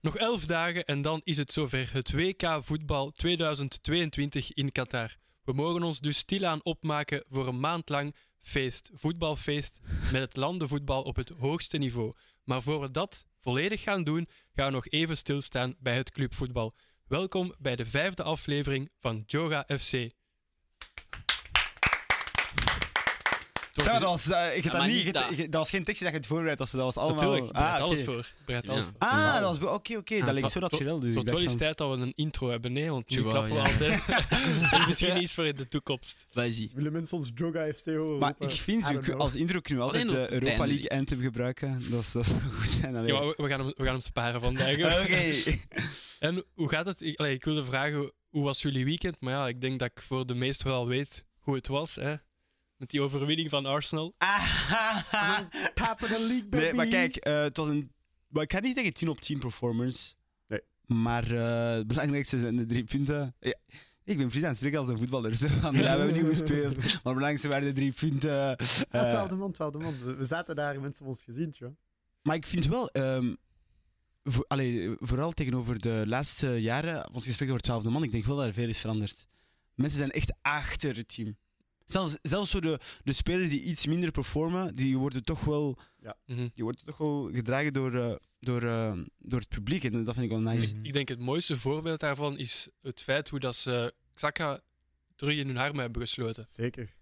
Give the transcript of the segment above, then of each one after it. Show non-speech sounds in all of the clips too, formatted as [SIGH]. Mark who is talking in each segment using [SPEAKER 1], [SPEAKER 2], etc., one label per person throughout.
[SPEAKER 1] Nog elf dagen en dan is het zover. Het WK voetbal 2022 in Qatar. We mogen ons dus stilaan opmaken voor een maand lang feest. Voetbalfeest met het landenvoetbal op het hoogste niveau. Maar voor we dat volledig gaan doen, gaan we nog even stilstaan bij het clubvoetbal. Welkom bij de vijfde aflevering van Joga FC. Het
[SPEAKER 2] Ja,
[SPEAKER 1] wordt
[SPEAKER 2] dat was, eh, je hebt dat,
[SPEAKER 3] maar
[SPEAKER 2] niet,
[SPEAKER 3] niet
[SPEAKER 2] je hebt-
[SPEAKER 3] dat.
[SPEAKER 2] je- dat was geen tekstje dat je het voorbereidt, was, dus dat was allemaal...
[SPEAKER 1] Natuurlijk, ik bereid
[SPEAKER 2] ah,
[SPEAKER 1] alles
[SPEAKER 2] oké.
[SPEAKER 1] voor. Ik bereid
[SPEAKER 3] Ja.
[SPEAKER 1] alles voor.
[SPEAKER 2] Ah, dat was... Oké, oké,
[SPEAKER 3] Ah,
[SPEAKER 2] dat leek
[SPEAKER 1] tot-
[SPEAKER 2] zo naturel. Dus ik
[SPEAKER 1] Tot wel
[SPEAKER 2] dacht
[SPEAKER 1] eens
[SPEAKER 2] van...
[SPEAKER 1] tijd dat we een intro hebben, nee, want nu
[SPEAKER 3] Jawel,
[SPEAKER 1] klappen we
[SPEAKER 2] [LAUGHS]
[SPEAKER 3] ja.
[SPEAKER 1] altijd. Dat is misschien iets voor in de toekomst.
[SPEAKER 3] Wijzie.
[SPEAKER 4] Willen mensen ons Joga FC horen?
[SPEAKER 2] Maar
[SPEAKER 4] roepen?
[SPEAKER 2] ik vind,
[SPEAKER 4] I
[SPEAKER 2] zo,
[SPEAKER 4] don't know.
[SPEAKER 2] als intro kunnen we
[SPEAKER 3] Alleen
[SPEAKER 2] altijd
[SPEAKER 3] op
[SPEAKER 2] de
[SPEAKER 3] het
[SPEAKER 2] Europa
[SPEAKER 3] einde
[SPEAKER 2] League Anthem gebruiken. Dat, is- dat zou goed zijn. allee.
[SPEAKER 1] Ja, maar we, we gaan hem, we gaan hem sparen vandaag.
[SPEAKER 2] Ah, [LAUGHS] Oké.
[SPEAKER 1] En hoe gaat het? Ik, allee, ik wilde vragen, hoe was jullie weekend? Maar ja, ik denk dat ik voor de meesten wel weet hoe het was. Hè? Met die overwinning van Arsenal.
[SPEAKER 2] Ah,
[SPEAKER 4] Top of the league, baby.
[SPEAKER 2] [LAUGHS] Nee, maar kijk, eh tot een... Maar ik ga niet tegen 10 op 10 performance.
[SPEAKER 4] Nee.
[SPEAKER 2] Maar eh, het belangrijkste zijn de drie punten. Ja, ik ben precies aan het spreken als een voetballer. Zo. [LAUGHS] van, Ja, we hebben niet gespeeld. Maar het belangrijkste waren de drie punten.
[SPEAKER 4] Ah,
[SPEAKER 2] Eh,
[SPEAKER 4] twaalfde man, twaalfde man. We we zaten daar, mensen hebben ons gezien, joh.
[SPEAKER 2] Maar ik vind wel, ehm, voor- allee, vooral tegenover de laatste jaren, ons gesprek over 12e man, ik denk wel dat er veel is veranderd. Mensen zijn echt achter het team. Zelfs, zelfs zo de, de spelers die iets minder performen, die worden toch wel,
[SPEAKER 1] Mhm.
[SPEAKER 2] die worden toch wel gedragen door, eh, door, eh, door het publiek. En dat vind ik wel nice.
[SPEAKER 1] Ik denk het mooiste voorbeeld daarvan is het feit hoe dat ze Xhaka terug in hun armen hebben gesloten.
[SPEAKER 4] Zeker.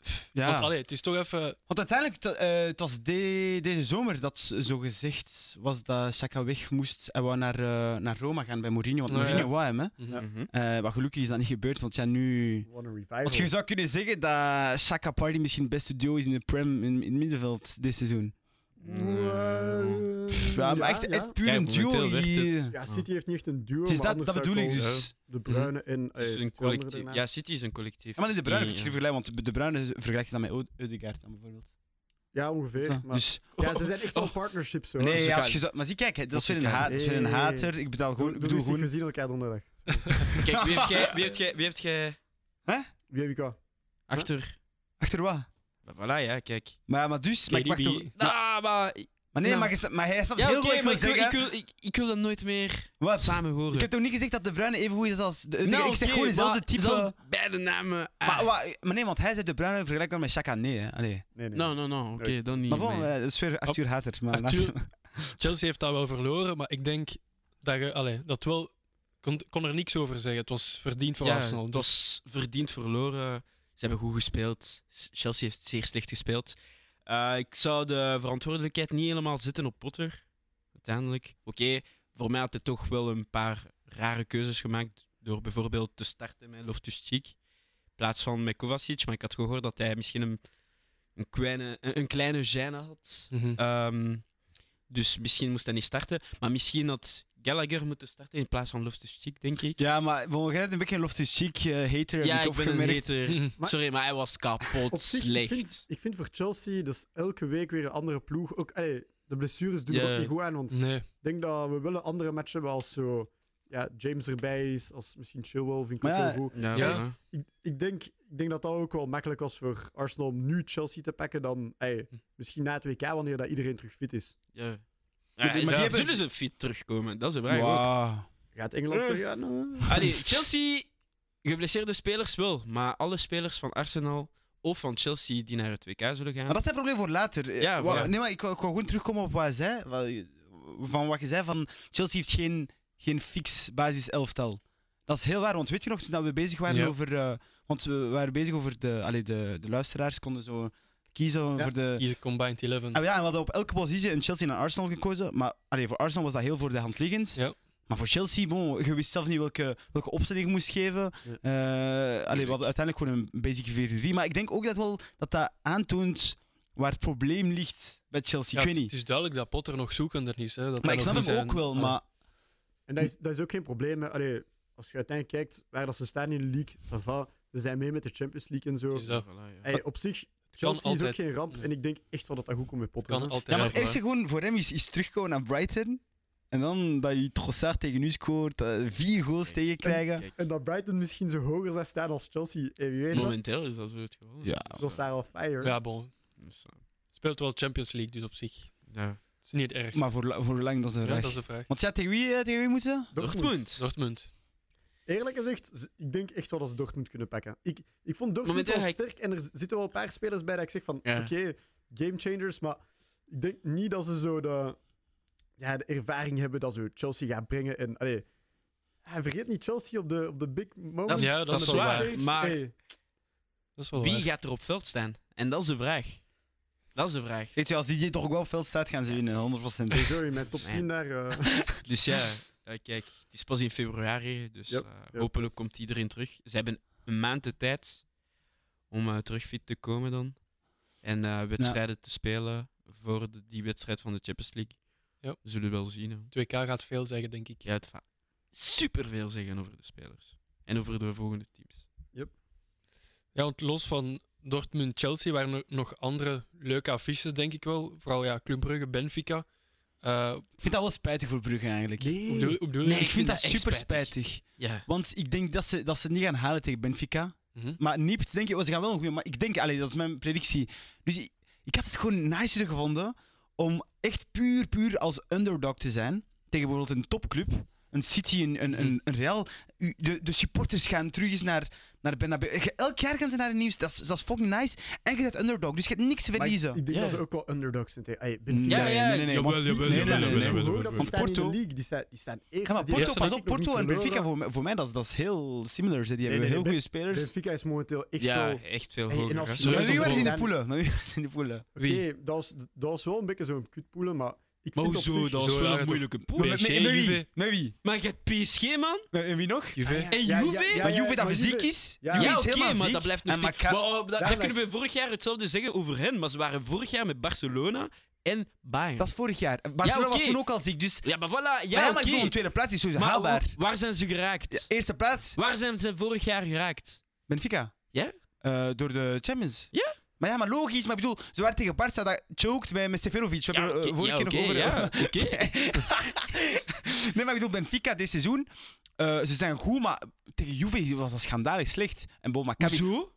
[SPEAKER 2] Pff, Ja.
[SPEAKER 1] Want allee, het is toch even...
[SPEAKER 2] Want uiteindelijk, t- eh, het was de- deze zomer dat z- zo gezegd was dat Saka weg moest en wou naar, eh, naar Roma gaan bij Mourinho. Want
[SPEAKER 1] Ja, ja.
[SPEAKER 2] Mourinho wou hem, hè.
[SPEAKER 1] Mhm.
[SPEAKER 2] Eh, maar gelukkig is dat niet gebeurd, want ja, nu...
[SPEAKER 4] One revival.
[SPEAKER 2] Want je zou kunnen zeggen dat Saka Party misschien het beste duo is in de Prem in, in het middenveld dit seizoen.
[SPEAKER 4] Wow.
[SPEAKER 2] Pff, ja, maar echt,
[SPEAKER 4] Mm, ja.
[SPEAKER 2] echt puur
[SPEAKER 3] Kijk,
[SPEAKER 2] een duo.
[SPEAKER 3] momenteel werd
[SPEAKER 2] hier.
[SPEAKER 3] het-
[SPEAKER 4] Ja, City heeft niet echt een duo,
[SPEAKER 2] Het is
[SPEAKER 4] maar
[SPEAKER 2] dat,
[SPEAKER 4] anders
[SPEAKER 2] dat
[SPEAKER 4] zou
[SPEAKER 2] bedoel ik
[SPEAKER 4] wel
[SPEAKER 2] dus.
[SPEAKER 4] De Bruine en... eh,
[SPEAKER 3] Het is een
[SPEAKER 4] twee
[SPEAKER 3] collectief.
[SPEAKER 4] anderen
[SPEAKER 3] Ja,
[SPEAKER 4] daarna.
[SPEAKER 3] City is een collectief.
[SPEAKER 2] Ja, maar dat is de Bruine,
[SPEAKER 3] Ja,
[SPEAKER 2] ik
[SPEAKER 3] Mm, ja.
[SPEAKER 2] vergelijk, want de Bruine vergelijkt dat met Oud- Odegaard dan bijvoorbeeld.
[SPEAKER 4] ja, ongeveer.
[SPEAKER 2] Ja,
[SPEAKER 4] maar,
[SPEAKER 2] dus,
[SPEAKER 4] ja, ze zijn echt wel partnerships, zo.
[SPEAKER 2] nee,
[SPEAKER 4] Ze
[SPEAKER 2] ja,
[SPEAKER 4] doen-
[SPEAKER 2] als je zou- maar zie, kijk, hè, dat is weer een,
[SPEAKER 3] Odegaard.
[SPEAKER 2] haat, dat is weer een
[SPEAKER 4] Nee, nee, nee.
[SPEAKER 2] hater. Ik bedoel
[SPEAKER 4] doen
[SPEAKER 2] gewoon, ik
[SPEAKER 4] die
[SPEAKER 2] bedoel
[SPEAKER 4] zich
[SPEAKER 2] gewoon
[SPEAKER 4] gezien elkaar donderdag.
[SPEAKER 3] Kijk, wie hebt jij- wie hebt jij- wie hebt jij
[SPEAKER 4] Wie heb ik al?
[SPEAKER 3] achter?
[SPEAKER 2] achter wat?
[SPEAKER 3] Bah, Voilà, ja, kijk.
[SPEAKER 2] Maar, ja, maar dus, maar, ik mag
[SPEAKER 1] KDB.
[SPEAKER 2] toch,
[SPEAKER 3] Ah, maar... ik-
[SPEAKER 2] maar nee,
[SPEAKER 3] Nou.
[SPEAKER 2] maar, je snapt- maar hij snapt
[SPEAKER 3] Ja,
[SPEAKER 2] heel
[SPEAKER 3] oké,
[SPEAKER 2] goed wat ik wil
[SPEAKER 3] maar ik wil, ik,
[SPEAKER 2] zeggen.
[SPEAKER 3] wil, ik, ik wil dat nooit meer
[SPEAKER 2] Wat?
[SPEAKER 3] samen horen.
[SPEAKER 2] Ik heb toch niet gezegd dat de Bruine even goed is als de Odegaard?
[SPEAKER 3] Nou,
[SPEAKER 2] ik zeg
[SPEAKER 3] oké,
[SPEAKER 2] gewoon dezelfde
[SPEAKER 3] maar
[SPEAKER 2] type...
[SPEAKER 3] zelfde Beide namen. ah.
[SPEAKER 2] Maar, maar, maar nee, want hij zei de Bruine vergelijkbaar met Saka. Nee, hè. Allee.
[SPEAKER 4] Nee, nee.
[SPEAKER 3] Nou, nou, nou, oké,
[SPEAKER 4] Nooit.
[SPEAKER 3] dan niet.
[SPEAKER 2] Maar bon,
[SPEAKER 3] maar-
[SPEAKER 2] eh, dat is weer Arthur Hater. Maar
[SPEAKER 1] Oh, Arthur- Chelsea heeft dat wel verloren, maar ik denk dat je... Allee, dat wel... Kon, kon er niks over zeggen. Het was verdiend voor
[SPEAKER 3] ja,
[SPEAKER 1] Arsenal.
[SPEAKER 3] Het
[SPEAKER 1] Dus
[SPEAKER 3] was verdiend verloren. Ze hebben goed gespeeld. Chelsea heeft zeer slecht gespeeld. Eh, ik zou de verantwoordelijkheid niet helemaal zitten op Potter. Uiteindelijk. Oké, voor mij had hij toch wel een paar rare keuzes gemaakt. Door bijvoorbeeld te starten met Loftus Cheek. In plaats van met Kovacic. Maar ik had gehoord dat hij misschien een, een, kleine, een, een kleine gêne had.
[SPEAKER 1] Mhm.
[SPEAKER 3] Ehm, dus misschien moest hij niet starten. Maar misschien had Gallagher moeten starten in plaats van Loftus Cheek, denk
[SPEAKER 2] [LAUGHS]
[SPEAKER 3] ik.
[SPEAKER 2] Ja, maar bon, jij bent een beetje een Loftus Cheek eh, hater. heb
[SPEAKER 3] Ja,
[SPEAKER 2] ik
[SPEAKER 3] ik ben een
[SPEAKER 2] opgemerkt.
[SPEAKER 1] [LAUGHS]
[SPEAKER 3] hater.
[SPEAKER 1] Mhm.
[SPEAKER 4] Maar-
[SPEAKER 3] Sorry, maar hij was kapot
[SPEAKER 4] [LAUGHS] Op zich,
[SPEAKER 3] slecht.
[SPEAKER 4] Ik vind, ik vind voor Chelsea dus elke week weer een andere ploeg. Ook, allee, de blessures doen
[SPEAKER 3] Ja.
[SPEAKER 4] er ook niet goed aan, want
[SPEAKER 1] [LAUGHS] Nee.
[SPEAKER 4] ik denk dat we wel een andere match hebben als zo... Ja, James erbij is, als misschien Chilwell vind ik
[SPEAKER 2] Maar
[SPEAKER 4] ook
[SPEAKER 2] ja,
[SPEAKER 4] heel goed.
[SPEAKER 3] Ja,
[SPEAKER 1] Ja.
[SPEAKER 3] voilà.
[SPEAKER 4] Ik, ik, denk, ik denk dat dat ook wel makkelijk was voor Arsenal om nu Chelsea te pakken dan ey, misschien na het WK, wanneer dat iedereen terug fit is.
[SPEAKER 3] ja. ja.
[SPEAKER 2] maar die
[SPEAKER 3] ze-
[SPEAKER 2] hebben-
[SPEAKER 3] Zullen ze fit terugkomen? Dat is de vraag ook.
[SPEAKER 2] Wauw.
[SPEAKER 4] Gaat Engeland
[SPEAKER 3] Eh.
[SPEAKER 4] vergaan? eh?
[SPEAKER 3] Allee, Chelsea, geblesseerde spelers wel, maar alle spelers van Arsenal of van Chelsea die naar het WK zullen gaan.
[SPEAKER 2] Maar dat is het probleem voor later. Eh,
[SPEAKER 3] Ja,
[SPEAKER 2] wa-
[SPEAKER 3] voilà.
[SPEAKER 2] Nee, maar ik wou, ik wou gewoon terugkomen op wat hij zei. Wa- Van wat je zei, van Chelsea heeft geen, geen fix basiselftal. Dat is heel waar, want weet je nog, toen dat we bezig waren
[SPEAKER 1] Ja.
[SPEAKER 2] over... eh, want we waren bezig over de... Allee, de, de luisteraars konden zo kiezen
[SPEAKER 4] Ja.
[SPEAKER 2] voor de...
[SPEAKER 1] Hier combined 11.
[SPEAKER 2] Ah, ja, en we hadden op elke positie een Chelsea en een Arsenal gekozen. Maar allee, voor Arsenal was dat heel voor de hand liggend.
[SPEAKER 1] Ja.
[SPEAKER 2] Maar voor Chelsea, bon, je wist zelf niet welke, welke opstelling je moest geven. Eh, allee, we hadden uiteindelijk gewoon een basic 4-3. Maar ik denk ook dat wel, dat, dat aantoont waar het probleem ligt bij
[SPEAKER 1] Ja,
[SPEAKER 2] Chelsea.
[SPEAKER 1] het,
[SPEAKER 2] ik weet
[SPEAKER 1] het
[SPEAKER 2] niet.
[SPEAKER 1] is duidelijk dat Potter nog zoekender is. Hè, dat
[SPEAKER 2] Maar
[SPEAKER 1] hij
[SPEAKER 2] ik snap
[SPEAKER 1] nog
[SPEAKER 2] hem
[SPEAKER 1] niet
[SPEAKER 2] ook
[SPEAKER 1] zijn- Ah,
[SPEAKER 2] wel. Maar
[SPEAKER 4] En dat is, dat is ook geen probleem. hè. Allee, als je uiteindelijk kijkt waar dat ze staan in de league, ça va. Ze zijn mee met de Champions League en zo.
[SPEAKER 1] Het is dat.
[SPEAKER 3] Voilà, ja.
[SPEAKER 4] Ey, op zich,
[SPEAKER 1] Het kan
[SPEAKER 4] Chelsea is ook
[SPEAKER 1] altijd.
[SPEAKER 4] geen ramp.
[SPEAKER 1] Ja.
[SPEAKER 4] En ik denk echt wel dat dat goed komt met Potter.
[SPEAKER 1] kan
[SPEAKER 4] hè.
[SPEAKER 1] altijd.
[SPEAKER 2] ja, maar het
[SPEAKER 1] blijven,
[SPEAKER 2] ergste gewoon voor hem is, is terugkomen naar Brighton. En dan dat je Trossard tegen u scoort, eh, vier goals
[SPEAKER 3] Kijk.
[SPEAKER 2] tegen krijgen.
[SPEAKER 3] Kijk,
[SPEAKER 4] En dat Brighton misschien zo hoger zou staan als Chelsea. En wie weet, dat
[SPEAKER 3] momenteel is dat zo het geval.
[SPEAKER 2] Ja.
[SPEAKER 4] dat is daar al fire.
[SPEAKER 1] hè. Ja, bon.
[SPEAKER 3] Dus, eh,
[SPEAKER 1] Speelt wel Champions League, dus op zich.
[SPEAKER 3] ja.
[SPEAKER 1] is niet erg.
[SPEAKER 2] Maar voor, la- voor hoe lang, dat is een
[SPEAKER 1] Ja,
[SPEAKER 2] vraag.
[SPEAKER 1] dat is de vraag.
[SPEAKER 2] Want ja, tegen wie, eh, tegen wie moeten ze?
[SPEAKER 3] Dortmund.
[SPEAKER 1] Dortmund.
[SPEAKER 4] Eerlijk gezegd, z- ik denk echt wel dat ze Dortmund kunnen pakken. Ik, ik vond Dortmund
[SPEAKER 3] Momenteel
[SPEAKER 4] wel
[SPEAKER 3] ga ik-
[SPEAKER 4] sterk en er z- zitten wel een paar spelers bij dat ik zeg van,
[SPEAKER 3] Ja.
[SPEAKER 4] oké, gamechangers, maar ik denk niet dat ze zo de, ja, de ervaring hebben dat ze Chelsea gaan brengen. En, allee, hij vergeet niet Chelsea op de, op de big moments.
[SPEAKER 1] Ja, dat
[SPEAKER 4] op
[SPEAKER 1] is
[SPEAKER 4] de
[SPEAKER 1] wel
[SPEAKER 4] big
[SPEAKER 1] waar.
[SPEAKER 4] stage.
[SPEAKER 3] Maar-
[SPEAKER 4] Hey,
[SPEAKER 1] Dat is wel
[SPEAKER 3] Wie
[SPEAKER 1] waar.
[SPEAKER 3] gaat er op veld staan? En dat is de vraag. Dat is de vraag.
[SPEAKER 2] Weet je, als die toch ook wel op veld staat, gaan ze winnen, 100%.
[SPEAKER 4] sowieso in mijn top
[SPEAKER 3] Man.
[SPEAKER 4] 10 daar. eh,
[SPEAKER 3] Dus ja, eh, kijk, het is pas in februari, dus
[SPEAKER 4] Yep,
[SPEAKER 3] eh,
[SPEAKER 4] yep.
[SPEAKER 3] hopelijk komt iedereen terug. Ze hebben een maand de tijd om eh, terug fit te komen dan. En eh, wedstrijden te spelen voor de- die wedstrijd van de Champions League.
[SPEAKER 1] Ja.
[SPEAKER 3] We zullen wel zien. hè.
[SPEAKER 1] 2K gaat veel zeggen, denk ik.
[SPEAKER 3] Ik ga het va- superveel zeggen over de spelers. En over de volgende teams.
[SPEAKER 1] Ja, want los van Dortmund-Chelsea waren er nog andere leuke affiches, denk ik wel. Vooral ja, Club Brugge, Benfica. Eh,
[SPEAKER 2] Ik vind dat wel spijtig voor Brugge eigenlijk.
[SPEAKER 4] [LAUGHS]
[SPEAKER 1] op de- op de-
[SPEAKER 2] Nee, ik vind dat
[SPEAKER 3] echt
[SPEAKER 2] super spijtig.
[SPEAKER 3] Ja.
[SPEAKER 2] Want ik denk dat ze, dat ze het niet gaan halen tegen Benfica.
[SPEAKER 1] Mhm.
[SPEAKER 2] Maar Niept, denk ik, oh, ze gaan wel een goede. Maar ik denk, allee, dat is mijn predictie. Dus ik, ik had het gewoon nicer gevonden om echt puur, puur als underdog te zijn. Tegen bijvoorbeeld een topclub, een City, een, een, een, een Real. U- De, de supporters gaan terug eens naar, naar Bernabeu. Je- Elk jaar gaan ze naar het nieuws. Dat is, dat is fucking nice. En je bent underdog, dus je hebt niks te
[SPEAKER 4] maar ik,
[SPEAKER 2] verliezen.
[SPEAKER 4] ik denk
[SPEAKER 3] Ja.
[SPEAKER 4] dat ze ook wel underdogs zijn. tegen-
[SPEAKER 2] Mm.
[SPEAKER 4] Hey, Benfica.
[SPEAKER 3] Ja, ja, ja.
[SPEAKER 2] Nee, nee, nee.
[SPEAKER 1] Jawel,
[SPEAKER 2] want die-
[SPEAKER 1] jawel,
[SPEAKER 2] nee,
[SPEAKER 1] jawel,
[SPEAKER 2] nee, nee,
[SPEAKER 1] jawel,
[SPEAKER 2] nee.
[SPEAKER 1] jawel.
[SPEAKER 4] Ik hoor dat die
[SPEAKER 2] Want
[SPEAKER 4] staan in de
[SPEAKER 2] Porto-
[SPEAKER 4] league. Die staan, die staan eerst.
[SPEAKER 2] Ja, maar Porto,
[SPEAKER 1] ze
[SPEAKER 2] pas
[SPEAKER 1] nog
[SPEAKER 2] op, Porto en Benfica voor, mij- voor mij, dat is, dat is heel similar. Ze Die
[SPEAKER 4] Nee,
[SPEAKER 2] hebben
[SPEAKER 4] nee,
[SPEAKER 2] heel
[SPEAKER 4] Ben-
[SPEAKER 2] goede spelers.
[SPEAKER 4] Benfica is momenteel echt
[SPEAKER 3] ja,
[SPEAKER 4] wel...
[SPEAKER 3] echt veel
[SPEAKER 4] Hey, en
[SPEAKER 3] hoger.
[SPEAKER 4] als
[SPEAKER 3] hè.
[SPEAKER 4] je-
[SPEAKER 2] Maar
[SPEAKER 1] Sorry,
[SPEAKER 2] wie
[SPEAKER 1] ze
[SPEAKER 2] waren ze in de
[SPEAKER 4] voor-
[SPEAKER 2] poelen? Maar wie waren ze in de poelen?
[SPEAKER 1] Wie?
[SPEAKER 4] Oké, dat, was, dat was wel een beetje zo'n kutpoelen, maar... Ik
[SPEAKER 3] Maar
[SPEAKER 4] vind op
[SPEAKER 3] hoezo?
[SPEAKER 4] zich-
[SPEAKER 3] Dat was
[SPEAKER 1] zo
[SPEAKER 3] wel
[SPEAKER 1] waren
[SPEAKER 3] een
[SPEAKER 1] het
[SPEAKER 3] moeilijke poel.
[SPEAKER 1] Maar- PSG, Juve.
[SPEAKER 2] Met wie?
[SPEAKER 3] Maar je hebt PSG, man?
[SPEAKER 2] Met- En wie nog?
[SPEAKER 1] Juve.
[SPEAKER 3] En Juve?
[SPEAKER 2] maar Juve dat
[SPEAKER 4] maar
[SPEAKER 2] fysiek
[SPEAKER 4] Juve-
[SPEAKER 2] is?
[SPEAKER 4] Ja,
[SPEAKER 3] Ja,
[SPEAKER 4] die is
[SPEAKER 3] oké, maar dat blijft nog
[SPEAKER 2] En
[SPEAKER 3] steeds...
[SPEAKER 2] Maka-
[SPEAKER 3] Maar, oh, dat, dat
[SPEAKER 4] Duidelijk.
[SPEAKER 3] kunnen we vorig jaar hetzelfde zeggen over hen, maar ze waren vorig jaar met Barcelona en Bayern.
[SPEAKER 2] Dat is vorig jaar. Barcelona
[SPEAKER 3] oké.
[SPEAKER 2] was toen ook al ziek, dus...
[SPEAKER 3] Ja, maar voilà.
[SPEAKER 2] maar ja,
[SPEAKER 3] Ja, oké.
[SPEAKER 2] maar ik bedoel, een tweede plaats is sowieso
[SPEAKER 3] Maar
[SPEAKER 2] haalbaar.
[SPEAKER 3] wa- waar zijn ze geraakt?
[SPEAKER 2] Ja, eerste plaats,
[SPEAKER 3] Waar zijn ze vorig jaar geraakt?
[SPEAKER 2] Benfica.
[SPEAKER 3] Ja?
[SPEAKER 2] Eh, door de Champions.
[SPEAKER 3] Ja.
[SPEAKER 2] Maar ja, maar logisch. Maar ik bedoel, ze waren tegen Barca, dat choked bij met Seferovic. We
[SPEAKER 3] Ja,
[SPEAKER 2] hebben er
[SPEAKER 3] oké,
[SPEAKER 2] eh, vorige
[SPEAKER 3] ja,
[SPEAKER 2] keer nog
[SPEAKER 3] oké,
[SPEAKER 2] over... [LAUGHS]
[SPEAKER 3] ja, oké.
[SPEAKER 2] nee, maar ik bedoel, Benfica dit seizoen... eh, ze zijn goed, maar tegen Juve was dat schandalig slecht. En Bo Maccabi...
[SPEAKER 3] Hoezo?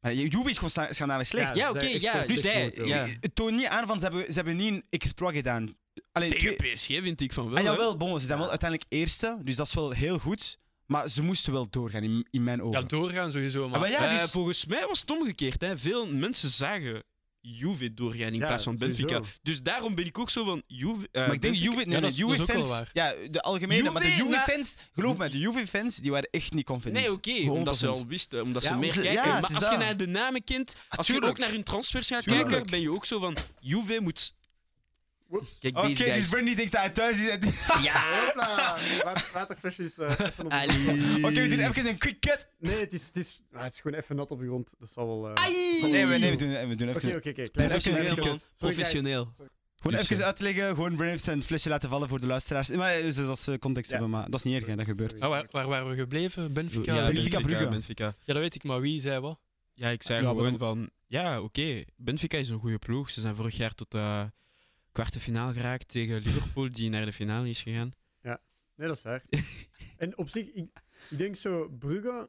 [SPEAKER 2] Maar Juve is gewoon scha- schandalig slecht.
[SPEAKER 3] Ja,
[SPEAKER 4] ze
[SPEAKER 3] oké,
[SPEAKER 4] zijn
[SPEAKER 3] ja,
[SPEAKER 4] echt wel
[SPEAKER 3] dus
[SPEAKER 4] slecht
[SPEAKER 3] zij-
[SPEAKER 4] momenteel.
[SPEAKER 3] ja.
[SPEAKER 2] Het toont niet aan van ze hebben, ze hebben niet een exploit gedaan. Allee,
[SPEAKER 3] [LAUGHS] Tegen
[SPEAKER 2] twee-
[SPEAKER 3] PSG vind ik van wel.
[SPEAKER 2] ah,
[SPEAKER 3] hè.
[SPEAKER 2] jawel, bon, ze zijn wel uiteindelijk eerste, dus dat is wel heel goed. Maar ze moesten wel doorgaan, in, in mijn
[SPEAKER 1] Ja,
[SPEAKER 2] ogen.
[SPEAKER 1] doorgaan sowieso,
[SPEAKER 2] Ah,
[SPEAKER 1] maar...
[SPEAKER 2] maar ja,
[SPEAKER 3] Eh,
[SPEAKER 2] dus,
[SPEAKER 3] volgens mij was het omgekeerd. Hè. Veel mensen zagen Juve doorgaan in
[SPEAKER 4] Ja,
[SPEAKER 3] plaats van Benfica.
[SPEAKER 4] sowieso.
[SPEAKER 3] Dus daarom ben ik ook zo van Juve. eh,
[SPEAKER 2] maar ik denk
[SPEAKER 3] Benfica-
[SPEAKER 2] Juve, nee,
[SPEAKER 1] Ja,
[SPEAKER 2] nee,
[SPEAKER 1] dat is- dat is ook wel
[SPEAKER 2] Juve-fans,
[SPEAKER 1] waar.
[SPEAKER 2] ja, de algemene, maar de
[SPEAKER 3] Juve,
[SPEAKER 2] Juve-fans, geloof me, de Juve-fans, die waren echt niet confident.
[SPEAKER 3] Nee, oké, omdat ze
[SPEAKER 2] 100%.
[SPEAKER 3] al wisten, omdat ze
[SPEAKER 4] Ja,
[SPEAKER 3] meer
[SPEAKER 2] ze- ja,
[SPEAKER 3] kijken.
[SPEAKER 2] het
[SPEAKER 3] maar
[SPEAKER 2] is
[SPEAKER 3] als je
[SPEAKER 2] dat. Ah,
[SPEAKER 3] naar de namen kent, als je
[SPEAKER 2] tuurlijk.
[SPEAKER 3] ook naar hun transfers gaat
[SPEAKER 2] Tuurlijk.
[SPEAKER 3] kijken, ben je ook zo van Juve
[SPEAKER 2] [LAUGHS]
[SPEAKER 3] moet.
[SPEAKER 4] Whoops.
[SPEAKER 3] Kijk,
[SPEAKER 2] Oké,
[SPEAKER 3] deze
[SPEAKER 2] dus
[SPEAKER 3] guys.
[SPEAKER 2] Bernie denkt dat hij thuis is. en-
[SPEAKER 3] Ja.
[SPEAKER 4] Hopla, wat- Waterflesjes. eh, even
[SPEAKER 3] Ah,
[SPEAKER 4] op de-
[SPEAKER 3] Allee.
[SPEAKER 2] Oké, we doen even een quick cut.
[SPEAKER 4] Nee, het is, het, is, ah, het is gewoon even nat op de grond. Dat zal wel... eh,
[SPEAKER 3] Ai.
[SPEAKER 4] zal wel-
[SPEAKER 2] Nee, we, nee, we doen, we doen even...
[SPEAKER 4] Oké, oké, oké. klein-
[SPEAKER 2] Professioneel,
[SPEAKER 4] klein-
[SPEAKER 3] man.
[SPEAKER 4] Sorry, guys.
[SPEAKER 3] Professioneel.
[SPEAKER 2] Gewoon
[SPEAKER 3] Dus,
[SPEAKER 2] even
[SPEAKER 3] eh,
[SPEAKER 2] uitleggen, gewoon Braves en flesje laten vallen voor de luisteraars. Maar eh, zodat ze context
[SPEAKER 4] Ja.
[SPEAKER 2] hebben, maar dat is niet erg, hè, dat gebeurt.
[SPEAKER 4] Sorry.
[SPEAKER 1] Ah, waar, waar waren we gebleven? Benfica?
[SPEAKER 3] Ja,
[SPEAKER 1] Ja,
[SPEAKER 2] Benfica, Brugge.
[SPEAKER 3] Benfica.
[SPEAKER 1] dat weet ik, maar wie zei wat?
[SPEAKER 3] Ja, ik zei
[SPEAKER 2] Ja,
[SPEAKER 3] gewoon
[SPEAKER 2] waarom?
[SPEAKER 3] van... Ja, oké, Benfica is een goede ploeg. Ze zijn vorig jaar tot de kwarte finale geraakt tegen Liverpool, die naar de finale is gegaan.
[SPEAKER 4] Nee, dat is waar. en op zich, ik, ik denk zo, Brugge...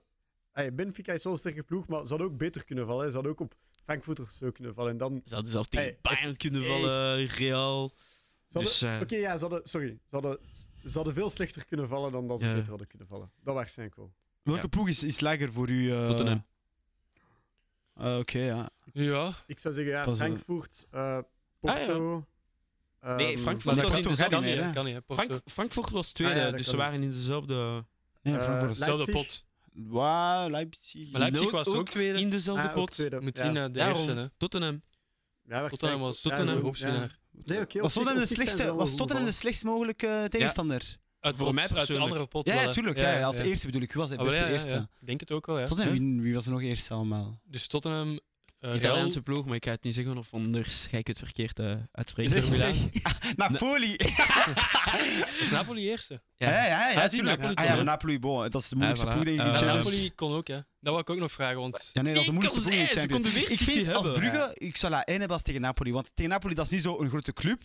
[SPEAKER 4] Hey, Benfica is wel een sterke ploeg, maar ze hadden ook beter kunnen vallen. hè. Ze hadden ook op Frankfurt of zo kunnen vallen. En dan...
[SPEAKER 2] Dus
[SPEAKER 3] Ze hadden zelfs tegen
[SPEAKER 4] Hey,
[SPEAKER 3] Bayern kunnen
[SPEAKER 4] echt.
[SPEAKER 3] vallen, Real.
[SPEAKER 4] Ze hadden-
[SPEAKER 3] dus eh,
[SPEAKER 4] Oké, ja, ze hadden... Sorry. Ze hadden, ze hadden veel slechter kunnen vallen dan dat ze
[SPEAKER 3] Ja.
[SPEAKER 4] beter hadden kunnen vallen. Dat waarschijnlijk wel.
[SPEAKER 2] Welke
[SPEAKER 3] Ja.
[SPEAKER 2] ploeg is, is lager voor u? eh,
[SPEAKER 3] Tottenham.
[SPEAKER 2] eh, Oké, ja.
[SPEAKER 1] Ja,
[SPEAKER 4] Ik zou zeggen, ja,
[SPEAKER 2] Pas, eh,
[SPEAKER 4] Frankfurt, eh, Porto...
[SPEAKER 3] Nee,
[SPEAKER 4] ehm,
[SPEAKER 1] maar
[SPEAKER 3] Frankfurt
[SPEAKER 1] dat
[SPEAKER 3] was
[SPEAKER 1] kan,
[SPEAKER 3] in
[SPEAKER 2] Porto gaat
[SPEAKER 1] kan
[SPEAKER 3] dezelfde...
[SPEAKER 2] niet,
[SPEAKER 1] niet,
[SPEAKER 2] hè?
[SPEAKER 1] hè, kan niet. hè, Porto.
[SPEAKER 3] Frank, Frankfurt was tweede,
[SPEAKER 4] Ah, ja, dat
[SPEAKER 3] dus
[SPEAKER 4] kan
[SPEAKER 3] ze
[SPEAKER 4] niet.
[SPEAKER 3] waren in dezelfde...
[SPEAKER 2] Nee,
[SPEAKER 4] Eh,
[SPEAKER 2] Frankfurt is-
[SPEAKER 4] Leipzig.
[SPEAKER 1] Zelfde pot.
[SPEAKER 2] Wauw, Leipzig.
[SPEAKER 1] Maar Leipzig
[SPEAKER 3] Nood
[SPEAKER 1] was ook tweede.
[SPEAKER 3] In dezelfde
[SPEAKER 4] ah, ook
[SPEAKER 3] pot.
[SPEAKER 4] tweede.
[SPEAKER 1] Moet
[SPEAKER 4] Ja.
[SPEAKER 1] zien, eh, de
[SPEAKER 3] Daarom.
[SPEAKER 1] eerste, hè.
[SPEAKER 3] Tottenham.
[SPEAKER 4] Ja, waarschijnlijk
[SPEAKER 1] Tottenham was
[SPEAKER 4] wel. Ja,
[SPEAKER 1] Tottenham
[SPEAKER 4] ja.
[SPEAKER 1] hoofdwinnaar.
[SPEAKER 4] Nee, oké,
[SPEAKER 2] was Tottenham, de
[SPEAKER 4] op zich- op zich zijn ze
[SPEAKER 2] slechtste,
[SPEAKER 4] wel
[SPEAKER 2] was
[SPEAKER 4] goed
[SPEAKER 2] Tottenham de
[SPEAKER 4] gevallen.
[SPEAKER 2] slechtst mogelijke tegenstander?
[SPEAKER 1] Uit,
[SPEAKER 3] Voor
[SPEAKER 1] pot-
[SPEAKER 3] mij
[SPEAKER 1] uit de
[SPEAKER 3] persoonlijk.
[SPEAKER 1] andere pot
[SPEAKER 2] Ja,
[SPEAKER 1] wel,
[SPEAKER 2] ja,
[SPEAKER 1] hè.
[SPEAKER 2] tuurlijk. Ja, ja, als
[SPEAKER 1] ja.
[SPEAKER 2] eerste bedoel ik. Wie was de
[SPEAKER 1] Ah, wel,
[SPEAKER 2] beste
[SPEAKER 1] ja, ja,
[SPEAKER 2] eerste?
[SPEAKER 1] ja. Ik Denk het ook wel, ja.
[SPEAKER 2] Tottenham, wie, wie was er nog eerst allemaal?
[SPEAKER 1] Dus Tottenham, eh, Real,
[SPEAKER 3] Italiaanse ploeg, maar ik ga het niet zeggen of anders ga ik het verkeerd eh, uitspreken.
[SPEAKER 1] Inter Milan.
[SPEAKER 2] Napoli!
[SPEAKER 1] Is Napoli eerste?
[SPEAKER 2] Ja, ja, ja,
[SPEAKER 1] Ah,
[SPEAKER 2] ja,
[SPEAKER 1] zie,
[SPEAKER 2] tuurlijk.
[SPEAKER 1] Napoli
[SPEAKER 2] Ah
[SPEAKER 1] toch
[SPEAKER 2] ja, maar
[SPEAKER 1] ook?
[SPEAKER 2] Napoli, bon, dat is de moeilijkste
[SPEAKER 3] voilà.
[SPEAKER 2] ploeg denk ik in
[SPEAKER 3] Eh,
[SPEAKER 1] En
[SPEAKER 2] Champions.
[SPEAKER 1] Napoli kon ook, hè. Dat wil ik ook nog vragen, want...
[SPEAKER 2] Ja, nee, dat is de moeilijkste ploeg in de
[SPEAKER 3] eh, Ze
[SPEAKER 2] Champions.
[SPEAKER 3] konden weer
[SPEAKER 2] Ik
[SPEAKER 3] City
[SPEAKER 2] vind als
[SPEAKER 3] hebben.
[SPEAKER 2] Brugge, ik zou La 1 hebben als tegen Napoli. Want tegen Napoli dat is niet zo'n grote club.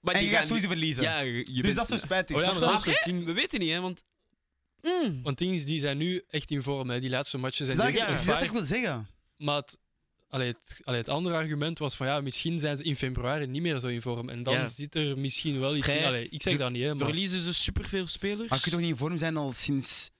[SPEAKER 3] Maar
[SPEAKER 2] en
[SPEAKER 3] die
[SPEAKER 2] je gaat
[SPEAKER 3] gaan-
[SPEAKER 2] sowieso verliezen.
[SPEAKER 3] Ja, je
[SPEAKER 2] dus
[SPEAKER 3] bent-
[SPEAKER 2] dat is dus- Mm. zo spijtig.
[SPEAKER 1] Oh ja,
[SPEAKER 2] snap
[SPEAKER 1] maar
[SPEAKER 2] je?
[SPEAKER 1] dat is zo'n
[SPEAKER 3] We
[SPEAKER 1] ding...
[SPEAKER 3] weten niet, hè, want... Oh,
[SPEAKER 1] Want teams die zijn nu echt in vorm, hè. Die laatste matchen
[SPEAKER 2] Dat
[SPEAKER 1] zijn
[SPEAKER 2] is Dus dat
[SPEAKER 1] tegen
[SPEAKER 2] ik-
[SPEAKER 3] ja.
[SPEAKER 2] dat is
[SPEAKER 1] Bayern.
[SPEAKER 2] dat ik wil zeggen.
[SPEAKER 1] Maar het- allee, het, allee, het andere argument was van ja, misschien zijn ze in februari niet meer zo in vorm. En dan
[SPEAKER 3] Ja.
[SPEAKER 1] zit er misschien wel iets
[SPEAKER 3] Gij-
[SPEAKER 1] in. Allee, ik zeg
[SPEAKER 3] ze
[SPEAKER 1] dat niet, hè, maar
[SPEAKER 3] Verliezen ze superveel spelers?
[SPEAKER 2] Maar Ah, je kunt toch niet in vorm zijn al sinds,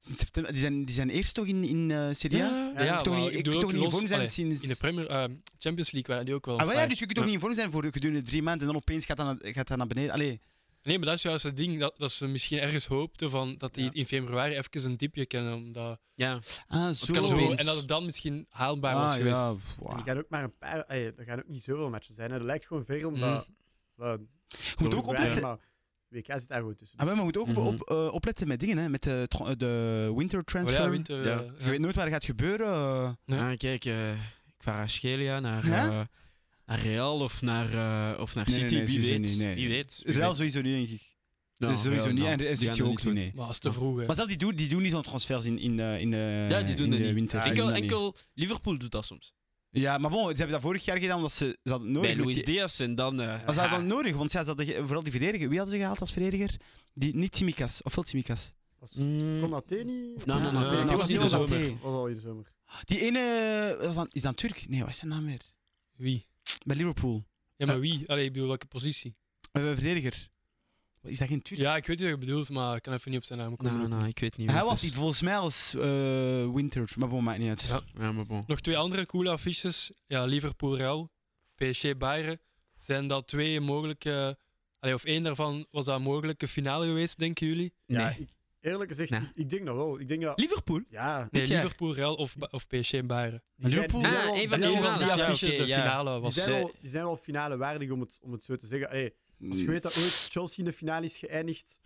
[SPEAKER 2] sinds september? Die zijn, die zijn eerst toch in, in eh Serie A?
[SPEAKER 3] Ja.
[SPEAKER 1] Ja,
[SPEAKER 2] je kunt toch
[SPEAKER 1] maar
[SPEAKER 2] niet,
[SPEAKER 1] ik
[SPEAKER 2] je
[SPEAKER 1] bedoel
[SPEAKER 2] kunt toch
[SPEAKER 1] ook
[SPEAKER 2] niet in
[SPEAKER 1] los-
[SPEAKER 2] vorm zijn
[SPEAKER 1] allee,
[SPEAKER 2] sinds...
[SPEAKER 1] in de Premier, eh, Champions League waren die ook wel.
[SPEAKER 2] Ah, wel ja,
[SPEAKER 1] vrij.
[SPEAKER 2] dus je kunt toch
[SPEAKER 3] Ja.
[SPEAKER 2] niet in vorm zijn voor gedurende drie maanden en dan opeens gaat dat, naar- gaat dat naar beneden. Allee,
[SPEAKER 1] Nee, maar dat is juist het ding dat, dat ze misschien ergens hoopten van dat die
[SPEAKER 4] Ja.
[SPEAKER 1] in februari even een dipje kennen. Omdat
[SPEAKER 3] ja.
[SPEAKER 2] ah,
[SPEAKER 1] het
[SPEAKER 2] zo.
[SPEAKER 1] kan zo,
[SPEAKER 2] opeens.
[SPEAKER 1] en dat het dan misschien haalbaar
[SPEAKER 2] ah,
[SPEAKER 1] was geweest.
[SPEAKER 2] Ja,
[SPEAKER 1] Ja.
[SPEAKER 2] pff,
[SPEAKER 4] En die
[SPEAKER 2] wow.
[SPEAKER 4] gaan ook maar een paar... Ey, er gaan ook niet zoveel matchen zijn. Hè. Dat lijkt gewoon ver om
[SPEAKER 1] Mm.
[SPEAKER 4] dat... dat-
[SPEAKER 2] Je moet
[SPEAKER 4] dat
[SPEAKER 2] ook
[SPEAKER 4] wij-
[SPEAKER 2] opletten,
[SPEAKER 4] maar WK zit daar gewoon tussen. Dus
[SPEAKER 2] ah, wel, maar je moet ook op-
[SPEAKER 3] Mhm.
[SPEAKER 2] op, eh, opletten met dingen, hè, met de, tro- eh, de winter transfer.
[SPEAKER 1] ja, winter.
[SPEAKER 3] Ja.
[SPEAKER 1] eh,
[SPEAKER 2] Je weet nooit waar het gaat gebeuren. eh.
[SPEAKER 1] Ja.
[SPEAKER 3] Ah, kijk, eh, ik ga naar Schelia, naar,
[SPEAKER 2] Ja?
[SPEAKER 3] eh, naar Real of naar, eh, of naar
[SPEAKER 2] Nee,
[SPEAKER 3] City.
[SPEAKER 2] nee, nee,
[SPEAKER 3] wie,
[SPEAKER 2] ze
[SPEAKER 3] weet,
[SPEAKER 2] zijn niet, nee.
[SPEAKER 3] wie weet. Wie
[SPEAKER 2] Real
[SPEAKER 3] weet.
[SPEAKER 2] sowieso niet, denk ik.
[SPEAKER 3] Nou,
[SPEAKER 2] Dus sowieso
[SPEAKER 3] Real,
[SPEAKER 2] niet.
[SPEAKER 3] nou,
[SPEAKER 2] En-
[SPEAKER 3] die
[SPEAKER 2] En
[SPEAKER 3] gaan
[SPEAKER 2] City
[SPEAKER 3] dat
[SPEAKER 2] ook
[SPEAKER 3] niet
[SPEAKER 2] niet,
[SPEAKER 3] doen.
[SPEAKER 2] nee.
[SPEAKER 1] Maar dat is te vroeg. hè.
[SPEAKER 2] Maar zelf die doen, die doen niet zo'n transfers in, in, eh, in de
[SPEAKER 3] Ja, die doen
[SPEAKER 2] in
[SPEAKER 3] dat
[SPEAKER 2] de
[SPEAKER 3] niet.
[SPEAKER 2] winter. Die
[SPEAKER 3] Enkel,
[SPEAKER 2] doen dat niet.
[SPEAKER 3] enkel Liverpool doet dat soms.
[SPEAKER 2] Ja, maar bon, ze hebben dat vorig jaar gedaan omdat ze, ze hadden het nodig.
[SPEAKER 3] Bij
[SPEAKER 2] met
[SPEAKER 3] Luis
[SPEAKER 2] die-
[SPEAKER 3] Diaz en dan... eh,
[SPEAKER 2] Maar ze hadden
[SPEAKER 3] ah,
[SPEAKER 2] dat nodig, want ja, ze hadden, ge- vooral die verdediger. Wie hadden ze gehaald als verdediger? Die, niet Tsimikas, of wel Tsimikas.
[SPEAKER 4] Was,
[SPEAKER 3] mm,
[SPEAKER 4] kon dat niet?
[SPEAKER 3] Nou, nou, nou,
[SPEAKER 1] nee, die was
[SPEAKER 4] niet
[SPEAKER 1] in
[SPEAKER 4] al
[SPEAKER 1] de
[SPEAKER 4] dat-
[SPEAKER 2] zomer.
[SPEAKER 4] was al in de zomer.
[SPEAKER 2] Die ene, was dat, is dat Turk? Nee, wat is zijn naam weer?
[SPEAKER 1] Wie?
[SPEAKER 2] Bij Liverpool.
[SPEAKER 1] Ja, maar wie? Allee, ik bedoel, welke positie?
[SPEAKER 2] Eh, verdediger. Wat, Is dat geen Turk?
[SPEAKER 1] Ja, ik weet wat je bedoelt, maar ik kan even niet op zijn naam komen.
[SPEAKER 3] nou,
[SPEAKER 1] ook
[SPEAKER 3] nou,
[SPEAKER 1] niet.
[SPEAKER 3] ik weet niet.
[SPEAKER 2] Hij
[SPEAKER 3] wat
[SPEAKER 2] was
[SPEAKER 3] het
[SPEAKER 2] niet
[SPEAKER 3] is.
[SPEAKER 2] volgens mij als eh, Winter, maar bon, maakt niet uit.
[SPEAKER 1] Ja.
[SPEAKER 3] Ja, maar bon.
[SPEAKER 1] Nog twee andere coole affiches. Ja, Liverpool-Real, PSG-Bayern. Zijn dat twee mogelijke... Allee, of één daarvan was dat een mogelijke finale geweest, denken jullie?
[SPEAKER 4] Ja,
[SPEAKER 3] Nee.
[SPEAKER 4] ik, eerlijk gezegd,
[SPEAKER 3] Nee.
[SPEAKER 4] ik, ik denk dat wel. Ik denk dat...
[SPEAKER 3] Liverpool?
[SPEAKER 4] Ja,
[SPEAKER 1] Nee,
[SPEAKER 3] Dit jaar.
[SPEAKER 1] Liverpool-Real of, Ba- of PSG-Bayern.
[SPEAKER 4] die zijn,
[SPEAKER 2] Liverpool?
[SPEAKER 4] die zijn
[SPEAKER 3] Ah,
[SPEAKER 4] wel-
[SPEAKER 3] een
[SPEAKER 4] die
[SPEAKER 3] van
[SPEAKER 4] zijn
[SPEAKER 1] Eén
[SPEAKER 3] die
[SPEAKER 4] wel-
[SPEAKER 1] van die
[SPEAKER 3] finales, ja,
[SPEAKER 1] affiches,
[SPEAKER 3] oké,
[SPEAKER 1] de
[SPEAKER 3] ja. Dus
[SPEAKER 1] finale
[SPEAKER 4] die
[SPEAKER 1] was...
[SPEAKER 4] zijn wel-
[SPEAKER 3] ze-
[SPEAKER 4] die zijn wel finale waardig, om het, om het zo te zeggen. Allee,
[SPEAKER 2] Mm.
[SPEAKER 4] Als je weet dat ooit Chelsea in de finale is geëindigd.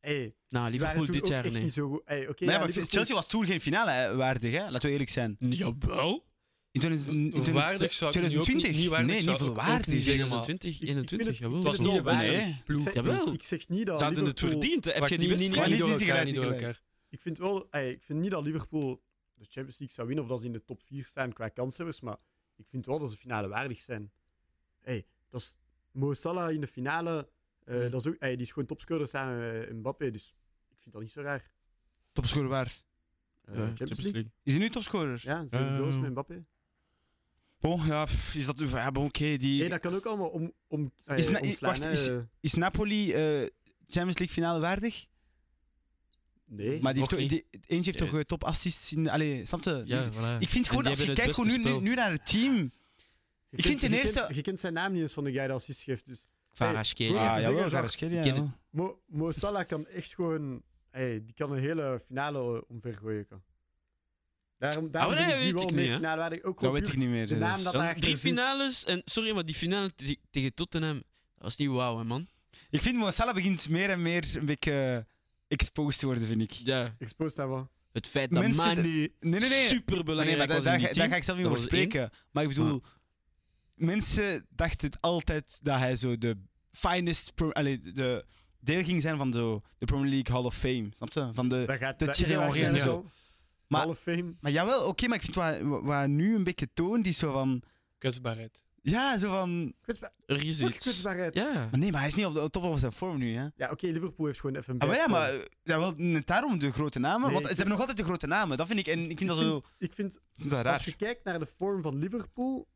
[SPEAKER 4] Hey,
[SPEAKER 3] Nou,
[SPEAKER 4] die waren
[SPEAKER 3] Liverpool
[SPEAKER 4] toen
[SPEAKER 3] dit
[SPEAKER 4] ook
[SPEAKER 3] jaar,
[SPEAKER 4] echt
[SPEAKER 3] nee.
[SPEAKER 4] niet zo goed. Hey, oké,
[SPEAKER 2] nee,
[SPEAKER 4] ja,
[SPEAKER 2] maar
[SPEAKER 4] Liverpool
[SPEAKER 2] Chelsea
[SPEAKER 4] is-
[SPEAKER 2] was toen geen finale hè, waardig, hè? laten we eerlijk zijn.
[SPEAKER 3] Jawel.
[SPEAKER 2] In 2000 in
[SPEAKER 1] Waardig zou ik nu ook niet-
[SPEAKER 2] 2020?
[SPEAKER 1] niet waardig
[SPEAKER 2] nee,
[SPEAKER 1] zou
[SPEAKER 2] niet
[SPEAKER 1] ik ook
[SPEAKER 2] volwaardig.
[SPEAKER 1] niet zeggen.
[SPEAKER 3] 20,
[SPEAKER 4] ik
[SPEAKER 3] 21,
[SPEAKER 4] vind het-
[SPEAKER 3] jawel.
[SPEAKER 1] Het was niet de
[SPEAKER 4] Liverpool-
[SPEAKER 1] beste
[SPEAKER 2] Nee.
[SPEAKER 1] ploeg.
[SPEAKER 4] Ik zeg,
[SPEAKER 3] Jawel.
[SPEAKER 4] ik zeg niet dat
[SPEAKER 3] Ze hadden het
[SPEAKER 4] Liverpool-
[SPEAKER 3] verdiend, hè. heb
[SPEAKER 1] Maar
[SPEAKER 3] je
[SPEAKER 1] niet,
[SPEAKER 3] niet
[SPEAKER 1] niet,
[SPEAKER 3] gezien?
[SPEAKER 1] niet,
[SPEAKER 2] niet
[SPEAKER 1] door elkaar,
[SPEAKER 2] tegelijk,
[SPEAKER 1] niet door
[SPEAKER 2] tegelijk.
[SPEAKER 1] elkaar.
[SPEAKER 4] Ik vind, wel, hey, ik vind niet dat Liverpool de Champions League zou winnen of dat ze in de top 4 staan qua kanshebbers, maar ik vind wel dat ze finale waardig zijn. Hey, dat is Mo Salah in de finale, eh,
[SPEAKER 1] Mm.
[SPEAKER 4] dat is ook, hey, die is gewoon topscorer samen met Mbappé, dus ik vind dat niet zo raar.
[SPEAKER 2] Topscorer waar?
[SPEAKER 4] Eh, Champions, League?
[SPEAKER 2] Is hij nu topscorer?
[SPEAKER 4] Ja, zeven
[SPEAKER 3] Eh,
[SPEAKER 4] goals
[SPEAKER 3] ja.
[SPEAKER 4] met Mbappé.
[SPEAKER 2] Oh, ja, pff, is dat... Ja, bon, oké, die...
[SPEAKER 4] Hey, dat kan ook allemaal om, om, hey,
[SPEAKER 2] Is na- i-
[SPEAKER 4] omslaan.
[SPEAKER 2] wacht,
[SPEAKER 4] hè.
[SPEAKER 2] is- Is Napoli eh, Champions League finale waardig?
[SPEAKER 4] nee.
[SPEAKER 2] Maar die heeft
[SPEAKER 1] nog
[SPEAKER 2] toch, die, eentje heeft
[SPEAKER 3] Ja.
[SPEAKER 2] toch eh, topassists in... Allee, snap je?
[SPEAKER 3] Ja, voilà.
[SPEAKER 2] Ik vind gewoon,
[SPEAKER 3] die
[SPEAKER 2] als je
[SPEAKER 3] hebben
[SPEAKER 2] kijkt
[SPEAKER 3] het
[SPEAKER 2] gewoon nu,
[SPEAKER 3] beste
[SPEAKER 2] nu, nu naar het team... Ah,
[SPEAKER 4] Je
[SPEAKER 2] Ik
[SPEAKER 4] kent-
[SPEAKER 2] vind ten
[SPEAKER 4] je
[SPEAKER 2] eerste-
[SPEAKER 4] kent- je kent zijn naam niet eens van de guy die assist geeft, dus
[SPEAKER 3] Kvaratskhelia.
[SPEAKER 4] Ah,
[SPEAKER 2] ja,
[SPEAKER 4] te zeggen, Jacques,
[SPEAKER 2] Kvaratskhelia,
[SPEAKER 3] ik ken
[SPEAKER 2] ja.
[SPEAKER 4] Mo, Mo Salah kan echt gewoon... Hey, die kan een hele finale eh, omvergooien. Kan. Daarom, daarom
[SPEAKER 3] Ah, maar
[SPEAKER 4] vind
[SPEAKER 3] nee,
[SPEAKER 4] ik die
[SPEAKER 3] weet
[SPEAKER 4] wel
[SPEAKER 3] ik
[SPEAKER 4] meer
[SPEAKER 3] niet, hè.
[SPEAKER 4] finale waardig. Ook
[SPEAKER 2] Dat
[SPEAKER 4] wel
[SPEAKER 2] weet ik
[SPEAKER 4] puur
[SPEAKER 2] niet meer.
[SPEAKER 4] de
[SPEAKER 2] eh,
[SPEAKER 4] naam
[SPEAKER 2] dus.
[SPEAKER 4] dat
[SPEAKER 3] Dan
[SPEAKER 4] daarachter
[SPEAKER 3] drie
[SPEAKER 4] zit.
[SPEAKER 3] finales en sorry, maar die finale te- tegen Tottenham, dat was niet wauw, hè, man.
[SPEAKER 2] Ik vind Mo Salah begint meer en meer een beetje eh, exposed te worden, vind ik.
[SPEAKER 3] Ja,
[SPEAKER 4] Exposed daarvan.
[SPEAKER 3] het feit dat
[SPEAKER 2] Mensen-
[SPEAKER 3] Mane
[SPEAKER 2] Nee, nee, nee.
[SPEAKER 3] super
[SPEAKER 2] Maar nee,
[SPEAKER 3] belangrijk
[SPEAKER 2] maar daar,
[SPEAKER 3] was in
[SPEAKER 2] daar,
[SPEAKER 3] die
[SPEAKER 2] ga- daar
[SPEAKER 3] team.
[SPEAKER 2] ga ik zelf niet
[SPEAKER 3] Dat
[SPEAKER 2] over
[SPEAKER 3] was één.
[SPEAKER 2] spreken. Maar ik bedoel, mensen dachten altijd dat hij zo de finest, pro- allee, de deel ging zijn van zo de Premier League Hall of Fame. Snap je? Van de,
[SPEAKER 4] Dat gaat,
[SPEAKER 2] de
[SPEAKER 4] dat
[SPEAKER 2] Thierry Henry en
[SPEAKER 4] waarschijnlijk
[SPEAKER 2] zo.
[SPEAKER 4] wel.
[SPEAKER 2] Maar-
[SPEAKER 4] Hall of Fame.
[SPEAKER 2] maar jawel, oké, maar ik vind waar, wa- waar nu een beetje toon die zo van.
[SPEAKER 1] Kwetsbaarheid.
[SPEAKER 2] Ja, zo van.
[SPEAKER 4] Kwetsba-
[SPEAKER 3] Er is
[SPEAKER 4] fuck
[SPEAKER 3] iets.
[SPEAKER 4] kwetsbaarheid. Ja,
[SPEAKER 3] Ja.
[SPEAKER 2] Maar nee, maar hij is niet op de top van zijn vorm nu. Hè?
[SPEAKER 4] oké, Liverpool heeft gewoon even... een
[SPEAKER 2] Ah, maar ja,
[SPEAKER 4] bad
[SPEAKER 2] maar
[SPEAKER 4] form.
[SPEAKER 2] eh, jawel, net daarom de grote namen.
[SPEAKER 4] Nee,
[SPEAKER 2] want
[SPEAKER 4] ik
[SPEAKER 2] ze hebben nog altijd de grote namen. Dat vind ik, en ik vind dat zo.
[SPEAKER 4] Ik vind, ik vind
[SPEAKER 2] ik vind dat
[SPEAKER 4] als
[SPEAKER 2] raar.
[SPEAKER 4] je kijkt naar de vorm van Liverpool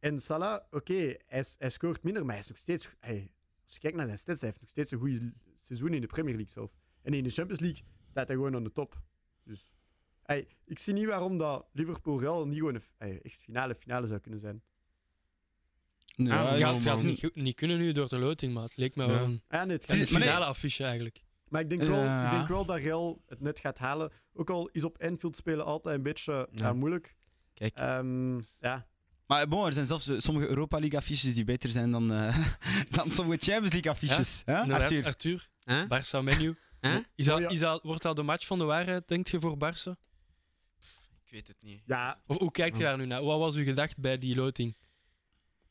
[SPEAKER 4] en Salah, oké, hij, is- hij scoort minder, maar hij is nog steeds... Hey, als je kijkt naar zijn stats, hij heeft nog steeds een goede seizoen in de Premier League zelf. En in de Champions League staat hij gewoon aan de top. Dus hey, ik zie niet waarom dat Liverpool Real niet gewoon een f- hey, echt finale finale zou kunnen zijn.
[SPEAKER 2] Nee,
[SPEAKER 3] Ah,
[SPEAKER 1] Ja,
[SPEAKER 2] ja,
[SPEAKER 1] het
[SPEAKER 3] ja,
[SPEAKER 1] gaat
[SPEAKER 3] man.
[SPEAKER 1] niet, goed- niet kunnen nu door de loting, maar het leek me
[SPEAKER 3] Ja.
[SPEAKER 1] wel
[SPEAKER 3] [LAUGHS]
[SPEAKER 1] een,
[SPEAKER 4] Ah, nee, het
[SPEAKER 1] het is
[SPEAKER 4] gaat
[SPEAKER 1] een
[SPEAKER 4] niet.
[SPEAKER 2] Maar nee.
[SPEAKER 1] finale affiche eigenlijk.
[SPEAKER 4] Maar ik denk, wel,
[SPEAKER 2] Ja.
[SPEAKER 4] ik denk wel dat Real het net gaat halen. Ook al is op Anfield spelen altijd een beetje eh,
[SPEAKER 3] Ja.
[SPEAKER 4] moeilijk.
[SPEAKER 3] Kijk.
[SPEAKER 4] Ehm, ja,
[SPEAKER 2] Maar bon, er zijn zelfs eh, sommige Europa League affiches die beter zijn dan, eh, [LAUGHS] dan sommige Champions League affiches. hè,
[SPEAKER 1] Inderdaad,
[SPEAKER 2] Arthur?
[SPEAKER 1] Arthur,
[SPEAKER 3] Hè?
[SPEAKER 1] Barça menu.
[SPEAKER 3] Hè?
[SPEAKER 1] Is dat,
[SPEAKER 4] Oh, ja.
[SPEAKER 1] is dat, wordt dat de match van de waarheid, denk je, voor Barça?
[SPEAKER 3] Ik weet het niet.
[SPEAKER 4] ja
[SPEAKER 1] [LAUGHS] Of hoe kijkt
[SPEAKER 3] Oh.
[SPEAKER 1] je daar nu naar? Wat was uw gedachte bij die loting?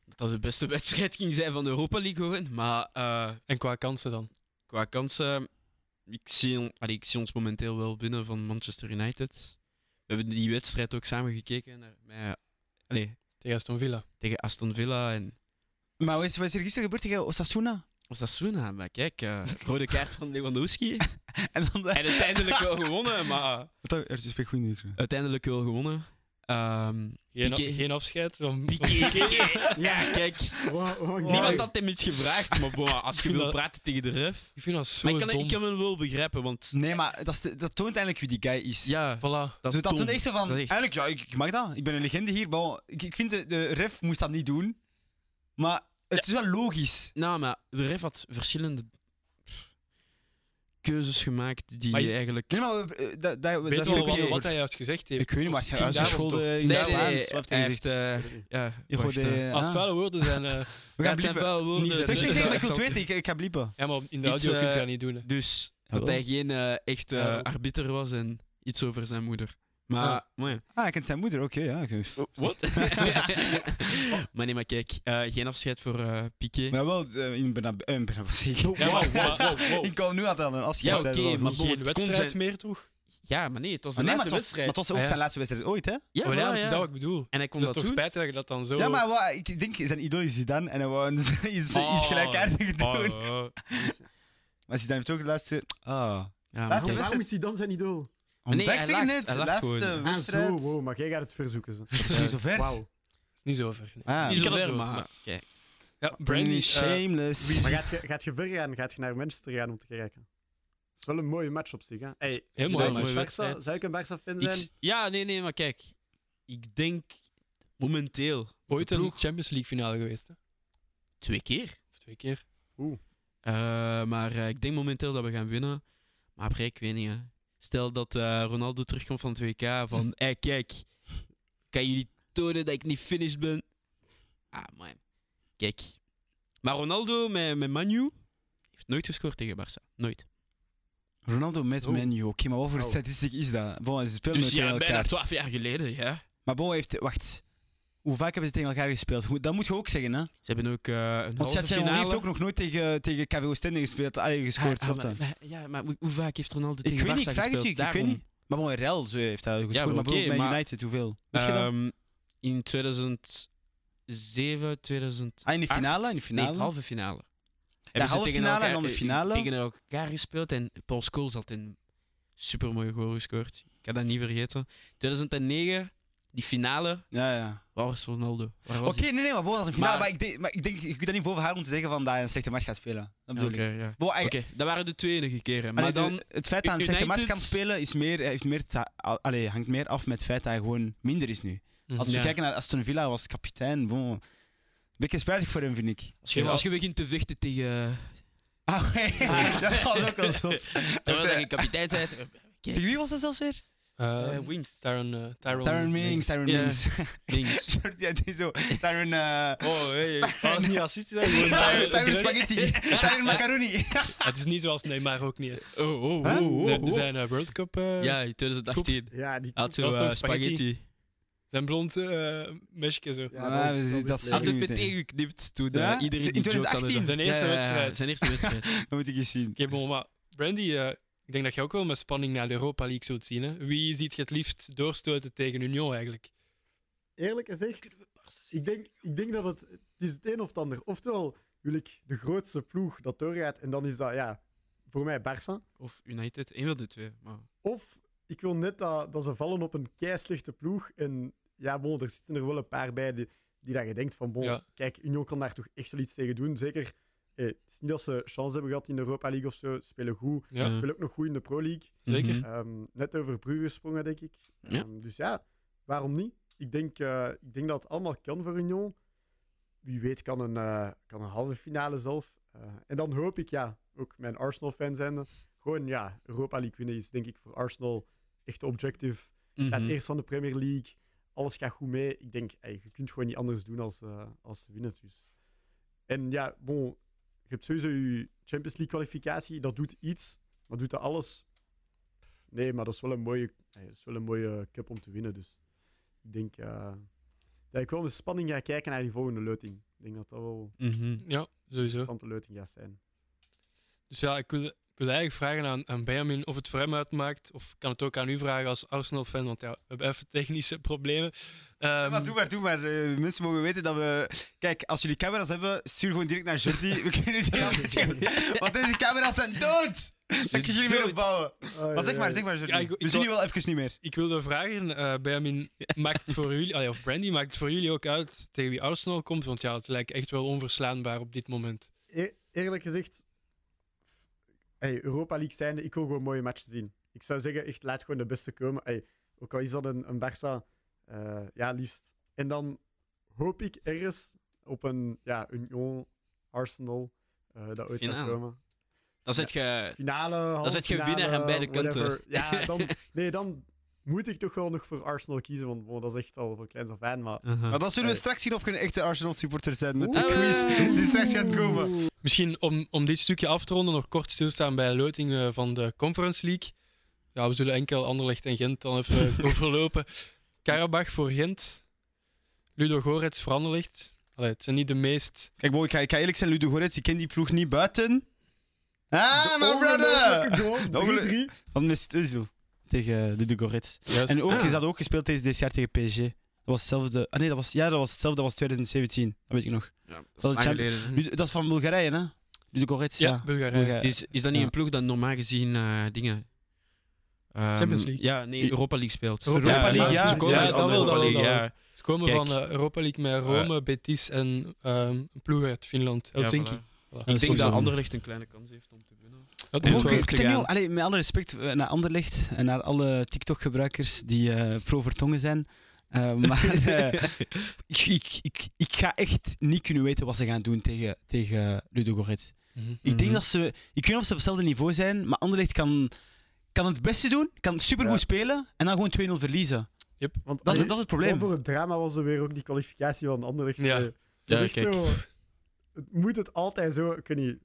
[SPEAKER 3] Dat dat de beste [LAUGHS] wedstrijd ging zijn van de Europa League, gewoon. Maar eh,
[SPEAKER 1] En qua kansen dan?
[SPEAKER 3] qua kansen, ik zie, allee, ik zie ons momenteel wel binnen van Manchester United. We hebben die wedstrijd ook samen gekeken naar, met, allee,
[SPEAKER 1] Tegen Aston Villa.
[SPEAKER 3] tegen Aston Villa en
[SPEAKER 2] Maar wat is, wat is er gisteren gebeurd tegen Osasuna?
[SPEAKER 3] Osasuna. Maar kijk, [LAUGHS] eh, rode kaart van [LAUGHS] Lewandowski.
[SPEAKER 2] En dan...
[SPEAKER 3] En uiteindelijk wel gewonnen, maar
[SPEAKER 2] Er is goed in de micro.
[SPEAKER 3] uiteindelijk wel gewonnen. Eh, Ehm,
[SPEAKER 1] Geen,
[SPEAKER 3] Piqué.
[SPEAKER 1] geen afscheid van van
[SPEAKER 3] [LAUGHS] Piqué.
[SPEAKER 1] Piqué.
[SPEAKER 3] Ja, kijk.
[SPEAKER 4] Oh, oh,
[SPEAKER 3] Niemand
[SPEAKER 4] God.
[SPEAKER 3] had hem iets gevraagd, maar bon, als je [LAUGHS]
[SPEAKER 1] vind
[SPEAKER 3] wil
[SPEAKER 1] dat-
[SPEAKER 3] praten tegen de ref...
[SPEAKER 1] Ik vind dat zo
[SPEAKER 3] Nou. Maar ik kan,
[SPEAKER 1] dom.
[SPEAKER 3] ik kan hem wel begrijpen, want...
[SPEAKER 2] Nee, maar dat, is de- dat toont eigenlijk wie die guy is.
[SPEAKER 3] Ja,
[SPEAKER 1] Voilà.
[SPEAKER 3] dat
[SPEAKER 2] Dus
[SPEAKER 3] is
[SPEAKER 2] dat
[SPEAKER 3] dom.
[SPEAKER 2] toont echt zo van.
[SPEAKER 3] Dat is echt-
[SPEAKER 2] Eigenlijk, ja, ik, ik mag dat. Ik ben een legende hier. Bon, ik, ik vind de, de ref moest dat niet doen. Maar het is wel logisch.
[SPEAKER 3] Nou, maar de ref had verschillende pff, keuzes gemaakt die
[SPEAKER 1] Maar is-
[SPEAKER 3] eigenlijk...
[SPEAKER 2] Nee, maar eh, dat, dat,
[SPEAKER 1] Weet
[SPEAKER 2] dat
[SPEAKER 1] je
[SPEAKER 2] is
[SPEAKER 1] wel
[SPEAKER 2] ook niet
[SPEAKER 1] wat,
[SPEAKER 2] over.
[SPEAKER 1] wat hij juist gezegd heeft?
[SPEAKER 2] Ik weet niet, maar
[SPEAKER 1] Of
[SPEAKER 2] hij is
[SPEAKER 1] ging daarom toch?
[SPEAKER 2] uitgescholden in
[SPEAKER 3] Nee,
[SPEAKER 2] het
[SPEAKER 3] nee,
[SPEAKER 2] Spaans.
[SPEAKER 3] nee,
[SPEAKER 2] Wat heeft hij
[SPEAKER 3] hij
[SPEAKER 2] gezegd?
[SPEAKER 3] heeft... eh, ja,
[SPEAKER 2] Je
[SPEAKER 3] wacht,
[SPEAKER 2] gooit,
[SPEAKER 3] eh.
[SPEAKER 2] eh,
[SPEAKER 1] Als
[SPEAKER 2] ah.
[SPEAKER 1] vuile woorden zijn... eh,
[SPEAKER 2] We
[SPEAKER 3] Ja,
[SPEAKER 2] gaan
[SPEAKER 3] het zijn
[SPEAKER 2] bliepen.
[SPEAKER 3] vuile
[SPEAKER 1] Niet
[SPEAKER 3] woorden.
[SPEAKER 1] zeggen.
[SPEAKER 2] Zeg, zeg, zeg,
[SPEAKER 1] Ja,
[SPEAKER 2] maar ik
[SPEAKER 1] ik
[SPEAKER 2] wil het
[SPEAKER 1] zal-
[SPEAKER 2] weten. Ik, ik ga bliepen.
[SPEAKER 1] ja, maar in de
[SPEAKER 3] Iets,
[SPEAKER 1] audio kun je
[SPEAKER 3] eh,
[SPEAKER 1] dat niet doen. hè.
[SPEAKER 3] Dus
[SPEAKER 2] Hallo?
[SPEAKER 3] dat hij geen eh, echt eh,
[SPEAKER 1] Ja.
[SPEAKER 3] arbiter was en iets over zijn moeder. Maar,
[SPEAKER 1] Ah.
[SPEAKER 3] maar ja.
[SPEAKER 2] Ah, hij kent zijn moeder. Oké, ja. oké.
[SPEAKER 3] Wat? [LAUGHS] maar nee, maar kijk, eh, geen afscheid voor eh, Piqué.
[SPEAKER 2] Maar wel eh, in Bernabeu. eh, in Bernabeu, [LAUGHS] zeker.
[SPEAKER 1] Ja, maar wow, wow, wow.
[SPEAKER 2] Ik kan nu aan een afscheid.
[SPEAKER 3] Ja, oké,
[SPEAKER 2] tijdens dat
[SPEAKER 3] maar
[SPEAKER 2] doel.
[SPEAKER 3] bon,
[SPEAKER 1] Geen
[SPEAKER 3] het kon
[SPEAKER 1] wedstrijd
[SPEAKER 3] zijn-
[SPEAKER 1] meer, toch?
[SPEAKER 3] Ja, maar nee, het was de
[SPEAKER 2] Maar nee, maar het
[SPEAKER 3] laatste
[SPEAKER 2] was, maar
[SPEAKER 3] wedstrijd.
[SPEAKER 2] het was ook
[SPEAKER 1] Ah, ja.
[SPEAKER 2] zijn laatste wedstrijd ooit, hè?
[SPEAKER 3] Ja,
[SPEAKER 1] Maar ja,
[SPEAKER 3] voilà,
[SPEAKER 1] dat is
[SPEAKER 3] ja.
[SPEAKER 1] dat wat ik bedoel.
[SPEAKER 3] En hij kon
[SPEAKER 1] Het is toch
[SPEAKER 3] dat doen.
[SPEAKER 1] spijtig dat je dat dan zo...
[SPEAKER 2] Ja, maar wa- ik denk, zijn idool is Zidane en hij wou een- [LAUGHS] iets, iets
[SPEAKER 3] Oh.
[SPEAKER 2] gelijkaardigs doen.
[SPEAKER 3] Oh, oh.
[SPEAKER 2] Maar Zidane heeft ook de laatste... Ah.
[SPEAKER 3] Ja, maar
[SPEAKER 2] Laat
[SPEAKER 4] Waarom-
[SPEAKER 2] hem-
[SPEAKER 3] kijk,
[SPEAKER 4] Waarom is hij dan zijn idool?
[SPEAKER 3] nee, hij
[SPEAKER 2] Ontdekking
[SPEAKER 3] lacht,
[SPEAKER 2] net,
[SPEAKER 3] hij
[SPEAKER 2] de
[SPEAKER 3] lacht
[SPEAKER 2] laatste
[SPEAKER 3] gewoon.
[SPEAKER 4] Ah,
[SPEAKER 2] wedstrijd.
[SPEAKER 4] zo, wow, maar jij gaat het verzoeken. Zo.
[SPEAKER 2] Het is niet zo ver.
[SPEAKER 4] Wauw.
[SPEAKER 1] is niet zo ver. nee.
[SPEAKER 2] Ah.
[SPEAKER 3] niet
[SPEAKER 1] Ik
[SPEAKER 3] zo
[SPEAKER 1] kan het
[SPEAKER 3] ver,
[SPEAKER 1] doen,
[SPEAKER 3] maar...
[SPEAKER 1] maar-
[SPEAKER 3] Kijk.
[SPEAKER 1] Ja, Brandy... eh,
[SPEAKER 2] shameless.
[SPEAKER 4] Maar gaat je, gaat je ver gaan? Gaat je naar Manchester gaan om te kijken? Het is wel een mooie match op zich. Hè? Hey,
[SPEAKER 1] heel
[SPEAKER 4] zou
[SPEAKER 1] mooi,
[SPEAKER 4] ik
[SPEAKER 3] mooie
[SPEAKER 4] een Barca-
[SPEAKER 3] wedstrijd.
[SPEAKER 4] Zou ik een Barca-fan
[SPEAKER 3] Ik
[SPEAKER 4] zijn?
[SPEAKER 3] s- ja, nee, nee, maar kijk. Ik denk momenteel
[SPEAKER 1] Ooit
[SPEAKER 3] de
[SPEAKER 1] een
[SPEAKER 3] ploeg-
[SPEAKER 1] Champions League finale geweest, hè?
[SPEAKER 3] twee keer.
[SPEAKER 1] Of twee keer.
[SPEAKER 3] Eh, maar eh, ik denk momenteel dat we gaan winnen. Maar après, ik weet niet. hè. Stel dat eh, Ronaldo terugkomt van het WK. [LAUGHS] Van, hé, kijk. Kan jullie tonen dat ik niet finished ben? Ah, man. Kijk. Maar Ronaldo met, met Manu heeft nooit gescoord tegen Barça. Nooit.
[SPEAKER 2] Ronaldo met
[SPEAKER 4] Oh.
[SPEAKER 2] menu. Oké, maar wat voor
[SPEAKER 4] Oh.
[SPEAKER 2] statistiek is dat? Bon, ze spelen
[SPEAKER 3] Dus
[SPEAKER 2] met tegen
[SPEAKER 3] ja, bijna
[SPEAKER 2] elkaar.
[SPEAKER 3] twaalf jaar geleden, ja.
[SPEAKER 2] Maar Bon heeft... Wacht. Hoe vaak hebben ze tegen elkaar gespeeld? Goed, Dat moet je ook zeggen, hè?
[SPEAKER 3] Ze hebben ook eh, een
[SPEAKER 2] Want
[SPEAKER 3] halve
[SPEAKER 2] Saint-Germain
[SPEAKER 3] finale.
[SPEAKER 2] heeft ook nog nooit tegen, tegen KVO Stende gespeeld. Allee, gescoord,
[SPEAKER 3] Ah,
[SPEAKER 2] snap
[SPEAKER 3] ah,
[SPEAKER 2] dat.
[SPEAKER 3] maar- maar- ja, maar hoe, hoe vaak heeft Ronaldo
[SPEAKER 2] Ik
[SPEAKER 3] tegen
[SPEAKER 2] weet
[SPEAKER 3] Barça
[SPEAKER 2] niet, ik
[SPEAKER 3] gespeeld?
[SPEAKER 2] vraag het je, ik weet
[SPEAKER 3] Daarom.
[SPEAKER 2] niet. Maar bon, Real zo heeft hij gescoord. maar
[SPEAKER 3] maar oké,
[SPEAKER 2] bijvoorbeeld bij
[SPEAKER 3] maar-
[SPEAKER 2] United, hoeveel? Weet je dat?
[SPEAKER 3] Ehm, in 2007, 2008.
[SPEAKER 2] Ah, in de finale, in de finale.
[SPEAKER 3] Nee, halve finale.
[SPEAKER 2] halve finale en dan de
[SPEAKER 3] eh,
[SPEAKER 2] finale.
[SPEAKER 3] Tegen elkaar gespeeld en Paul Scholes had een supermooie goal gescoord. Ik kan dat niet vergeten. 2009, die finale.
[SPEAKER 2] Ja, ja.
[SPEAKER 3] Waar was Ronaldo? Waar was
[SPEAKER 2] Oké, nee, nee, maar bon, dat is een finale. Maar,
[SPEAKER 3] Maar-
[SPEAKER 2] ik, denk, maar ik denk, je kunt dat niet boven haar om te zeggen van dat hij een slechte match gaat spelen. Dat
[SPEAKER 3] hij?
[SPEAKER 2] bedoel
[SPEAKER 3] Oké,
[SPEAKER 2] ik.
[SPEAKER 3] ja.
[SPEAKER 2] Bon, hij-
[SPEAKER 3] Oké, dat waren de twee enige keren. Maar
[SPEAKER 2] Allee, de-
[SPEAKER 3] dan,
[SPEAKER 2] het feit dat hij een slechte match kan
[SPEAKER 3] United-
[SPEAKER 2] spelen is meer, heeft meer te- al- allee, hangt meer af met het feit dat hij gewoon minder is nu. Als we
[SPEAKER 3] Ja.
[SPEAKER 2] kijken naar Aston Villa, hij was kapitein. Bon. Een beetje spijtig voor hem, vind ik.
[SPEAKER 3] als, je, als je begint te vechten
[SPEAKER 2] [LAUGHS]
[SPEAKER 3] tegen...
[SPEAKER 2] Ah, nee, dat was ook wel zot.
[SPEAKER 3] Terwijl dat je kapitein bent.
[SPEAKER 2] Tegen wie was dat zelfs weer?
[SPEAKER 1] Eh,
[SPEAKER 2] Ehm.
[SPEAKER 3] Eh, Wings.
[SPEAKER 1] Tyron, eh, Tyrone
[SPEAKER 2] Tyron Mings, Tyron
[SPEAKER 3] Ja.
[SPEAKER 2] Mings. [LAUGHS]
[SPEAKER 3] Wings.
[SPEAKER 2] Sorry, ja, die zo. Tyron... eh,
[SPEAKER 3] Oh, hey. hey.
[SPEAKER 1] Ah, dat is niet racistisch, hè, gewoon, eh,
[SPEAKER 2] Tyron Tyron
[SPEAKER 1] direct.
[SPEAKER 2] Spaghetti. Tyron Macaroni.
[SPEAKER 1] Het is niet zoals Neymar ook niet. hè.
[SPEAKER 3] Oh, oh,
[SPEAKER 2] Huh?
[SPEAKER 3] oh, oh,
[SPEAKER 1] Zijn,
[SPEAKER 3] oh.
[SPEAKER 1] zijn eh, World Cup... eh,
[SPEAKER 3] Ja, in 2018.
[SPEAKER 4] Ja, die...
[SPEAKER 3] Had zo
[SPEAKER 1] Dat was toch
[SPEAKER 3] eh, spaghetti.
[SPEAKER 1] Zijn blond eh mesje zo.
[SPEAKER 4] Ja,
[SPEAKER 2] Ah,
[SPEAKER 4] dat
[SPEAKER 2] we
[SPEAKER 4] is-
[SPEAKER 2] zien
[SPEAKER 4] dat
[SPEAKER 2] dat
[SPEAKER 4] is
[SPEAKER 2] zeker.
[SPEAKER 3] Had
[SPEAKER 4] leuk.
[SPEAKER 3] het
[SPEAKER 2] niet
[SPEAKER 3] met
[SPEAKER 2] meteen.
[SPEAKER 3] ingeknipt toen eh,
[SPEAKER 2] Ja?
[SPEAKER 3] iedereen
[SPEAKER 2] In
[SPEAKER 3] die jokes
[SPEAKER 2] 2018?
[SPEAKER 3] hadden gedaan.
[SPEAKER 1] Zijn eerste
[SPEAKER 3] Ja, ja, ja,
[SPEAKER 1] wedstrijd.
[SPEAKER 3] Zijn eerste [LAUGHS] wedstrijd.
[SPEAKER 2] Dat moet ik eens zien.
[SPEAKER 1] Oké, bon, maar Brandy, eh, ik denk dat je ook wel met spanning naar de Europa League zult zien. Hè? Wie ziet je het liefst doorstoten tegen Union eigenlijk?
[SPEAKER 4] Eerlijk gezegd, ik denk, ik denk dat het, het is het een of het ander. Oftewel wil ik de grootste ploeg dat doorgaat en dan is dat, ja, voor mij Barça.
[SPEAKER 3] Of United, één van de twee. Maar...
[SPEAKER 4] Of ik wil net dat, dat ze vallen op een keislichte ploeg en ja, bon, er zitten er wel een paar bij die, die dat je denkt van, bon,
[SPEAKER 1] Ja.
[SPEAKER 4] kijk, Union kan daar toch echt wel iets tegen doen. Zeker, eh, het is niet dat ze chance hebben gehad in de Europa League of zo, spelen goed.
[SPEAKER 1] Ja,
[SPEAKER 3] Eh,
[SPEAKER 4] Spelen ook nog goed in de Pro League.
[SPEAKER 1] Zeker.
[SPEAKER 3] mhm.
[SPEAKER 4] Ehm, net over Brugge gesprongen, denk ik.
[SPEAKER 3] Ja.
[SPEAKER 4] Ehm, dus ja, waarom niet? Ik denk, eh, ik denk dat het allemaal kan voor Union. Wie weet kan een, eh, kan een halve finale zelf. Eh, en dan hoop ik, ja, ook mijn Arsenal-fan zijnde, gewoon, ja, Europa League winnen is denk ik voor Arsenal echt objective. Staat
[SPEAKER 3] Mhm.
[SPEAKER 4] eerst van de Premier League, alles gaat goed mee. Ik denk, ey, je kunt gewoon niet anders doen als, eh als te winnen. Dus. En ja, bon, je hebt sowieso je Champions League kwalificatie, dat doet iets, maar doet dat alles? Pff, Nee, maar dat is wel een mooie, ey, dat is wel een mooie cup om te winnen. Dus ik denk eh, dat ik wel met spanning ga kijken naar die volgende leuting. Ik denk dat dat wel een
[SPEAKER 3] Mhm.
[SPEAKER 1] Ja, sowieso.
[SPEAKER 4] interessante leuting gaat zijn.
[SPEAKER 1] Dus ja, ik wil, ik wil eigenlijk vragen aan, aan Benjamin of het voor hem uitmaakt. Of ik kan het ook aan u vragen als Arsenal-fan, want ja, we hebben even technische problemen. Ehm,
[SPEAKER 2] maar doe maar, doe maar. Eh, mensen mogen weten dat we... Kijk, als jullie camera's hebben, stuur gewoon direct naar Jordi. We kunnen die aan- Want deze camera's zijn dood! Daar kun je niet meer op bouwen. Maar zeg maar, zeg maar, Jordi.
[SPEAKER 1] Ja, ik- ik
[SPEAKER 2] We zien
[SPEAKER 1] wil-
[SPEAKER 2] je wel even niet meer.
[SPEAKER 1] Ik wilde vragen, eh
[SPEAKER 3] [LAUGHS]
[SPEAKER 1] Benjamin, maakt het voor jullie, allee, of Brandy, maakt het voor jullie ook uit tegen wie Arsenal komt? Want ja, het lijkt echt wel onverslaanbaar op dit moment.
[SPEAKER 4] Eer- E-, eerlijk gezegd, hey, Europa League zijnde, ik wil gewoon mooie matchen zien. Ik zou zeggen, echt, laat gewoon de beste komen. Hey, ook al is dat een, een Barça, eh, ja, liefst. En dan hoop ik ergens op een ja, Union, Arsenal, eh, dat ooit
[SPEAKER 3] Finale.
[SPEAKER 4] zou komen.
[SPEAKER 3] Dan zet je...
[SPEAKER 4] Finale, halve
[SPEAKER 3] zet je
[SPEAKER 4] finale,
[SPEAKER 3] winnaar aan beide kanten.
[SPEAKER 4] whatever.
[SPEAKER 3] [LAUGHS]
[SPEAKER 4] Ja, dan, nee, dan moet ik toch wel nog voor Arsenal kiezen, want wow, dat is echt al voor kleins af aan, maar...
[SPEAKER 3] Aha.
[SPEAKER 2] Maar dat zullen we
[SPEAKER 4] Eh.
[SPEAKER 2] straks zien of je een echte Arsenal supporter zijn met de
[SPEAKER 3] Oeh.
[SPEAKER 2] quiz die straks gaat komen.
[SPEAKER 1] Misschien om, om dit stukje af te ronden, nog kort stilstaan bij de loting eh, van de Conference League. Ja, we zullen enkel Anderlecht en Gent dan even eh, [LAUGHS] overlopen. Karabach voor Gent, Ludo Gorets voor Anderlecht. Allee, het zijn niet de meest...
[SPEAKER 2] Kijk, mooi, ik, ga, ik ga eerlijk zijn, Ludo Goretz, ik ken die ploeg niet buiten. Ah, mijn
[SPEAKER 4] Ongelooflijke
[SPEAKER 2] brother!
[SPEAKER 4] goal,
[SPEAKER 2] ongeluk-
[SPEAKER 4] 3-3.
[SPEAKER 2] Van Mesut Özil tegen Ludo Goretz.
[SPEAKER 1] Juist,
[SPEAKER 2] En ook,
[SPEAKER 3] Ah.
[SPEAKER 2] is dat ook gespeeld deze dit jaar tegen PSG. Dat was hetzelfde. Ah nee, dat was, ja, dat was hetzelfde. Dat was 2017. Dat weet ik nog.
[SPEAKER 3] Ja, dat is
[SPEAKER 2] Wel,
[SPEAKER 3] lang
[SPEAKER 2] Champ-
[SPEAKER 3] geleden, hè.
[SPEAKER 2] Nu, dat is van Bulgarije, hè? Ludo Goretz,
[SPEAKER 1] Mhm. Hm. ja, eh,
[SPEAKER 2] ja.
[SPEAKER 1] Bulgarije.
[SPEAKER 2] Bulgarije.
[SPEAKER 3] Dus is dat niet
[SPEAKER 2] Ja.
[SPEAKER 3] een ploeg dat normaal gezien eh, dingen... Ehm,
[SPEAKER 1] Champions League.
[SPEAKER 3] Ja, nee, Europa League speelt.
[SPEAKER 1] Europa League,
[SPEAKER 2] ja.
[SPEAKER 3] Ze komen
[SPEAKER 2] Ja,
[SPEAKER 3] uit
[SPEAKER 2] dat
[SPEAKER 3] andere
[SPEAKER 2] wel,
[SPEAKER 3] Europa
[SPEAKER 2] dat wel,
[SPEAKER 3] League,
[SPEAKER 1] dat
[SPEAKER 3] ja.
[SPEAKER 1] wel. Ze komen
[SPEAKER 3] Kijk.
[SPEAKER 1] van de Europa League met Rome, Betis en ehm, een ploeg uit Finland,
[SPEAKER 3] Ja,
[SPEAKER 1] Helsinki. Voilà.
[SPEAKER 3] voilà.
[SPEAKER 2] dat
[SPEAKER 3] Ik
[SPEAKER 2] is
[SPEAKER 3] denk dat
[SPEAKER 2] sowieso.
[SPEAKER 3] Anderlecht een kleine kans heeft om te winnen.
[SPEAKER 1] Dat
[SPEAKER 3] En
[SPEAKER 1] moet
[SPEAKER 3] ook
[SPEAKER 1] wel.
[SPEAKER 3] weer-
[SPEAKER 2] Ik
[SPEAKER 3] te
[SPEAKER 2] denk niet,
[SPEAKER 3] gaan.
[SPEAKER 2] allee, met alle respect eh, naar Anderlecht en naar alle TikTok-gebruikers die eh, pro-vertongen zijn. eh, [LAUGHS] maar eh, ik, ik, ik, ik ga echt niet kunnen weten wat ze gaan doen tegen, tegen Ludo Goretz.
[SPEAKER 1] Mhm.
[SPEAKER 2] Ik denk
[SPEAKER 3] Mhm.
[SPEAKER 2] dat ze. Ik weet niet of ze op hetzelfde niveau zijn, maar Anderlecht kan, kan het beste doen, kan supergoed
[SPEAKER 4] Ja.
[SPEAKER 2] spelen en dan gewoon 2-0 verliezen.
[SPEAKER 4] Want
[SPEAKER 2] Dat is,
[SPEAKER 4] allee,
[SPEAKER 2] dat is het probleem.
[SPEAKER 4] Voor het drama was er weer ook die kwalificatie van Anderlecht.
[SPEAKER 1] Ja.
[SPEAKER 4] Eh, Dat
[SPEAKER 3] Ja,
[SPEAKER 4] is echt
[SPEAKER 3] kijk.
[SPEAKER 4] zo... Het moet het altijd zo... Ik weet niet.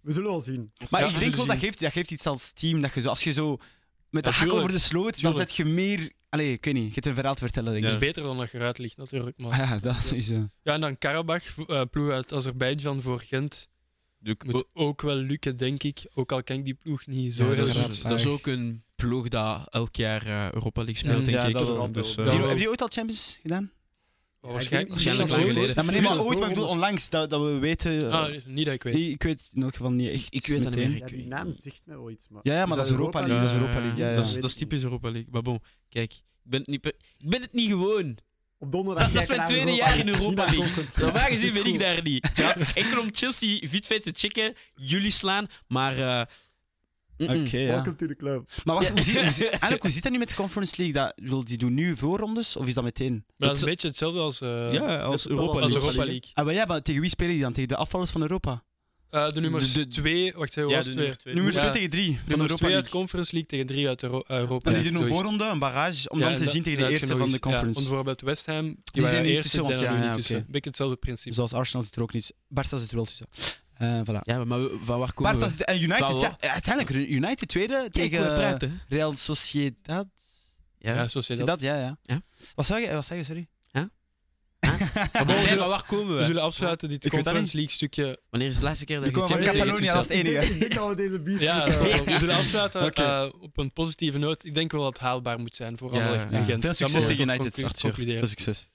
[SPEAKER 4] We zullen wel zien.
[SPEAKER 2] Maar
[SPEAKER 1] Ja,
[SPEAKER 2] ik
[SPEAKER 3] dus
[SPEAKER 1] we
[SPEAKER 2] denk wel
[SPEAKER 1] zullen
[SPEAKER 2] dat geeft, dat geeft iets als team. Dat je zo, als je zo met de
[SPEAKER 1] Ja,
[SPEAKER 2] hak
[SPEAKER 1] tuurlijk.
[SPEAKER 2] over de sloot, dan
[SPEAKER 1] Tuurlijk.
[SPEAKER 2] dat je meer. Allee, ik weet niet, je hebt een verhaal te vertellen, denk
[SPEAKER 1] Dat
[SPEAKER 2] ik.
[SPEAKER 1] is beter dan dat je eruit ligt, natuurlijk. Maar...
[SPEAKER 2] Ah [LAUGHS] Ja, dat is sowieso.
[SPEAKER 1] Ja, en dan Karabach, eh, ploeg uit Azerbeidzjan voor Gent. Moet ook wel lukken, denk ik. Ook al ken ik die ploeg niet zo
[SPEAKER 3] Ja,
[SPEAKER 1] heel
[SPEAKER 3] dat,
[SPEAKER 1] goed.
[SPEAKER 3] is,
[SPEAKER 2] raar.
[SPEAKER 3] dat is ook een ploeg dat elk jaar eh, Europa League speelt,
[SPEAKER 1] Ja,
[SPEAKER 3] denk
[SPEAKER 2] dat
[SPEAKER 3] ik.
[SPEAKER 4] wel.
[SPEAKER 3] dus, eh,
[SPEAKER 1] Ja,
[SPEAKER 2] Heb je,
[SPEAKER 1] wel.
[SPEAKER 2] heb je ooit al Champions gedaan?
[SPEAKER 1] Maar waarschijnlijk
[SPEAKER 4] Ja, ik denk-
[SPEAKER 3] waarschijnlijk lang geleden.
[SPEAKER 2] Ja, maar nee, maar
[SPEAKER 4] Tuurlijk.
[SPEAKER 2] ooit, maar ik bedoel onlangs, dat, dat we weten. eh,
[SPEAKER 1] Ah, niet dat ik weet.
[SPEAKER 2] ik weet in elk geval niet echt.
[SPEAKER 3] Ik weet dat niet
[SPEAKER 2] meteen.
[SPEAKER 3] meer.
[SPEAKER 4] Ja, die naam zegt mij wel iets, maar... Dus
[SPEAKER 2] Ja, ja, maar
[SPEAKER 4] Is
[SPEAKER 2] dat is Europa
[SPEAKER 3] Ja,
[SPEAKER 2] League. Dat is Europa League. Ja, ja.
[SPEAKER 3] Dat, is, dat is typisch Europa League. Maar bon, kijk, ik ben het niet, pe- ik ben het niet gewoon.
[SPEAKER 4] Op donderdag...
[SPEAKER 3] Dat is
[SPEAKER 4] kijken
[SPEAKER 3] mijn
[SPEAKER 4] naar
[SPEAKER 3] tweede jaar in Europa
[SPEAKER 4] Niet naar
[SPEAKER 3] League.
[SPEAKER 4] Conference League.
[SPEAKER 3] Normaal gezien
[SPEAKER 4] Het is
[SPEAKER 3] ben ik
[SPEAKER 4] goed.
[SPEAKER 3] daar niet. Ja, enkel om Chelsea fit te checken, jullie slaan, maar... eh, mm-mm.
[SPEAKER 2] Oké,
[SPEAKER 3] [LAUGHS]
[SPEAKER 2] ja.
[SPEAKER 4] [LAUGHS] Welcome to the club.
[SPEAKER 2] Maar wacht, hoe zit, hoe zit- eigenlijk, hoe zit dat nu met de Conference League? Dat, wil die doen nu voorrondes of is dat meteen?
[SPEAKER 1] Maar dat is een beetje hetzelfde als, eh,
[SPEAKER 3] Ja, als
[SPEAKER 4] zal wel
[SPEAKER 3] Europa
[SPEAKER 1] als
[SPEAKER 3] League.
[SPEAKER 1] Europa League.
[SPEAKER 2] Ah, maar ja, maar tegen wie spelen die dan? Tegen de afvallers van Europa?
[SPEAKER 1] Eh, de nummers
[SPEAKER 3] De- de-
[SPEAKER 1] 2, wacht even,
[SPEAKER 3] Ja,
[SPEAKER 1] was
[SPEAKER 3] de
[SPEAKER 1] het
[SPEAKER 3] nummer
[SPEAKER 1] weer?
[SPEAKER 3] twee.
[SPEAKER 2] Nummer 2
[SPEAKER 1] Ja.
[SPEAKER 2] tegen 3 van
[SPEAKER 1] Nummers
[SPEAKER 2] Europa
[SPEAKER 1] 2 uit
[SPEAKER 2] League.
[SPEAKER 1] Conference League tegen 3 uit Euro- eh, Europa
[SPEAKER 2] Dan die
[SPEAKER 1] League.
[SPEAKER 2] doen een
[SPEAKER 1] zoiets.
[SPEAKER 2] voorronde, een barrage, om
[SPEAKER 1] Ja,
[SPEAKER 2] dan
[SPEAKER 1] en
[SPEAKER 2] te
[SPEAKER 1] dat-
[SPEAKER 2] zien tegen
[SPEAKER 1] dat
[SPEAKER 2] de
[SPEAKER 1] je
[SPEAKER 2] eerste
[SPEAKER 1] nog
[SPEAKER 2] van
[SPEAKER 1] eens-
[SPEAKER 2] de Conference.
[SPEAKER 1] Ja, want bijvoorbeeld West Ham, die,
[SPEAKER 2] zijn
[SPEAKER 1] waren
[SPEAKER 2] er niet
[SPEAKER 1] eerste,
[SPEAKER 2] tussen,
[SPEAKER 1] zijn er
[SPEAKER 2] want ja,
[SPEAKER 1] nu
[SPEAKER 2] ja,
[SPEAKER 1] niet tussen.
[SPEAKER 2] oké.
[SPEAKER 1] Beetje hetzelfde principe.
[SPEAKER 2] Zoals Arsenal zit er ook niet. Barça zit er wel tussen. Eh voilà.
[SPEAKER 3] Ja, maar we- van waar komen
[SPEAKER 2] Barça
[SPEAKER 3] we?
[SPEAKER 2] zit, en United,
[SPEAKER 3] Zou wel.
[SPEAKER 2] ja, uiteindelijk. United tweede
[SPEAKER 3] Kijk, we
[SPEAKER 2] tegen
[SPEAKER 3] praten.
[SPEAKER 2] Real Sociedad.
[SPEAKER 1] Ja,
[SPEAKER 3] Ja.
[SPEAKER 1] zo zit dat.
[SPEAKER 2] Sociedad, ja, ja.
[SPEAKER 3] Ja.
[SPEAKER 2] Wat zei je, wat zei je sorry? [LAUGHS]
[SPEAKER 3] Maar bon,
[SPEAKER 1] We
[SPEAKER 3] zeg,
[SPEAKER 1] zullen-
[SPEAKER 3] van waar komen
[SPEAKER 1] We
[SPEAKER 3] we?
[SPEAKER 1] zullen afsluiten dit
[SPEAKER 2] Ik weet dat
[SPEAKER 1] Conference League stukje
[SPEAKER 2] [LAUGHS]
[SPEAKER 3] Wanneer is de laatste keer dat
[SPEAKER 2] Die
[SPEAKER 3] je
[SPEAKER 2] komen van
[SPEAKER 3] Champions League
[SPEAKER 2] Catalonië, dat is
[SPEAKER 3] hebt
[SPEAKER 2] het enige.
[SPEAKER 4] Ik denk dat we deze beef...
[SPEAKER 1] Ja,
[SPEAKER 4] moeten-
[SPEAKER 1] dat is toch wel- we zullen afsluiten
[SPEAKER 2] [LAUGHS] Oké.
[SPEAKER 1] eh, op een positieve noot. Ik denk wel dat het haalbaar moet zijn voor
[SPEAKER 3] Ja,
[SPEAKER 1] Anderlecht
[SPEAKER 2] ja.
[SPEAKER 1] en Gent.
[SPEAKER 2] Veel
[SPEAKER 1] Dat
[SPEAKER 2] succes
[SPEAKER 1] mogen we
[SPEAKER 2] tegen
[SPEAKER 1] toch
[SPEAKER 2] United,
[SPEAKER 1] conclu-
[SPEAKER 2] Arthur.
[SPEAKER 1] concluderen.
[SPEAKER 2] succes.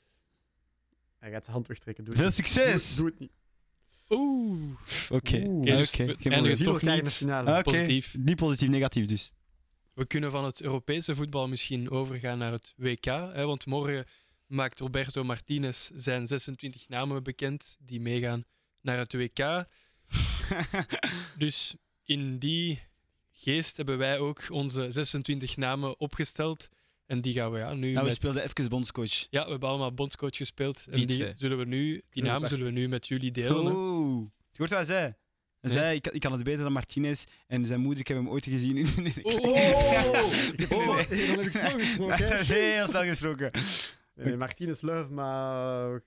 [SPEAKER 4] Hij gaat zijn hand wegtrekken. Doe het
[SPEAKER 2] Veel
[SPEAKER 4] niet.
[SPEAKER 2] succes!
[SPEAKER 4] Doe het niet.
[SPEAKER 2] Dus-
[SPEAKER 1] Oeh.
[SPEAKER 2] Oké,
[SPEAKER 4] Oeh.
[SPEAKER 1] Oké,
[SPEAKER 2] oké.
[SPEAKER 1] dus we eindigen
[SPEAKER 2] geen probleem.
[SPEAKER 4] Zien we
[SPEAKER 1] toch
[SPEAKER 4] elkaar in de
[SPEAKER 1] niet.
[SPEAKER 4] finale.
[SPEAKER 2] Oké,
[SPEAKER 1] positief.
[SPEAKER 2] Niet positief, negatief dus.
[SPEAKER 1] We kunnen van het Europese voetbal misschien overgaan naar het WK. Hè, want morgen maakt Roberto Martinez zijn 26 namen bekend die meegaan naar het WK. Dus in die geest hebben wij ook onze 26 namen opgesteld. En die gaan we ja, nu
[SPEAKER 2] Nou, we
[SPEAKER 1] met-
[SPEAKER 2] speelden even bondscoach.
[SPEAKER 1] Ja, we hebben allemaal bondscoach gespeeld. En
[SPEAKER 3] Die
[SPEAKER 1] die,
[SPEAKER 3] twee.
[SPEAKER 1] zullen we nu, die
[SPEAKER 4] Ja,
[SPEAKER 1] naam
[SPEAKER 4] wacht.
[SPEAKER 1] zullen we nu met jullie delen. hè.
[SPEAKER 2] Oh. Je hoort wat hij zei. Hij
[SPEAKER 1] Nee.
[SPEAKER 2] zei, ik, ik kan het beter dan Martinez. En zijn moeder, ik heb hem ooit gezien. in- in- in-
[SPEAKER 1] Oh.
[SPEAKER 4] [LAUGHS] Ik heb snel-
[SPEAKER 2] Nee.
[SPEAKER 4] Hey, Dan heb ik snel gesproken.
[SPEAKER 2] [LAUGHS]
[SPEAKER 4] hè.
[SPEAKER 2] Heel snel gesproken.
[SPEAKER 4] Nee, nee, Martinez Love, maar... we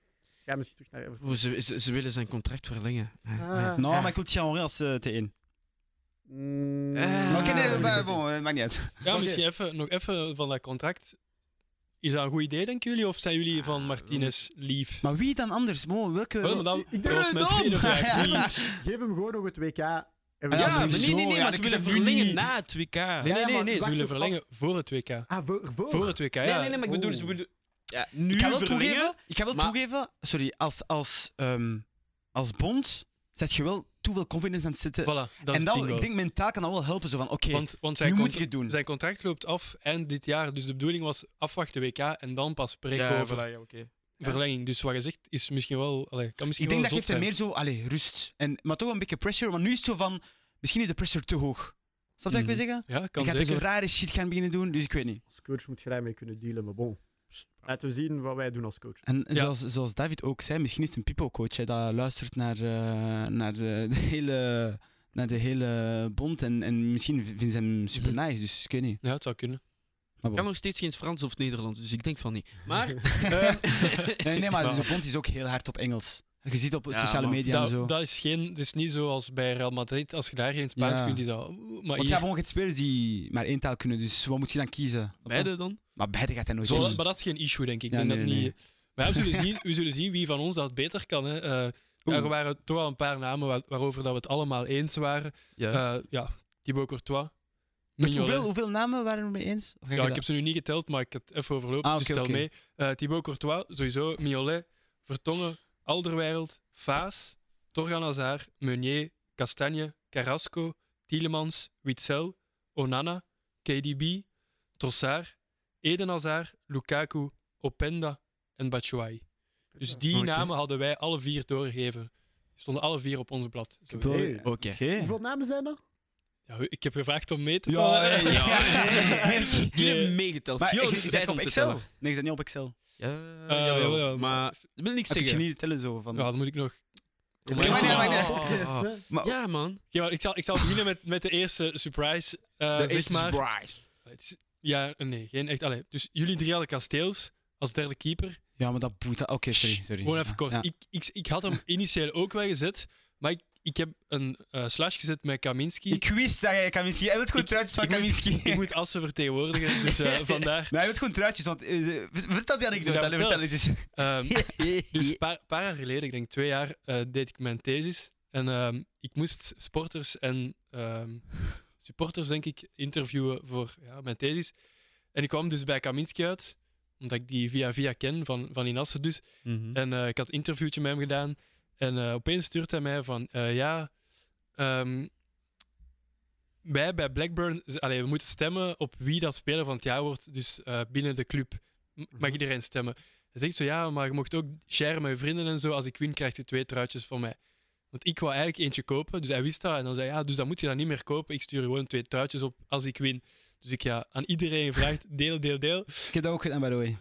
[SPEAKER 4] gaan misschien terug naar Everton.
[SPEAKER 3] Oh, Ze, ze, ze willen zijn contract verlengen. Ja, ja.
[SPEAKER 4] Ah.
[SPEAKER 2] Nou, maar ik wil Thierry Henry als eh, T1.
[SPEAKER 4] Mm.
[SPEAKER 3] Eh.
[SPEAKER 2] Maar oké, nee,
[SPEAKER 3] Ah.
[SPEAKER 2] maar bon, eh, maakt niet uit.
[SPEAKER 1] Ja, misschien even, nog even van dat contract. Is dat een goed idee, denken jullie? Of zijn jullie van
[SPEAKER 3] Ah,
[SPEAKER 1] Martinez lief?
[SPEAKER 2] Maar wie dan anders? Mo, welke...
[SPEAKER 1] Wel, maar dan,
[SPEAKER 4] ik denk
[SPEAKER 1] dat was
[SPEAKER 3] het
[SPEAKER 1] mijn
[SPEAKER 3] dom.
[SPEAKER 1] tweede vraag. Wie-
[SPEAKER 4] Geef hem gewoon nog het WK. En we
[SPEAKER 2] Ja,
[SPEAKER 3] Ja,
[SPEAKER 4] gaan
[SPEAKER 3] maar nee,
[SPEAKER 2] sowieso.
[SPEAKER 3] nee, nee,
[SPEAKER 2] Ja,
[SPEAKER 3] maar
[SPEAKER 2] dat
[SPEAKER 3] ze willen
[SPEAKER 2] kunnen we
[SPEAKER 3] verlengen
[SPEAKER 2] niet-
[SPEAKER 3] na het WK.
[SPEAKER 1] Nee, nee,
[SPEAKER 4] Ja,
[SPEAKER 1] nee,
[SPEAKER 4] maar
[SPEAKER 1] nee. Ze
[SPEAKER 4] wacht
[SPEAKER 1] willen
[SPEAKER 4] nog
[SPEAKER 1] verlengen voor het WK.
[SPEAKER 4] Ah, voor, voor.
[SPEAKER 1] Voor het WK, ja.
[SPEAKER 3] Nee, nee, nee, maar ik bedoel,
[SPEAKER 4] Oeh.
[SPEAKER 3] ze bedoelen... Ja, nu
[SPEAKER 2] ik ga wel
[SPEAKER 3] verlengen.
[SPEAKER 2] toegeven, ik ga wel
[SPEAKER 3] maar-
[SPEAKER 2] toegeven sorry, als, als, ehm, als bond zet je wel te veel confidence aan het zitten.
[SPEAKER 1] Voilà, dat
[SPEAKER 2] en
[SPEAKER 1] is het
[SPEAKER 2] dat,
[SPEAKER 1] ding
[SPEAKER 2] ik
[SPEAKER 1] wel.
[SPEAKER 2] denk mentaal kan dat wel helpen. Zo van, oké,
[SPEAKER 1] Want, want zijn,
[SPEAKER 2] nu moet
[SPEAKER 1] contra-
[SPEAKER 2] ik het doen.
[SPEAKER 1] zijn contract loopt af eind dit jaar. Dus de bedoeling was afwachten WK en dan pas spreken
[SPEAKER 3] Ja,
[SPEAKER 1] over
[SPEAKER 3] voilà, ja, oké.
[SPEAKER 1] verlenging. Dus wat je zegt is misschien wel. Allee, kan misschien
[SPEAKER 2] ik denk dat
[SPEAKER 1] wel
[SPEAKER 2] geeft hem
[SPEAKER 1] zot
[SPEAKER 2] meer zo, allee, rust. En, maar toch een beetje pressure. Want nu is het zo van, misschien is de pressure te hoog. Snap je wat
[SPEAKER 1] Mhm.
[SPEAKER 2] ik wil zeggen?
[SPEAKER 1] zijn. Ja,
[SPEAKER 2] Je
[SPEAKER 1] kan
[SPEAKER 2] gaat er zo
[SPEAKER 1] zeker.
[SPEAKER 2] rare shit gaan beginnen doen, dus ik weet niet.
[SPEAKER 4] Als coach moet je daarmee kunnen dealen, maar bon. Laten we zien wat wij doen als coach.
[SPEAKER 2] En
[SPEAKER 1] Ja.
[SPEAKER 2] zoals, zoals David ook zei, misschien is het een people-coach hè, dat luistert naar, eh, naar, de, de hele, naar de hele bond. En, en misschien vindt ze hem super
[SPEAKER 1] Mhm.
[SPEAKER 2] nice, dus ik weet niet.
[SPEAKER 1] Ja, het zou kunnen.
[SPEAKER 2] Maar
[SPEAKER 3] Ik
[SPEAKER 2] bon.
[SPEAKER 3] kan nog steeds geen Frans of Nederlands, dus ik denk van niet. Maar
[SPEAKER 2] [LAUGHS]
[SPEAKER 1] Ehm.
[SPEAKER 2] nee, nee, maar de bond is ook heel hard op Engels. Je ziet op
[SPEAKER 3] Ja,
[SPEAKER 2] sociale
[SPEAKER 3] maar
[SPEAKER 2] media en
[SPEAKER 1] Dat,
[SPEAKER 2] zo.
[SPEAKER 1] dat is geen, dat is niet zoals bij Real Madrid. Als je daar geen Spaans
[SPEAKER 2] Ja.
[SPEAKER 1] kunt, is dat. Maar
[SPEAKER 2] Want ja,
[SPEAKER 1] hier,
[SPEAKER 2] gewoon je hebt spelers die maar één taal kunnen, dus wat moet je dan kiezen?
[SPEAKER 3] beide dan?
[SPEAKER 2] Maar beide gaat hij nooit
[SPEAKER 1] zo,
[SPEAKER 2] doen.
[SPEAKER 1] maar dat is geen issue, denk ik. Ik
[SPEAKER 2] Dus- Ja,
[SPEAKER 1] denk
[SPEAKER 2] nee,
[SPEAKER 1] dat
[SPEAKER 2] nee,
[SPEAKER 1] niet. Maar ja, we, zullen zien, we zullen zien wie van ons dat beter kan. Hè. Eh,
[SPEAKER 2] Oeh.
[SPEAKER 1] er waren toch wel een paar namen wa- waarover dat we het allemaal eens waren.
[SPEAKER 3] Ja.
[SPEAKER 1] Eh, ja, Thibaut Courtois.
[SPEAKER 2] Met
[SPEAKER 1] Mignolet.
[SPEAKER 2] hoeveel, hoeveel namen waren we mee eens? Of ga
[SPEAKER 1] Ja, ik
[SPEAKER 2] je
[SPEAKER 1] heb
[SPEAKER 2] dat-
[SPEAKER 1] ze nu niet geteld, maar ik had even overlopen,
[SPEAKER 2] Ah,
[SPEAKER 1] dus
[SPEAKER 2] oké,
[SPEAKER 1] tel
[SPEAKER 2] oké.
[SPEAKER 1] mee. Eh, Thibaut Courtois, sowieso, Miolet, Vertongen, Alderweireld, Vaas, Torgan Hazard, Meunier, Castagne, Carrasco, Tielemans, Witzel, Onana, KDB, Trossard, Eden Hazard, Lukaku, Openda en Batshuayi. Dus die
[SPEAKER 3] Oké.
[SPEAKER 1] namen hadden wij alle vier doorgegeven. Stonden alle vier op onze blad.
[SPEAKER 4] heb
[SPEAKER 1] sowieso.
[SPEAKER 4] wel-
[SPEAKER 2] Oké.
[SPEAKER 3] Oké.
[SPEAKER 4] Hoeveel namen zijn er?
[SPEAKER 1] Ja, ik heb gevraagd om mee te
[SPEAKER 2] Ja,
[SPEAKER 1] [LAUGHS] tellen.
[SPEAKER 2] hey, ja.
[SPEAKER 3] Jullie hebben
[SPEAKER 1] Nee.
[SPEAKER 3] meegeteld.
[SPEAKER 2] Maar
[SPEAKER 3] Yo,
[SPEAKER 2] ik-
[SPEAKER 3] die
[SPEAKER 2] je zit
[SPEAKER 3] zijn
[SPEAKER 2] op
[SPEAKER 3] om te
[SPEAKER 2] Excel.
[SPEAKER 3] tellen.
[SPEAKER 2] Nee, je zit niet op Excel.
[SPEAKER 3] Ja,
[SPEAKER 1] Eh,
[SPEAKER 3] jawel.
[SPEAKER 1] jawel, jawel,
[SPEAKER 3] Maar dat wil niks
[SPEAKER 2] Ik kun je
[SPEAKER 3] zeggen.
[SPEAKER 2] niet tellen zo van.
[SPEAKER 1] Ja, dan moet ik nog...
[SPEAKER 2] maar
[SPEAKER 1] Om-
[SPEAKER 2] nee, maar nee.
[SPEAKER 4] Podcast, hè?
[SPEAKER 2] Maar-
[SPEAKER 3] Ja, man.
[SPEAKER 1] Ja, maar ik, zal, ik zal beginnen met, met de eerste surprise. eh, zeg maar. Het is- Ja, nee, geen echt. Allee, dus jullie drie hadden Kasteels als derde keeper.
[SPEAKER 2] Ja, maar dat boeit. Oké, sorry, sorry.
[SPEAKER 1] Gewoon even kort.
[SPEAKER 2] Ja.
[SPEAKER 1] Ik, ik, ik had hem initieel ook wel gezet, maar ik, ik heb een eh, slash gezet met Kaminski. Ik,
[SPEAKER 2] Ik wist dat jij Kaminski. Hij wil gewoon truitjes van
[SPEAKER 1] ik moet-
[SPEAKER 2] Kaminski. [LAUGHS] Nee,
[SPEAKER 1] moet Assen vertegenwoordigen, dus eh, vandaar.
[SPEAKER 2] hij wil gewoon truitjes. Want, eh, ze- vertel die anekdote.
[SPEAKER 1] Ja,
[SPEAKER 2] Allee,
[SPEAKER 1] vertel.
[SPEAKER 2] vertel het
[SPEAKER 1] [LAUGHS]
[SPEAKER 2] eens.
[SPEAKER 1] Ehm, dus een paar, paar jaar geleden, ik denk twee jaar, eh, deed ik mijn thesis. En ehm, ik moest sporters en ehm, supporters, denk ik, interviewen voor ja, mijn thesis. En ik kwam dus bij Kaminski uit, omdat ik die via via ken, van, van Inasse dus.
[SPEAKER 3] Mhm.
[SPEAKER 1] En eh, ik had een interviewtje met hem gedaan. En eh, opeens stuurt hij mij van, eh, ja, ehm, wij bij Blackburn, z- allee, we moeten stemmen op wie dat speler van het jaar wordt. Dus eh, binnen de club M- mag
[SPEAKER 4] Mhm.
[SPEAKER 1] iedereen stemmen. Hij zegt zo, ja, maar je mocht ook sharen met je vrienden en zo. Als ik win, krijg je twee truitjes van mij. Want ik wou eigenlijk eentje kopen, dus hij wist dat. En dan zei hij, ja, dus dan moet je dat niet meer kopen. Ik stuur gewoon twee truitjes op als ik win. Dus ik ja, aan iedereen gevraagd, [LAUGHS] deel, deel, deel.
[SPEAKER 2] Ik heb dat ook gedaan, by the way.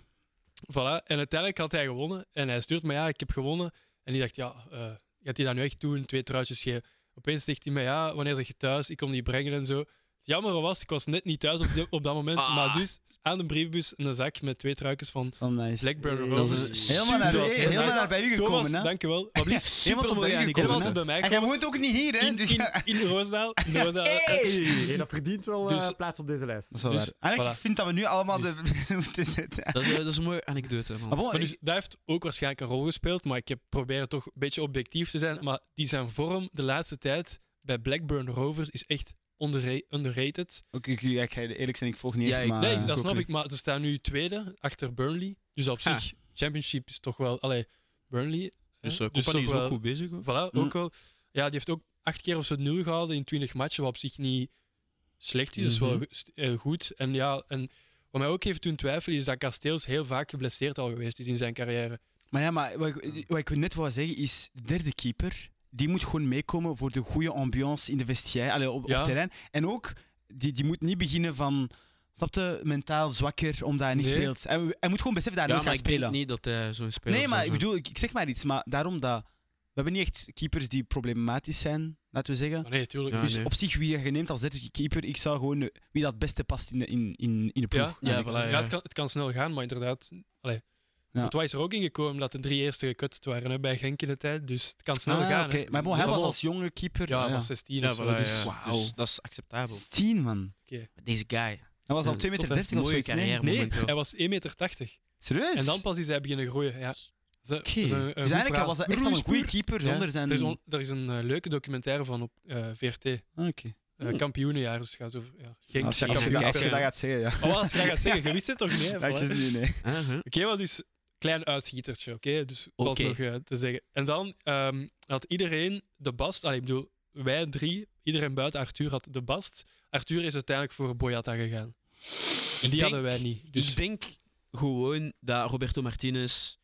[SPEAKER 1] Voilà. En uiteindelijk had hij gewonnen. En hij stuurt me, ja, ik heb gewonnen. En ik dacht, ja, eh, gaat hij dat nu echt doen? Twee truitjes geven. Opeens zegt hij me, ja, wanneer zeg je thuis? Ik kom die brengen en zo. Het jammere was, ik was net niet thuis op, de- op dat moment.
[SPEAKER 3] Ah.
[SPEAKER 1] Maar dus aan de briefbus een zak met twee truitjes van
[SPEAKER 2] Van nice.
[SPEAKER 1] Blackburn
[SPEAKER 4] Nee.
[SPEAKER 1] Rovers.
[SPEAKER 3] Dat is
[SPEAKER 2] Helemaal naar,
[SPEAKER 1] Super-
[SPEAKER 3] Zoals-
[SPEAKER 2] hey, helemaal naar bij u
[SPEAKER 1] Thomas,
[SPEAKER 2] gekomen, hè?
[SPEAKER 1] dankjewel. Maar blieft,
[SPEAKER 2] [LAUGHS]
[SPEAKER 1] super
[SPEAKER 2] Helemaal tot bij
[SPEAKER 1] mooi
[SPEAKER 2] u
[SPEAKER 1] eigenlijk.
[SPEAKER 2] gekomen,
[SPEAKER 1] Helemaal tot
[SPEAKER 2] hè?
[SPEAKER 1] bij mij
[SPEAKER 2] En jij
[SPEAKER 1] komen.
[SPEAKER 2] woont ook niet hier, hè?
[SPEAKER 1] In,
[SPEAKER 2] Dus
[SPEAKER 1] in,
[SPEAKER 2] ja.
[SPEAKER 1] in
[SPEAKER 2] [LAUGHS]
[SPEAKER 1] Roosendaal. In Roosendaal.
[SPEAKER 4] Nee, dat verdient wel eh,
[SPEAKER 1] Dus-
[SPEAKER 4] plaats op deze lijst.
[SPEAKER 2] Dat is wel
[SPEAKER 1] Dus,
[SPEAKER 2] waar. Eigenlijk
[SPEAKER 1] voilà. Dus-
[SPEAKER 2] vind dat we nu allemaal de [LAUGHS] moeten zitten.
[SPEAKER 3] Dat is, dat is een mooie anekdote, man.
[SPEAKER 2] Maar Ah, bon,
[SPEAKER 1] Maar
[SPEAKER 2] ik-
[SPEAKER 1] dus, dat heeft ook waarschijnlijk een rol gespeeld, maar ik heb proberen toch een beetje objectief te zijn. Maar die zijn vorm de laatste tijd bij Blackburn Rovers is echt onderra- underrated.
[SPEAKER 2] Oké, ik- ja, ik ga eerlijk zijn, ik volg niet
[SPEAKER 3] Ja,
[SPEAKER 2] echt,
[SPEAKER 3] ik-
[SPEAKER 2] maar...
[SPEAKER 1] nee,
[SPEAKER 3] ik
[SPEAKER 1] dat
[SPEAKER 3] ook
[SPEAKER 1] snap
[SPEAKER 3] niet.
[SPEAKER 1] ik, maar ze staan nu tweede achter Burnley. Dus op
[SPEAKER 3] Ha.
[SPEAKER 1] zich, Championship is toch wel... Allee, Burnley...
[SPEAKER 3] Dus
[SPEAKER 1] eh,
[SPEAKER 3] eh, Company
[SPEAKER 1] toch
[SPEAKER 3] is ook
[SPEAKER 1] wel-
[SPEAKER 3] goed bezig, hoor.
[SPEAKER 1] Voilà,
[SPEAKER 2] Mm.
[SPEAKER 1] ook wel. Ja, die heeft ook acht keer of zo nul gehouden in 20 matchen, wat op zich niet slecht is. Dus wel
[SPEAKER 2] Mhm.
[SPEAKER 1] go- st- eh, goed. En ja, en wat mij ook heeft doen twijfelen is dat Kasteels heel vaak geblesseerd al geweest is in zijn carrière.
[SPEAKER 2] Maar ja, maar wat ik, wat ik net wou zeggen is, de derde keeper, die moet gewoon meekomen voor de goede ambiance in de vestiaire, allee, op, op
[SPEAKER 1] Ja.
[SPEAKER 2] het terrein. En ook, die, die moet niet beginnen van, snap je, mentaal zwakker omdat hij niet
[SPEAKER 1] Nee.
[SPEAKER 2] speelt. Hij, hij moet gewoon beseffen dat
[SPEAKER 3] Ja,
[SPEAKER 2] hij
[SPEAKER 3] maar
[SPEAKER 2] nooit gaat
[SPEAKER 3] ik
[SPEAKER 2] spelen.
[SPEAKER 3] denk niet dat hij zo'n speler
[SPEAKER 2] nee,
[SPEAKER 3] zou
[SPEAKER 2] maar ik
[SPEAKER 3] zijn.
[SPEAKER 2] bedoel, ik, ik zeg maar iets, maar daarom dat... We hebben niet echt keepers die problematisch zijn, laten we zeggen.
[SPEAKER 1] Maar nee, tuurlijk.
[SPEAKER 3] Ja,
[SPEAKER 1] dus,
[SPEAKER 2] Dus
[SPEAKER 3] nee.
[SPEAKER 2] op zich, wie je neemt als derde keeper, ik zou gewoon eh, wie dat het beste past in de, in, in, in de ploeg.
[SPEAKER 1] Ja,
[SPEAKER 3] Ja,
[SPEAKER 2] eigenlijk.
[SPEAKER 3] voilà,
[SPEAKER 1] ja,
[SPEAKER 3] ja.
[SPEAKER 1] het, kan, het kan snel gaan, maar inderdaad... Allee.
[SPEAKER 2] Ja.
[SPEAKER 1] Courtois is er ook ingekomen dat de drie eerste gekutst waren hè, bij Genk in de tijd. Dus het kan snel
[SPEAKER 2] Ah,
[SPEAKER 1] gaan.
[SPEAKER 2] oké.
[SPEAKER 1] hè.
[SPEAKER 2] Maar bon, hij
[SPEAKER 1] Maar
[SPEAKER 2] was
[SPEAKER 1] bon,
[SPEAKER 2] als jonge keeper... ah,
[SPEAKER 1] Ja, hij
[SPEAKER 2] ja.
[SPEAKER 1] was 16
[SPEAKER 3] Ja,
[SPEAKER 1] of zo.
[SPEAKER 3] voilà,
[SPEAKER 1] dus
[SPEAKER 3] ja.
[SPEAKER 2] wauw.
[SPEAKER 3] Dus dat is acceptabel.
[SPEAKER 2] 10, man.
[SPEAKER 3] Deze guy.
[SPEAKER 2] Hij was al
[SPEAKER 3] Ja,
[SPEAKER 2] 2,30 meter
[SPEAKER 1] zot,
[SPEAKER 2] of
[SPEAKER 1] hè.
[SPEAKER 2] zoiets.
[SPEAKER 3] Mooie
[SPEAKER 2] nee?
[SPEAKER 3] carrière.
[SPEAKER 1] Nee,
[SPEAKER 3] Momenteel.
[SPEAKER 1] hij was 1,80 meter.
[SPEAKER 2] Serieus?
[SPEAKER 1] En dan pas is hij beginnen groeien. Ja. Zo,
[SPEAKER 2] Oké.
[SPEAKER 1] zo, eh,
[SPEAKER 2] Dus
[SPEAKER 1] goed
[SPEAKER 2] eigenlijk hij
[SPEAKER 1] verhaal.
[SPEAKER 2] was hij echt wel een goede keeper
[SPEAKER 1] Ja.
[SPEAKER 2] zonder zijn...
[SPEAKER 1] Er is, on- er is een eh, leuke documentaire van op eh, VRT. eh,
[SPEAKER 2] Ah, Oké. Hmm.
[SPEAKER 1] Kampioenenjaar. Dus het gaat over ja, Genk. Oh,
[SPEAKER 2] Als je, als je,
[SPEAKER 1] kampioen.
[SPEAKER 2] dat- als je dat gaat zeggen, ja. [LAUGHS]
[SPEAKER 1] Oh, als jij gaat zeggen, je wist het toch niet? hè?
[SPEAKER 2] Ja, ik
[SPEAKER 1] Voilà.
[SPEAKER 2] wist het niet, nee.
[SPEAKER 3] Uh-huh.
[SPEAKER 1] Oké, maar dus klein uitschietertje, oké? Dus valt
[SPEAKER 3] Oké.
[SPEAKER 1] nog eh, te zeggen. En dan ehm, had iedereen de bast. Allee, ik bedoel, wij drie, iedereen buiten Arthur had de bast. Arthur is uiteindelijk voor Boyata gegaan. En die
[SPEAKER 3] denk-
[SPEAKER 1] hadden wij niet. Dus
[SPEAKER 3] Ik denk gewoon dat Roberto Martinez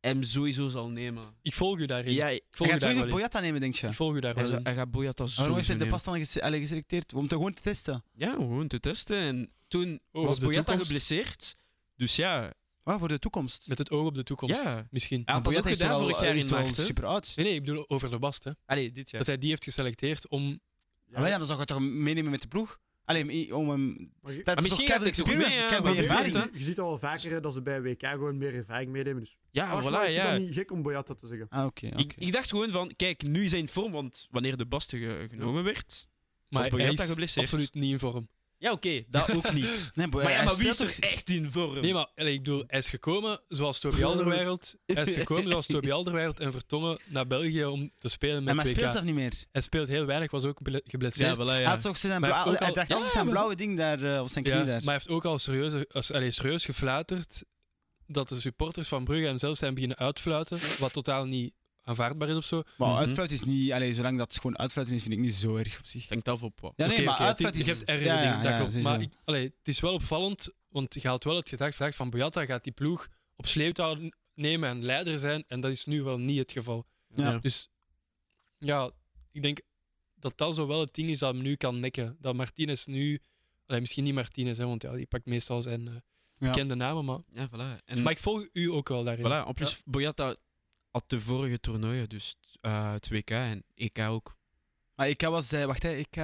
[SPEAKER 3] hem sowieso zal nemen.
[SPEAKER 1] ik volg u daarin.
[SPEAKER 3] Ja,
[SPEAKER 1] ik
[SPEAKER 2] Hij
[SPEAKER 1] volg u
[SPEAKER 2] gaat
[SPEAKER 1] daar
[SPEAKER 2] sowieso
[SPEAKER 1] wel in.
[SPEAKER 2] Boyata nemen, denk je?
[SPEAKER 1] Ik volg u daar
[SPEAKER 3] hij,
[SPEAKER 1] wel
[SPEAKER 3] zal-
[SPEAKER 1] in.
[SPEAKER 3] hij gaat
[SPEAKER 1] Ah,
[SPEAKER 3] Boyata
[SPEAKER 2] Maar Waarom is
[SPEAKER 3] sowieso
[SPEAKER 2] hij de
[SPEAKER 3] nemen.
[SPEAKER 2] pas dan gese- allee, geselecteerd? Om te gewoon te testen.
[SPEAKER 3] Ja, om gewoon te testen. En toen
[SPEAKER 1] Oh,
[SPEAKER 3] was
[SPEAKER 1] op de
[SPEAKER 3] Boyata
[SPEAKER 1] toekomst.
[SPEAKER 3] geblesseerd. Dus ja,
[SPEAKER 2] Ah, voor de toekomst.
[SPEAKER 1] Met het oog op de toekomst.
[SPEAKER 3] ja.
[SPEAKER 1] Misschien.
[SPEAKER 3] Hij had dat ook
[SPEAKER 2] Boyata is toch
[SPEAKER 3] gedaan
[SPEAKER 2] al-
[SPEAKER 3] vorig jaar
[SPEAKER 2] is
[SPEAKER 3] in
[SPEAKER 2] toch al
[SPEAKER 3] maart. hè?
[SPEAKER 2] super oud.
[SPEAKER 1] Nee, nee, ik bedoel over de bast, hè.
[SPEAKER 3] Allee, dit jaar.
[SPEAKER 1] Dat hij die heeft geselecteerd om...
[SPEAKER 2] Ja, maar ja, dan zou je toch meenemen met de ploeg? Alleen i- om hem.
[SPEAKER 4] Maar je-
[SPEAKER 2] Dat is toch
[SPEAKER 3] misschien gaat
[SPEAKER 2] keigoed
[SPEAKER 3] hij toch mee,
[SPEAKER 2] experience,
[SPEAKER 3] hè,
[SPEAKER 2] keigoed
[SPEAKER 3] maar
[SPEAKER 4] je,
[SPEAKER 2] ervaring.
[SPEAKER 3] hè?
[SPEAKER 4] je ziet al wel vaker hè, dat ze bij WK gewoon meer ervaring meenemen. Dus
[SPEAKER 3] Ja,
[SPEAKER 4] Arsenal
[SPEAKER 3] voilà,
[SPEAKER 4] is
[SPEAKER 3] ja.
[SPEAKER 4] dan niet gek om Boyata te zeggen.
[SPEAKER 2] Ah, oké. oké.
[SPEAKER 3] Ik, ik dacht gewoon van, kijk, nu zijn vorm, want wanneer de Basten ge- genomen werd...
[SPEAKER 1] Maar
[SPEAKER 3] Was Boyata
[SPEAKER 1] hij is
[SPEAKER 3] geblesseerd?
[SPEAKER 1] absoluut niet in vorm.
[SPEAKER 3] Ja, oké, dat ook niet.
[SPEAKER 2] Nee, Boy-
[SPEAKER 3] [LAUGHS] maar ja,
[SPEAKER 2] hij
[SPEAKER 3] maar wie is
[SPEAKER 2] speelt
[SPEAKER 3] er
[SPEAKER 2] toch-
[SPEAKER 3] echt in vorm?
[SPEAKER 1] Nee, maar allee, ik bedoel, hij is gekomen zoals Toby Alderweireld. Hij is gekomen zoals Toby Alderweireld en Vertongen naar België om te spelen
[SPEAKER 2] Ja,
[SPEAKER 1] met
[SPEAKER 2] maar hij
[SPEAKER 1] 2K.
[SPEAKER 2] speelt zelf niet meer.
[SPEAKER 1] Hij speelt heel weinig, was ook bele-
[SPEAKER 3] ja,
[SPEAKER 1] geblesseerd.
[SPEAKER 3] voilà,
[SPEAKER 2] Hij
[SPEAKER 3] ja.
[SPEAKER 2] had toch
[SPEAKER 1] Maar
[SPEAKER 2] zijn
[SPEAKER 1] hij heeft
[SPEAKER 2] blauwe-
[SPEAKER 1] ook al-
[SPEAKER 2] hij draagt
[SPEAKER 1] Ja,
[SPEAKER 2] altijd zijn
[SPEAKER 1] maar-
[SPEAKER 2] blauwe ding daar eh, op zijn
[SPEAKER 1] Ja,
[SPEAKER 2] knie
[SPEAKER 1] maar
[SPEAKER 2] daar.
[SPEAKER 1] hij heeft ook al serieus, als, allee, serieus gefluiterd dat de supporters van Brugge hem zelf zijn beginnen uitfluiten, wat totaal niet aanvaardbaar is of zo.
[SPEAKER 2] Maar
[SPEAKER 3] Mhm.
[SPEAKER 2] uitfluit is niet, allee, zolang dat gewoon uitfluiten is, vind ik niet zo erg op zich.
[SPEAKER 3] Het hangt af op wat.
[SPEAKER 2] Ja, nee,
[SPEAKER 1] Oké,
[SPEAKER 2] maar
[SPEAKER 1] oké, het-
[SPEAKER 2] uitfluit
[SPEAKER 1] Je
[SPEAKER 2] is.
[SPEAKER 1] hebt erger
[SPEAKER 2] ja, ja,
[SPEAKER 1] dingen, dat
[SPEAKER 2] ja,
[SPEAKER 1] klopt.
[SPEAKER 2] sowieso.
[SPEAKER 1] maar ik, allee, het is wel opvallend, want je had wel het gedacht vandaag van Boyata gaat die ploeg op sleeptouw nemen en leider zijn, en dat is nu wel niet het geval.
[SPEAKER 2] Ja.
[SPEAKER 1] Dus ja, ik denk dat dat zo wel het ding is dat hem nu kan nekken. Dat Martinez nu, allee, misschien niet Martinez, hè, want ja, die pakt meestal zijn eh,
[SPEAKER 2] Ja.
[SPEAKER 1] bekende namen. Maar,
[SPEAKER 3] Ja, voilà. En,
[SPEAKER 1] maar ik volg u ook wel daarin.
[SPEAKER 3] voilà. En plus, Boyata had de vorige toernooien, dus eh, het WK en EK ook.
[SPEAKER 2] Maar EK was, eh, wacht, hè, EK.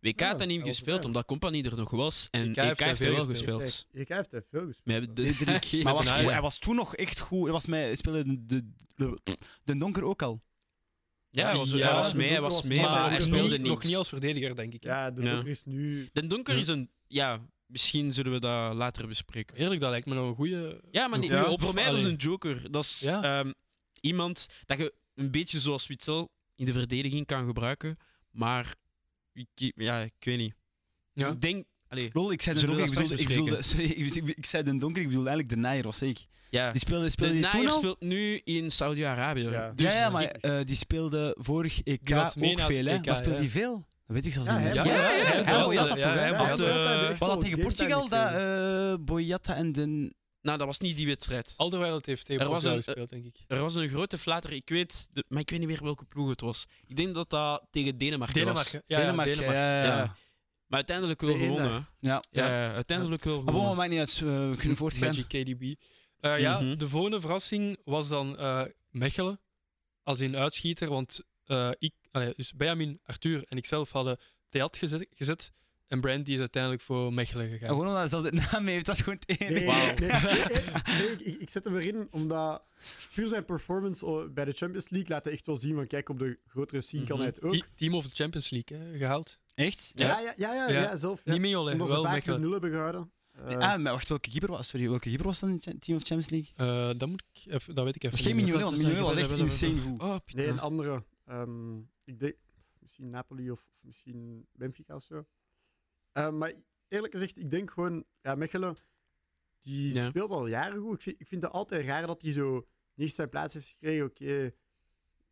[SPEAKER 3] WK
[SPEAKER 4] Ja,
[SPEAKER 3] had hij
[SPEAKER 4] hij
[SPEAKER 3] niet
[SPEAKER 4] was
[SPEAKER 3] gespeeld,
[SPEAKER 4] erbij.
[SPEAKER 3] omdat Company er nog was. En
[SPEAKER 1] EK
[SPEAKER 3] EK,
[SPEAKER 1] E heeft
[SPEAKER 3] heeft
[SPEAKER 1] hij
[SPEAKER 3] hij
[SPEAKER 1] veel
[SPEAKER 3] wel
[SPEAKER 1] gespeeld.
[SPEAKER 3] gespeeld.
[SPEAKER 4] Ik heeft hij veel gespeeld.
[SPEAKER 3] Maar, [LAUGHS]
[SPEAKER 2] Drie.
[SPEAKER 3] de, met
[SPEAKER 2] maar was
[SPEAKER 3] een
[SPEAKER 1] daarna,
[SPEAKER 2] goed,
[SPEAKER 3] eigen-
[SPEAKER 1] ja.
[SPEAKER 2] hij was toen nog echt goed. Hij was mee, speelde de, de, de, de donker ook al.
[SPEAKER 3] Ja, hij was,
[SPEAKER 1] Ja,
[SPEAKER 3] hij was
[SPEAKER 4] de
[SPEAKER 3] mee, hij
[SPEAKER 4] Donker
[SPEAKER 3] was
[SPEAKER 4] was
[SPEAKER 3] mee,
[SPEAKER 4] maar
[SPEAKER 3] maar, hij
[SPEAKER 1] nog
[SPEAKER 4] nog
[SPEAKER 3] speelde
[SPEAKER 1] niet-
[SPEAKER 3] niet.
[SPEAKER 1] nog niet als verdediger, denk ik. hè.
[SPEAKER 4] Ja, de
[SPEAKER 3] Ja.
[SPEAKER 4] Donker is nu...
[SPEAKER 3] Den Donker
[SPEAKER 1] Hm.
[SPEAKER 3] is een... Ja, misschien zullen we dat later bespreken.
[SPEAKER 1] Eerlijk, dat lijkt me nog een goede.
[SPEAKER 3] Ja, maar niet,
[SPEAKER 2] Ja.
[SPEAKER 3] voor mij dat is
[SPEAKER 1] Allee.
[SPEAKER 3] een joker. Dat is
[SPEAKER 1] Ja.
[SPEAKER 3] ehm, iemand dat je een beetje zoals Witzel in de verdediging kan gebruiken, maar ik, ja, ik weet niet.
[SPEAKER 1] Ja.
[SPEAKER 3] Ik denk... Allee,
[SPEAKER 2] Lol, ik zei de
[SPEAKER 3] Zullen
[SPEAKER 2] donker,
[SPEAKER 3] we
[SPEAKER 2] ik
[SPEAKER 3] dat
[SPEAKER 2] bedoelde, ik,
[SPEAKER 3] straks
[SPEAKER 2] bedoelde- sorry, ik, ik- ik zei de donker, ik bedoelde eigenlijk de naaier, was ik.
[SPEAKER 3] ja.
[SPEAKER 2] Die speelde,
[SPEAKER 3] De
[SPEAKER 2] speelde die toen
[SPEAKER 3] Naaier
[SPEAKER 2] al?
[SPEAKER 3] speelt nu in Saudi-Arabië.
[SPEAKER 4] Ja.
[SPEAKER 3] Dus
[SPEAKER 2] ja, ja, maar
[SPEAKER 4] ik-
[SPEAKER 2] eh, die speelde vorig EK
[SPEAKER 1] Die was mee
[SPEAKER 2] ook
[SPEAKER 1] naar het
[SPEAKER 2] veel, hè.
[SPEAKER 1] EK,
[SPEAKER 2] Wat speelde
[SPEAKER 1] ja.
[SPEAKER 2] die veel? Dat weet ik zelfs
[SPEAKER 4] Ja,
[SPEAKER 2] niet meer.
[SPEAKER 4] hij-
[SPEAKER 3] Ja, ja, ja,
[SPEAKER 1] hij
[SPEAKER 3] ja,
[SPEAKER 1] had-
[SPEAKER 2] Boyata
[SPEAKER 1] ja,
[SPEAKER 2] toch, hè?
[SPEAKER 1] hij
[SPEAKER 2] Ja,
[SPEAKER 1] had,
[SPEAKER 4] Boyata
[SPEAKER 1] eh,
[SPEAKER 4] heeft
[SPEAKER 2] Was
[SPEAKER 4] echt
[SPEAKER 2] dat
[SPEAKER 4] wel
[SPEAKER 2] tegen
[SPEAKER 4] game
[SPEAKER 2] Portugal,
[SPEAKER 4] time
[SPEAKER 2] dat
[SPEAKER 4] gekregen.
[SPEAKER 2] eh, Boyata en de...
[SPEAKER 3] Nou, dat was niet die wedstrijd.
[SPEAKER 1] Alderweireld heeft tegen
[SPEAKER 3] Er was
[SPEAKER 1] Portugal
[SPEAKER 3] een-
[SPEAKER 1] gespeeld, denk ik.
[SPEAKER 3] Er was een grote flater, ik weet, de- maar ik weet niet meer welke ploeg het was. Ik denk dat dat tegen Denemarken, was.
[SPEAKER 1] Denemarken. Ja,
[SPEAKER 2] Denemarken.
[SPEAKER 1] Ja, Denemarken.
[SPEAKER 2] ja, ja,
[SPEAKER 3] Ja.
[SPEAKER 2] ja.
[SPEAKER 3] Maar uiteindelijk wel
[SPEAKER 4] Nee, één
[SPEAKER 3] gewonnen.
[SPEAKER 4] dag.
[SPEAKER 3] hè.
[SPEAKER 2] Ja.
[SPEAKER 3] Ja, uiteindelijk wel
[SPEAKER 2] Maar bon,
[SPEAKER 3] gewonnen.
[SPEAKER 2] maakt niet uit. eh, we kunnen voortgaan.
[SPEAKER 1] Magic KDB. Eh, ja,
[SPEAKER 3] Mhm.
[SPEAKER 1] de volgende verrassing was dan eh, Mechelen. Als in uitschieter, want eh, ik, allee, dus Benjamin, Arthur en ikzelf hadden Theat gezet, gezet. En Brandy is uiteindelijk voor Mechelen
[SPEAKER 2] Ja,
[SPEAKER 1] gegaan.
[SPEAKER 4] Oh,
[SPEAKER 2] Gewoon omdat hij zelfs het naam heeft, dat is gewoon het enige.
[SPEAKER 4] Nee,
[SPEAKER 3] Wauw.
[SPEAKER 4] nee, nee, [LAUGHS] nee, nee, ik, ik zet hem erin omdat puur zijn performance o- bij de Champions League laat hij echt wel zien. Want kijk, op de grotere scene
[SPEAKER 2] Mhm.
[SPEAKER 4] kan hij het ook.
[SPEAKER 1] Te- Team of the Champions League hè, gehaald.
[SPEAKER 2] Echt?
[SPEAKER 3] Ja.
[SPEAKER 4] Ja, ja, ja, ja,
[SPEAKER 1] Ja.
[SPEAKER 4] ja, zelf. Ja.
[SPEAKER 1] Niet Mignolet,
[SPEAKER 4] Omdat ze
[SPEAKER 1] wel
[SPEAKER 4] vaak met
[SPEAKER 1] Mechelen.
[SPEAKER 4] nul hebben gehouden. Eh,
[SPEAKER 2] Ah, maar wacht, welke keeper was, sorry, welke keeper was dat in het cha- Team of Champions League?
[SPEAKER 1] Eh, dat, moet ik even, dat weet ik
[SPEAKER 2] Het
[SPEAKER 1] even
[SPEAKER 2] is geen
[SPEAKER 1] niet meer.
[SPEAKER 2] Mignolet, want Mignolet was echt
[SPEAKER 1] Blablabla.
[SPEAKER 2] insane goed.
[SPEAKER 3] Oh,
[SPEAKER 4] nee,
[SPEAKER 3] putain.
[SPEAKER 4] een andere. Ehm, ik denk misschien Napoli of, of misschien Benfica of zo. Eh, maar eerlijk gezegd, ik denk gewoon, ja, Mechelen, die
[SPEAKER 3] Ja.
[SPEAKER 4] speelt al jaren goed. Ik vind, ik vind het altijd raar dat hij zo niet zijn plaats heeft gekregen. Oké,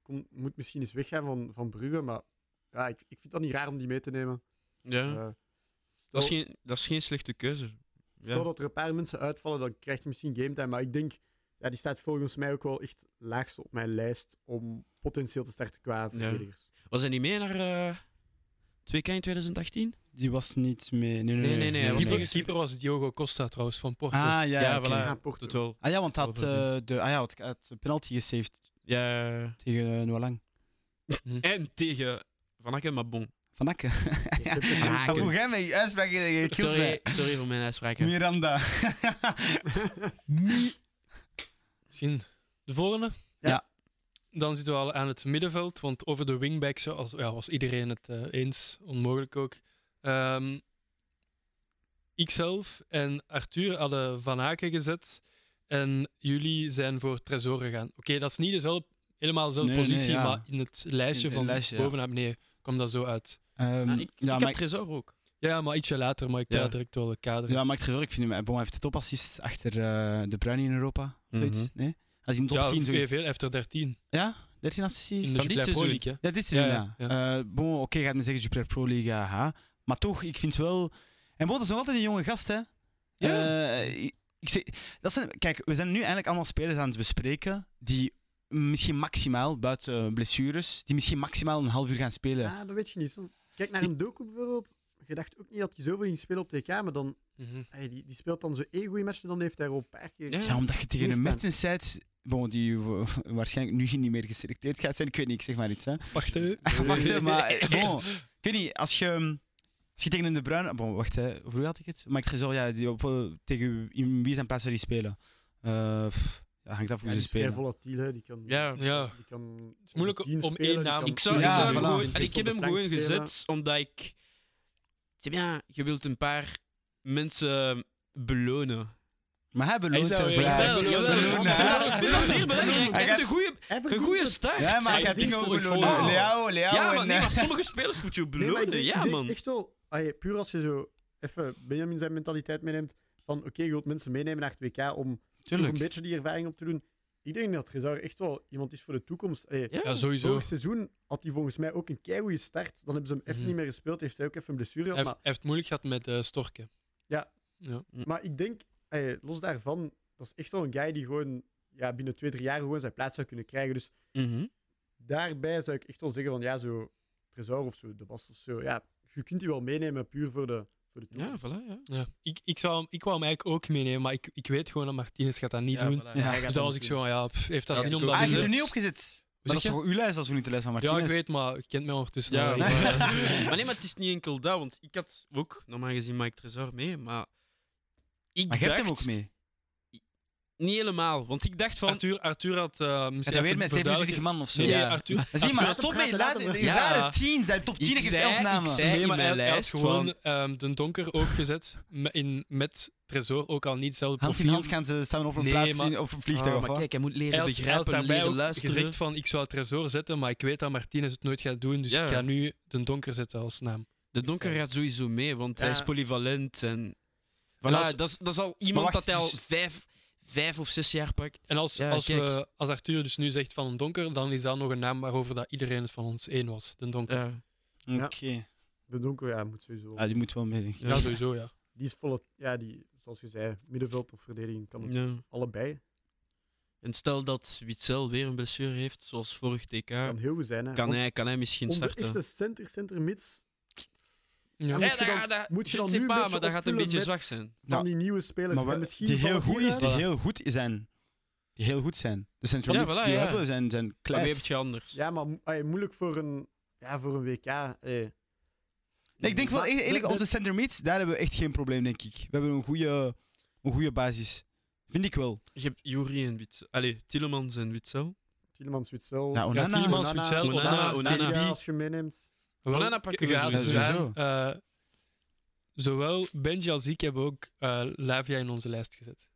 [SPEAKER 4] kom- moet misschien eens weggaan van, van Brugge, maar ja, ik, ik vind dat niet raar om die mee te nemen.
[SPEAKER 3] Ja.
[SPEAKER 4] Eh,
[SPEAKER 3] dat, is
[SPEAKER 4] stel-
[SPEAKER 3] geen, dat is geen slechte keuze.
[SPEAKER 4] Stel dat er een paar mensen uitvallen, dan krijg je misschien gametime. Maar ik denk, ja, die staat volgens mij ook wel echt laagste op mijn lijst om potentieel te starten qua verdedigers.
[SPEAKER 3] Was hij niet mee naar eh 2K in 2018?
[SPEAKER 2] Die was niet mee. Nee, nee, nee.
[SPEAKER 3] nee, nee, hij was
[SPEAKER 1] Keeper,
[SPEAKER 3] nog-
[SPEAKER 1] keeper was Diogo Costa trouwens van Porto.
[SPEAKER 2] Ah, ja, ja,
[SPEAKER 3] Ja,
[SPEAKER 2] oké.
[SPEAKER 3] voilà.
[SPEAKER 4] Ja, Porto.
[SPEAKER 3] Dat
[SPEAKER 4] [LAUGHS]
[SPEAKER 3] wel.
[SPEAKER 2] Ah ja, want hij had, eh
[SPEAKER 3] Overwint.
[SPEAKER 2] de, ah, ja, had, had de penalty gesaved
[SPEAKER 3] Ja. ja.
[SPEAKER 2] tegen eh, Noah Lang.
[SPEAKER 1] Mhm.
[SPEAKER 3] En tegen Van Aken, maar bon.
[SPEAKER 2] Van Akke.
[SPEAKER 3] Ah,
[SPEAKER 2] Hoe
[SPEAKER 3] kus.
[SPEAKER 2] jij met je uitspraak eh, je kilt
[SPEAKER 3] Sorry,
[SPEAKER 2] mij.
[SPEAKER 3] sorry voor mijn uitspraken.
[SPEAKER 2] Miranda. [LAUGHS]
[SPEAKER 1] Misschien de volgende?
[SPEAKER 2] Ja.
[SPEAKER 1] Dan zitten we al aan het middenveld, want over de wingbacks als, ja, was iedereen het eh, eens, onmogelijk ook. Ehm ikzelf en Arthur hadden Van Aken gezet en jullie zijn voor Tresor gegaan. Oké, dat is niet dezelfde, helemaal dezelfde
[SPEAKER 2] Nee, nee,
[SPEAKER 1] positie,
[SPEAKER 2] ja.
[SPEAKER 1] maar in het lijstje
[SPEAKER 2] In het
[SPEAKER 1] van
[SPEAKER 2] lijstje, ja.
[SPEAKER 1] boven naar beneden kwam dat zo uit.
[SPEAKER 2] Ehm,
[SPEAKER 3] Ah, ik
[SPEAKER 2] ja, maar
[SPEAKER 3] ik heb Trezor ook.
[SPEAKER 1] Ja, maar ietsje later, maar ik ja.
[SPEAKER 3] Ja.
[SPEAKER 1] direct wel het kader.
[SPEAKER 2] Ja, maakt geen zorg. Ik vind hem, eh, Bon heeft de topassist achter eh, De Bruyne in Europa. Of zoiets.
[SPEAKER 3] Mhm.
[SPEAKER 2] Nee? Als hij hem top
[SPEAKER 1] Ja,
[SPEAKER 2] 10
[SPEAKER 1] veel,
[SPEAKER 2] zo...
[SPEAKER 1] veel efter 13.
[SPEAKER 2] Ja? 13
[SPEAKER 1] In
[SPEAKER 2] assists?
[SPEAKER 1] de
[SPEAKER 3] Van dit
[SPEAKER 1] Jupiler Pro
[SPEAKER 3] seizoen.
[SPEAKER 1] League, hè.
[SPEAKER 2] Ja, dit seizoen,
[SPEAKER 1] Ja,
[SPEAKER 2] ja.
[SPEAKER 1] ja,
[SPEAKER 2] Eh, bon, oké, je gaat me zeggen Super Pro League, aha. Maar toch, ik vind wel... En Bon dat is nog altijd een jonge gast, hè. Eh, ik- ik zeg, dat zijn, kijk, we zijn nu eigenlijk allemaal spelers aan het bespreken die misschien maximaal, buiten eh, blessures, die misschien maximaal een half uur gaan spelen.
[SPEAKER 4] Ja, dat weet je niet. Zo. Kijk naar een docu bijvoorbeeld. Je dacht ook niet dat hij zoveel ging spelen op TK, maar dan,
[SPEAKER 1] Mhm.
[SPEAKER 4] hey, die, die speelt dan zo één goede match en dan heeft hij er al een paar keer...
[SPEAKER 3] Ja.
[SPEAKER 2] Ja, omdat je tegen een
[SPEAKER 4] Meestal.
[SPEAKER 2] Mertens zijt, bon, die wa- [LAUGHS] waarschijnlijk nu niet meer geselecteerd gaat zijn, ik weet niet, ik zeg maar iets. Hè.
[SPEAKER 1] Wacht, hè.
[SPEAKER 2] [LAUGHS] Wacht, hè, maar eh, bon, ik weet niet, als je, ehm, als je tegen een De Bruyne... Ah, Bon, wacht, hè, hoe had ik het? Maar ik zo, ja, die op, eh, tegen in wie zijn passen die spelen? Eh, pff, dat hangt af
[SPEAKER 4] Ja,
[SPEAKER 2] hoe
[SPEAKER 4] die
[SPEAKER 2] ze
[SPEAKER 4] is vrij
[SPEAKER 2] spelen.
[SPEAKER 4] volatiel, hè. Die kan...
[SPEAKER 3] Ja.
[SPEAKER 1] Ja.
[SPEAKER 4] Die kan het
[SPEAKER 1] is moeilijk om één naam-
[SPEAKER 3] Ik zou,
[SPEAKER 2] Ja,
[SPEAKER 3] ik zou
[SPEAKER 2] voilà.
[SPEAKER 3] gewoon-
[SPEAKER 2] Ik
[SPEAKER 3] en ik heb hem gewoon gezet omdat ik. Zeg, ja, je wilt een paar mensen belonen.
[SPEAKER 2] Maar hij beloont
[SPEAKER 1] zou- hij
[SPEAKER 2] hè, Bruyne.
[SPEAKER 1] zou-
[SPEAKER 2] Hij beloont, hè.
[SPEAKER 4] Ja,
[SPEAKER 3] Ik vind dat zeer belangrijk.
[SPEAKER 2] Hij
[SPEAKER 3] Hij heeft
[SPEAKER 2] gaat-
[SPEAKER 3] een goede, een goede start.
[SPEAKER 2] Ja, maar hij
[SPEAKER 1] Zijn ding
[SPEAKER 2] gaat dingen ook
[SPEAKER 1] voor het
[SPEAKER 2] belonen.
[SPEAKER 3] volgende.
[SPEAKER 2] Leao, Leao
[SPEAKER 3] Ja, maar,
[SPEAKER 2] en,
[SPEAKER 3] nee,
[SPEAKER 2] eh,
[SPEAKER 3] maar sommige spelers moet je
[SPEAKER 4] Nee, maar ik
[SPEAKER 3] belonen.
[SPEAKER 4] denk- ik
[SPEAKER 3] Ja,
[SPEAKER 4] denk
[SPEAKER 3] man.
[SPEAKER 4] Echt wel, allee, puur als je zo even Benjamin zijn mentaliteit meeneemt van oké, je wilt mensen meenemen naar het WK om toch een beetje die ervaring op te doen. Ik denk dat Gezar echt wel iemand is voor de toekomst. Allee,
[SPEAKER 1] Ja, sowieso.
[SPEAKER 4] Vorig seizoen had hij volgens mij ook een keigoede start. Dan hebben ze hem even
[SPEAKER 1] Mhm.
[SPEAKER 4] niet meer gespeeld. Heeft hij ook even een blessure
[SPEAKER 1] Hij
[SPEAKER 4] gehad.
[SPEAKER 1] heeft,
[SPEAKER 4] Maar,
[SPEAKER 1] hij heeft het moeilijk gehad met eh, Storken.
[SPEAKER 4] Ja.
[SPEAKER 1] ja.
[SPEAKER 4] maar ik denk, allee, los daarvan, dat is echt wel een guy die gewoon ja, binnen twee, drie jaar gewoon zijn plaats zou kunnen krijgen. Dus
[SPEAKER 3] Mhm.
[SPEAKER 4] daarbij zou ik echt wel zeggen van ja, zo Trezor of zo, De Bast of zo. Ja, je kunt die wel meenemen puur voor de, voor de toekomst.
[SPEAKER 3] Ja, voilà. Ja.
[SPEAKER 1] Ja. Ik, ik, zou, hem- ik wou hem eigenlijk ook meenemen, maar ik, ik weet gewoon dat Martinez gaat dat niet
[SPEAKER 3] Ja,
[SPEAKER 1] doen.
[SPEAKER 3] voilà.
[SPEAKER 2] Ja.
[SPEAKER 4] Hij gaat
[SPEAKER 1] Dus
[SPEAKER 4] dat
[SPEAKER 1] dan was
[SPEAKER 4] niet
[SPEAKER 1] ik
[SPEAKER 4] doen.
[SPEAKER 1] zo, van, ja, pff, heeft dat
[SPEAKER 3] Ja,
[SPEAKER 1] zin
[SPEAKER 3] ik
[SPEAKER 1] om
[SPEAKER 3] ook.
[SPEAKER 1] dat
[SPEAKER 2] Ah, je hebt
[SPEAKER 1] gezet?
[SPEAKER 2] hem niet opgezet. Maar dat is
[SPEAKER 1] je?
[SPEAKER 2] toch uw lijst als we niet de lijst van Martinez?
[SPEAKER 1] Ja, ik weet, maar je kent mij ondertussen.
[SPEAKER 3] Ja,
[SPEAKER 1] al,
[SPEAKER 3] maar-
[SPEAKER 1] maar-
[SPEAKER 3] Maar nee, maar het is niet enkel dat, want ik had ook normaal gezien Mike Trezor mee, maar ik
[SPEAKER 2] Maar je hebt
[SPEAKER 3] dacht
[SPEAKER 2] hem ook mee.
[SPEAKER 3] niet helemaal, want ik dacht van
[SPEAKER 1] Arthur, Arthur had eh,
[SPEAKER 2] En
[SPEAKER 1] misschien
[SPEAKER 2] dan weer
[SPEAKER 1] even
[SPEAKER 2] met
[SPEAKER 1] verduidelijken-
[SPEAKER 2] 27 man of zo.
[SPEAKER 1] Nee, nee,
[SPEAKER 3] Ja.
[SPEAKER 1] Arthur.
[SPEAKER 2] Dan Zie je maar,
[SPEAKER 4] Laten
[SPEAKER 2] stop
[SPEAKER 4] praten,
[SPEAKER 2] mee. Laat
[SPEAKER 4] laten
[SPEAKER 2] de
[SPEAKER 3] we-
[SPEAKER 2] rare
[SPEAKER 3] Ja.
[SPEAKER 2] 10, zijn top 10
[SPEAKER 3] ik
[SPEAKER 2] heeft
[SPEAKER 3] zei,
[SPEAKER 2] 11
[SPEAKER 3] ik
[SPEAKER 2] namen.
[SPEAKER 3] zei
[SPEAKER 1] Nee,
[SPEAKER 3] in
[SPEAKER 1] maar hij
[SPEAKER 3] mijn
[SPEAKER 1] had- hij had
[SPEAKER 3] lijst
[SPEAKER 1] gewoon
[SPEAKER 3] van,
[SPEAKER 1] ehm, de donker ook gezet. me- in, met Tresor, ook al niet hetzelfde
[SPEAKER 2] Hand in
[SPEAKER 1] profiel.
[SPEAKER 2] hand gaan ze samen op een
[SPEAKER 1] Nee,
[SPEAKER 2] plaats
[SPEAKER 1] maar-
[SPEAKER 2] in- op een vliegtuig.
[SPEAKER 3] Oh,
[SPEAKER 2] of
[SPEAKER 3] maar
[SPEAKER 2] wat?
[SPEAKER 3] kijk, hij moet leren
[SPEAKER 1] Hij had, hij had
[SPEAKER 3] begrijpen,
[SPEAKER 1] daarbij
[SPEAKER 3] leren
[SPEAKER 1] ook
[SPEAKER 3] luisteren.
[SPEAKER 1] gezegd van, ik zou Tresor zetten, maar ik weet dat Martinez het nooit gaat doen, dus
[SPEAKER 3] Ja.
[SPEAKER 1] ik ga nu de donker zetten als naam.
[SPEAKER 3] De donker gaat sowieso mee, want hij
[SPEAKER 4] Ja.
[SPEAKER 3] is polyvalent en... Voilà,
[SPEAKER 1] als-
[SPEAKER 3] dat, is, dat is al iemand
[SPEAKER 2] wacht,
[SPEAKER 3] dat hij al
[SPEAKER 2] dus-
[SPEAKER 3] vijf, vijf of zes jaar pakt.
[SPEAKER 1] En als,
[SPEAKER 3] Ja,
[SPEAKER 1] als,
[SPEAKER 3] kijk.
[SPEAKER 1] we, als Arthur dus nu zegt van een donker, dan is dat nog een naam waarover dat iedereen het van ons één was. De donker.
[SPEAKER 3] Ja.
[SPEAKER 4] Ja.
[SPEAKER 2] Oké.
[SPEAKER 4] De donker, ja, moet sowieso.
[SPEAKER 2] Ah, die moet wel mee, denk ik.
[SPEAKER 1] Ja, sowieso, ja.
[SPEAKER 4] Die is volle, ja, die, zoals je zei, middenveld of verdediging kan het
[SPEAKER 3] Ja.
[SPEAKER 4] allebei.
[SPEAKER 3] En stel dat Witzel weer een blessure heeft, zoals vorig TK,
[SPEAKER 4] Kan
[SPEAKER 3] kan,
[SPEAKER 4] heel goed zijn. Hè. Want
[SPEAKER 3] hij, kan hij misschien
[SPEAKER 4] onze
[SPEAKER 3] starten.
[SPEAKER 4] echte center, center mids
[SPEAKER 1] ja.
[SPEAKER 4] Moet
[SPEAKER 3] Ja,
[SPEAKER 4] je
[SPEAKER 3] dat
[SPEAKER 4] dan-
[SPEAKER 3] gaat- dat-
[SPEAKER 4] moet je
[SPEAKER 3] je
[SPEAKER 4] dan
[SPEAKER 3] sais
[SPEAKER 4] nu
[SPEAKER 3] pas,
[SPEAKER 4] een beetje
[SPEAKER 3] maar dat gaat een
[SPEAKER 4] opvullen
[SPEAKER 3] beetje
[SPEAKER 4] met-
[SPEAKER 3] zwak zijn.
[SPEAKER 4] van
[SPEAKER 2] Ja.
[SPEAKER 4] die nieuwe spelers.
[SPEAKER 2] Maar
[SPEAKER 4] en
[SPEAKER 2] wa-
[SPEAKER 4] misschien
[SPEAKER 2] die heel
[SPEAKER 4] vallen
[SPEAKER 2] goed is, die
[SPEAKER 4] eruit.
[SPEAKER 2] heel goed zijn. Die heel goed zijn. De central
[SPEAKER 3] Ja,
[SPEAKER 2] mids
[SPEAKER 3] voilà,
[SPEAKER 2] die we
[SPEAKER 3] ja.
[SPEAKER 2] hebben zijn, zijn
[SPEAKER 3] Maar wie heb
[SPEAKER 2] kleins.
[SPEAKER 3] je anders?
[SPEAKER 4] Ja, maar mo- ay, moeilijk voor een, ja, voor een WK. eh.
[SPEAKER 2] Nee, ik denk wel,
[SPEAKER 4] Maar
[SPEAKER 2] eer- eerlijk,
[SPEAKER 4] de-
[SPEAKER 2] op de center mids, daar hebben we echt geen probleem, denk ik. We hebben een goede, een goede basis. Vind ik wel.
[SPEAKER 3] Je hebt Jury en Witzel. Allee, Tillemans en Witzel.
[SPEAKER 4] Tielemans, Witzel.
[SPEAKER 2] Ja, Nou, Onana.
[SPEAKER 1] Tielemans, Witzel,
[SPEAKER 3] Onana,
[SPEAKER 4] Nadia,
[SPEAKER 3] Onana.
[SPEAKER 4] Als je meeneemt.
[SPEAKER 1] Wel,
[SPEAKER 3] Onana pakken we
[SPEAKER 1] je gaat
[SPEAKER 2] sowieso.
[SPEAKER 1] dus
[SPEAKER 2] Sowieso.
[SPEAKER 1] aan, eh, zowel Benji als ik hebben ook eh, Lavia in onze lijst gezet.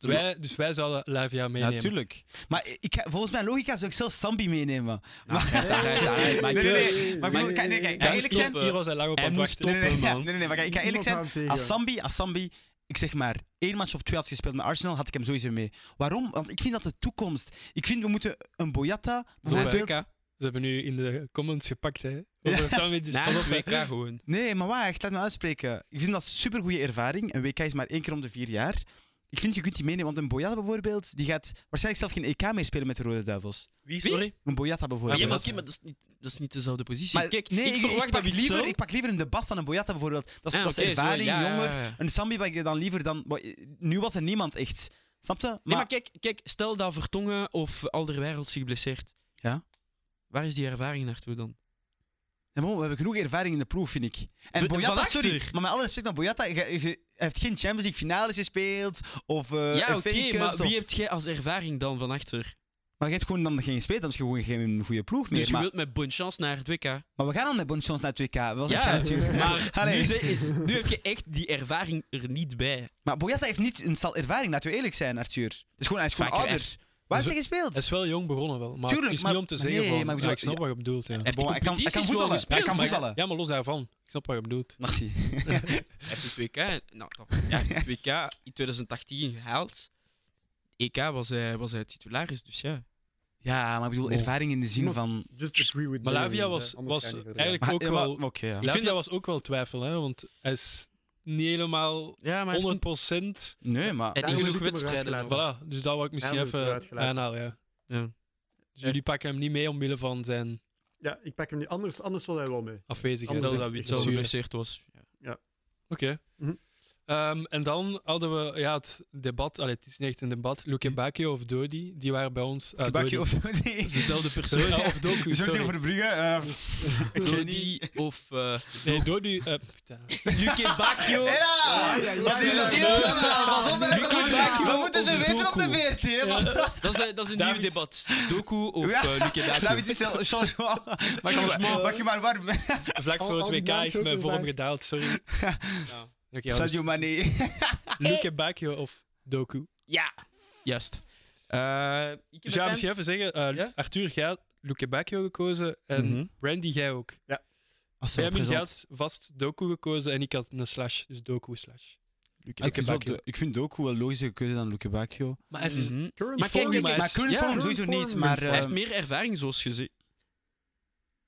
[SPEAKER 1] Wij, dus wij zouden Lavia meenemen.
[SPEAKER 2] Natuurlijk. Maar ik, ga- volgens mijn logica zou ik zelfs Sambi meenemen.
[SPEAKER 3] Nou,
[SPEAKER 2] Maar-
[SPEAKER 3] dat- dat- dat- dat-
[SPEAKER 2] Nee,
[SPEAKER 3] maar-
[SPEAKER 2] nee, nee. Maar ik bedoel,
[SPEAKER 4] Nee,
[SPEAKER 2] kijk, nee,
[SPEAKER 4] nee,
[SPEAKER 2] kijk,
[SPEAKER 1] Hij
[SPEAKER 2] kan
[SPEAKER 1] moest
[SPEAKER 2] eerlijk zijn?
[SPEAKER 1] stoppen. Hier was hij lang op
[SPEAKER 3] Hij
[SPEAKER 1] aan het
[SPEAKER 3] moest
[SPEAKER 1] wachten.
[SPEAKER 2] Nee, nee, nee,
[SPEAKER 3] stoppen,
[SPEAKER 2] ja,
[SPEAKER 3] man.
[SPEAKER 2] nee, nee, maar kijk, ik ga eerlijk
[SPEAKER 4] Niemand
[SPEAKER 2] zijn.
[SPEAKER 4] houdt
[SPEAKER 2] Als
[SPEAKER 4] tegen.
[SPEAKER 2] Sambi, als Sambi, ik zeg maar, één match op twee had gespeeld met Arsenal, had ik hem sowieso mee. Waarom? Want ik vind dat de toekomst. Ik vind, we moeten een Boyata...
[SPEAKER 1] Zo
[SPEAKER 2] bijvoorbeeld-
[SPEAKER 1] WK. Ze hebben nu in de comments gepakt, hè. Over
[SPEAKER 2] Ja.
[SPEAKER 1] Sammy,
[SPEAKER 3] [LAUGHS]
[SPEAKER 1] dus
[SPEAKER 3] Na
[SPEAKER 1] pas op,
[SPEAKER 3] het
[SPEAKER 1] hè.
[SPEAKER 3] WK gewoon.
[SPEAKER 2] Nee, maar waar? Echt, laat me uitspreken. Ik vind dat supergoeie ervaring. Een WK is maar één keer om de vier jaar. Ik vind, je kunt die meenemen, want een Boyata bijvoorbeeld, die gaat waarschijnlijk zelf geen EK meer spelen met de Rode Duivels.
[SPEAKER 1] Wie?
[SPEAKER 3] Sorry?
[SPEAKER 2] Een Boyata
[SPEAKER 3] Ja,
[SPEAKER 2] bijvoorbeeld.
[SPEAKER 3] maar,
[SPEAKER 1] dat-
[SPEAKER 3] oké, maar dat, is niet, dat is niet dezelfde positie.
[SPEAKER 2] Maar-
[SPEAKER 3] Kijk,
[SPEAKER 2] nee,
[SPEAKER 3] ik, verwacht
[SPEAKER 2] pak
[SPEAKER 3] dat Witzel...
[SPEAKER 2] liever, ik pak liever een De Bast dan een Boyata bijvoorbeeld. Dat is,
[SPEAKER 3] Ah,
[SPEAKER 2] dat is
[SPEAKER 3] oké, zo,
[SPEAKER 2] ervaring,
[SPEAKER 3] ja, ja,
[SPEAKER 2] jonger.
[SPEAKER 3] ja, ja.
[SPEAKER 2] Een Sambi pak je dan liever dan... Nu was er niemand echt. Snap je?
[SPEAKER 3] Nee, maar kijk, kijk, stel dat Vertongen of Alderweireld zich blesseert.
[SPEAKER 2] Ja.
[SPEAKER 3] Waar is die ervaring naartoe dan?
[SPEAKER 2] Ja, maar we hebben genoeg ervaring in de ploeg, vind ik. En
[SPEAKER 3] Van-
[SPEAKER 2] Boyata,
[SPEAKER 3] van
[SPEAKER 2] sorry,
[SPEAKER 3] achter.
[SPEAKER 2] maar met alle respect naar Boyata, je- je- hij heeft geen Champions League finales gespeeld. Of eh
[SPEAKER 3] ja,
[SPEAKER 2] FA
[SPEAKER 3] oké,
[SPEAKER 2] Cups,
[SPEAKER 3] maar
[SPEAKER 2] of-
[SPEAKER 3] wie hebt jij als ervaring dan van achter?
[SPEAKER 2] maar je hebt gewoon dan geen gespeeld, dan is je gewoon geen goede ploeg meer.
[SPEAKER 3] dus je
[SPEAKER 2] maar,
[SPEAKER 3] wilt met bonchance naar het WK.
[SPEAKER 2] maar we gaan dan met Bonchons naar het WK. Wel
[SPEAKER 3] ja,
[SPEAKER 2] ja, natuurlijk.
[SPEAKER 3] [LAUGHS] maar
[SPEAKER 2] [LAUGHS] Allee.
[SPEAKER 3] nu, zei- nu heb je echt die ervaring er niet bij.
[SPEAKER 2] Maar Boyata heeft niet een stal ervaring, laten we eerlijk zijn, Arthur. Dus gewoon, hij is gewoon
[SPEAKER 3] Vaker
[SPEAKER 2] ouder. Waar heeft
[SPEAKER 1] Dus-
[SPEAKER 2] hij gespeeld?
[SPEAKER 1] Hij is wel jong begonnen wel, maar
[SPEAKER 2] Tuurlijk,
[SPEAKER 1] het is
[SPEAKER 2] maar-
[SPEAKER 1] niet om te
[SPEAKER 2] nee,
[SPEAKER 1] zeggen
[SPEAKER 2] maar
[SPEAKER 1] van,
[SPEAKER 2] ik
[SPEAKER 1] ik,
[SPEAKER 2] bedoel-
[SPEAKER 1] ik snap
[SPEAKER 2] ja.
[SPEAKER 1] wat je bedoelt. Ja.
[SPEAKER 3] Heeft die
[SPEAKER 2] Bon, hij kan- hij
[SPEAKER 3] competities
[SPEAKER 2] kan
[SPEAKER 3] wel
[SPEAKER 2] voetballen. Hij
[SPEAKER 3] gespeeld?
[SPEAKER 2] kan
[SPEAKER 3] maar-
[SPEAKER 2] voetballen.
[SPEAKER 1] ja, maar los daarvan. Ik snap wat je bedoelt.
[SPEAKER 2] Merci.
[SPEAKER 3] Hij heeft het WK, en- nou, toch, hij heeft het WK in 2018 gehaald. EK was hij, was hij titularis, dus ja.
[SPEAKER 2] Ja, maar ik bedoel,
[SPEAKER 1] Bon.
[SPEAKER 2] ervaring in de zin
[SPEAKER 4] Iemand-
[SPEAKER 2] van...
[SPEAKER 4] Just agree with
[SPEAKER 1] Maar Lavia
[SPEAKER 4] Damian,
[SPEAKER 1] was-
[SPEAKER 4] eh, anders
[SPEAKER 1] was
[SPEAKER 4] ga je niet verder.
[SPEAKER 1] eigenlijk- ook
[SPEAKER 2] Ja, maar-
[SPEAKER 1] wel-
[SPEAKER 2] Oké, ja.
[SPEAKER 1] Ik vind dat was ook wel twijfel, hè, want hij is niet helemaal 100%.
[SPEAKER 3] Ja, maar hij heeft
[SPEAKER 2] Nee, maar... Ah,
[SPEAKER 3] En
[SPEAKER 4] Daarom
[SPEAKER 3] genoeg
[SPEAKER 4] is het hem
[SPEAKER 3] wedstrijden
[SPEAKER 4] eruit gelaten.
[SPEAKER 1] Voilà, dus dat wou ik misschien
[SPEAKER 4] Ja, moet eruit
[SPEAKER 1] even
[SPEAKER 4] gelaten.
[SPEAKER 1] aanhalen. Ja.
[SPEAKER 3] Ja.
[SPEAKER 1] Dus jullie pakken hem niet mee omwille van zijn
[SPEAKER 4] Ja, ik pak hem niet. Anders, anders zal hij wel mee.
[SPEAKER 1] afwezigheid.
[SPEAKER 3] Stel
[SPEAKER 4] Anders ik-
[SPEAKER 3] dat
[SPEAKER 4] ik-
[SPEAKER 3] Witsel
[SPEAKER 1] zuur.
[SPEAKER 3] geblesseerd [LAUGHS] was. Ja.
[SPEAKER 1] Oké.
[SPEAKER 4] Mhm.
[SPEAKER 1] Ehm, en dan hadden we ja, het debat, allee, het is niet echt een debat, Luke Bakio of Dodi, die waren bij ons...
[SPEAKER 3] Ah,
[SPEAKER 1] eh,
[SPEAKER 2] Kebakje
[SPEAKER 1] Dodi.
[SPEAKER 2] of...
[SPEAKER 1] Dat is Dezelfde persoon. Ja, of Doku,
[SPEAKER 2] Zorg
[SPEAKER 1] sorry.
[SPEAKER 2] over de bruggen. eh, ik weet niet.
[SPEAKER 3] Dodi of... eh,
[SPEAKER 1] Nee, Dodi... eh, putain. Luke
[SPEAKER 2] [LAUGHS]
[SPEAKER 1] Bakio...
[SPEAKER 2] Ja! Wat is dat hier allemaal? Pas op, hè.
[SPEAKER 1] Lucky
[SPEAKER 2] Dat
[SPEAKER 1] Lucky
[SPEAKER 2] moet- Dat moeten ze
[SPEAKER 1] of
[SPEAKER 2] weten op
[SPEAKER 1] Doku.
[SPEAKER 2] de VRT. hè,
[SPEAKER 1] Ja.
[SPEAKER 2] man.
[SPEAKER 3] dat, is, een- dat is een
[SPEAKER 1] David-
[SPEAKER 3] nieuw debat. Doku of
[SPEAKER 2] Ja.
[SPEAKER 3] eh, Luke Daku.
[SPEAKER 2] David Wissel, changement. Maak je maar- Maak je maar warm.
[SPEAKER 1] Vlak
[SPEAKER 4] Al-
[SPEAKER 1] voor het
[SPEAKER 4] al die
[SPEAKER 1] WK
[SPEAKER 4] namen
[SPEAKER 1] heeft
[SPEAKER 4] ook
[SPEAKER 1] mijn
[SPEAKER 4] gevraagd.
[SPEAKER 1] vorm gedaald, sorry.
[SPEAKER 3] Ja.
[SPEAKER 1] Oké, ja, dus
[SPEAKER 2] Sadio Mane.
[SPEAKER 1] Luke Bakio of Doku.
[SPEAKER 3] Ja, juist. Eh, ik heb
[SPEAKER 1] Dus ja,
[SPEAKER 3] het
[SPEAKER 1] misschien even zeggen, eh,
[SPEAKER 3] Ja?
[SPEAKER 1] Arthur, jij had Luke Bakio gekozen en
[SPEAKER 3] Mhm.
[SPEAKER 1] Randy, jij ook. Benjamin, jij had vast Doku gekozen en ik had een slash, dus Doku slash.
[SPEAKER 3] Luke
[SPEAKER 2] Ik
[SPEAKER 1] Luke
[SPEAKER 2] vind
[SPEAKER 1] Bakio.
[SPEAKER 2] wel- Ik vind Doku wel logischer keuze dan Luke Bakio.
[SPEAKER 1] Maar hij is...
[SPEAKER 3] Mhm.
[SPEAKER 4] Current
[SPEAKER 1] Maar
[SPEAKER 4] form,
[SPEAKER 1] kijk, kijk,
[SPEAKER 2] Maar
[SPEAKER 1] kijk.
[SPEAKER 2] current
[SPEAKER 3] ja.
[SPEAKER 2] form sowieso
[SPEAKER 4] Current
[SPEAKER 2] niet,
[SPEAKER 4] form.
[SPEAKER 2] maar...
[SPEAKER 3] Hij
[SPEAKER 2] [LAUGHS]
[SPEAKER 3] heeft
[SPEAKER 2] eh,
[SPEAKER 3] meer ervaring, zoals gezegd.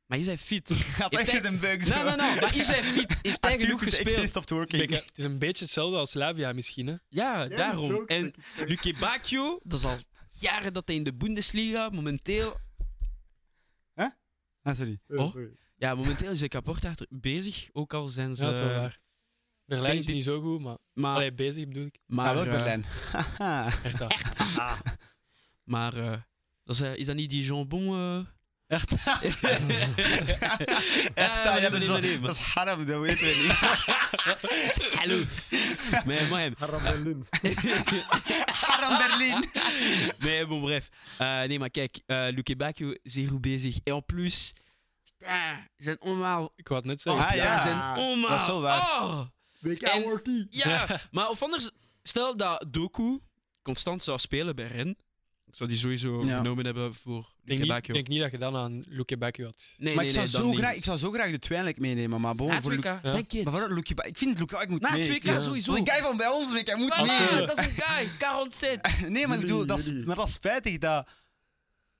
[SPEAKER 3] Maar is hij fit?
[SPEAKER 2] Gaat
[SPEAKER 3] Heeft
[SPEAKER 2] echt
[SPEAKER 3] hij-
[SPEAKER 2] een bug
[SPEAKER 3] Nee, nee, nee. Maar is hij fit? Heeft hij genoeg gespeeld?
[SPEAKER 2] stopt
[SPEAKER 1] Het is een
[SPEAKER 2] working.
[SPEAKER 1] beetje- het is een beetje hetzelfde als Lavia misschien, hè?
[SPEAKER 3] Ja,
[SPEAKER 4] Ja,
[SPEAKER 3] daarom.
[SPEAKER 4] jokes,
[SPEAKER 3] En
[SPEAKER 4] ik- ik-
[SPEAKER 3] Luke Bacchio, dat is al jaren dat hij in de Bundesliga momenteel...
[SPEAKER 2] Ah, sorry.
[SPEAKER 4] eh,
[SPEAKER 1] Oh.
[SPEAKER 4] sorry.
[SPEAKER 3] Ja, momenteel is hij kapot achter bezig, ook al zijn ze...
[SPEAKER 1] Ja, dat is wel waar. Berlijn
[SPEAKER 3] denk
[SPEAKER 1] is
[SPEAKER 3] die-
[SPEAKER 1] niet zo goed, maar...
[SPEAKER 3] Maar,
[SPEAKER 1] Allee, bezig bedoel ik.
[SPEAKER 3] maar,
[SPEAKER 2] Ah, wel
[SPEAKER 3] eh, [LAUGHS]
[SPEAKER 2] Berlijn.
[SPEAKER 1] Ah. Echt dat.
[SPEAKER 4] Ah,
[SPEAKER 3] maar eh, dat is, eh, is dat niet die jambon... eh?
[SPEAKER 2] Echt? Echt?
[SPEAKER 3] Eh,
[SPEAKER 2] ah, ja, dat is
[SPEAKER 3] meneer,
[SPEAKER 2] wel-
[SPEAKER 3] meneer,
[SPEAKER 2] Dat is haram, dat weten we
[SPEAKER 3] [LAUGHS]
[SPEAKER 2] niet.
[SPEAKER 3] [LAUGHS] Hallo. Maar, maar,
[SPEAKER 4] Haram Berlin.
[SPEAKER 2] Haram Berlin.
[SPEAKER 3] Nee, maar bref. Eh, nee, maar kijk, eh Luke Bacchio, zeer goed bezig. En en plus, putain, zijn omhaal.
[SPEAKER 1] Ik wou het net
[SPEAKER 3] Oh,
[SPEAKER 1] zeggen.
[SPEAKER 2] Ah, ja.
[SPEAKER 3] zijn omhaal.
[SPEAKER 2] dat is wel waar.
[SPEAKER 3] Oh,
[SPEAKER 4] WK
[SPEAKER 3] En-
[SPEAKER 4] World Cup.
[SPEAKER 3] ja. maar of anders, stel dat Doku constant zou spelen bij Ren, ik zou die sowieso
[SPEAKER 2] Ja.
[SPEAKER 3] genomen hebben voor
[SPEAKER 1] Ik denk,
[SPEAKER 3] Luke
[SPEAKER 1] niet,
[SPEAKER 3] Bacchio.
[SPEAKER 1] ik denk niet dat je dan aan Luke Bakio had.
[SPEAKER 3] Nee,
[SPEAKER 2] Maar ik
[SPEAKER 3] nee,
[SPEAKER 2] zou
[SPEAKER 3] nee,
[SPEAKER 2] zo graag- ik zou zo graag de Twinlijk meenemen, maar bon, voor Luke...
[SPEAKER 3] Afrika,
[SPEAKER 1] Ja.
[SPEAKER 3] denk je het?
[SPEAKER 2] Maar waarom Luke... Ik vind Luke ik moet
[SPEAKER 3] Na
[SPEAKER 2] mee.
[SPEAKER 3] het WK
[SPEAKER 1] ja.
[SPEAKER 3] sowieso. Ah,
[SPEAKER 2] Want die guy van bij ons, weet je, hij moet
[SPEAKER 3] Voilà,
[SPEAKER 1] Als, eh,
[SPEAKER 2] mee.
[SPEAKER 3] dat is een guy, 47.
[SPEAKER 2] Nee, maar ik bedoel, dat is,
[SPEAKER 4] Jullie.
[SPEAKER 2] maar dat is spijtig dat...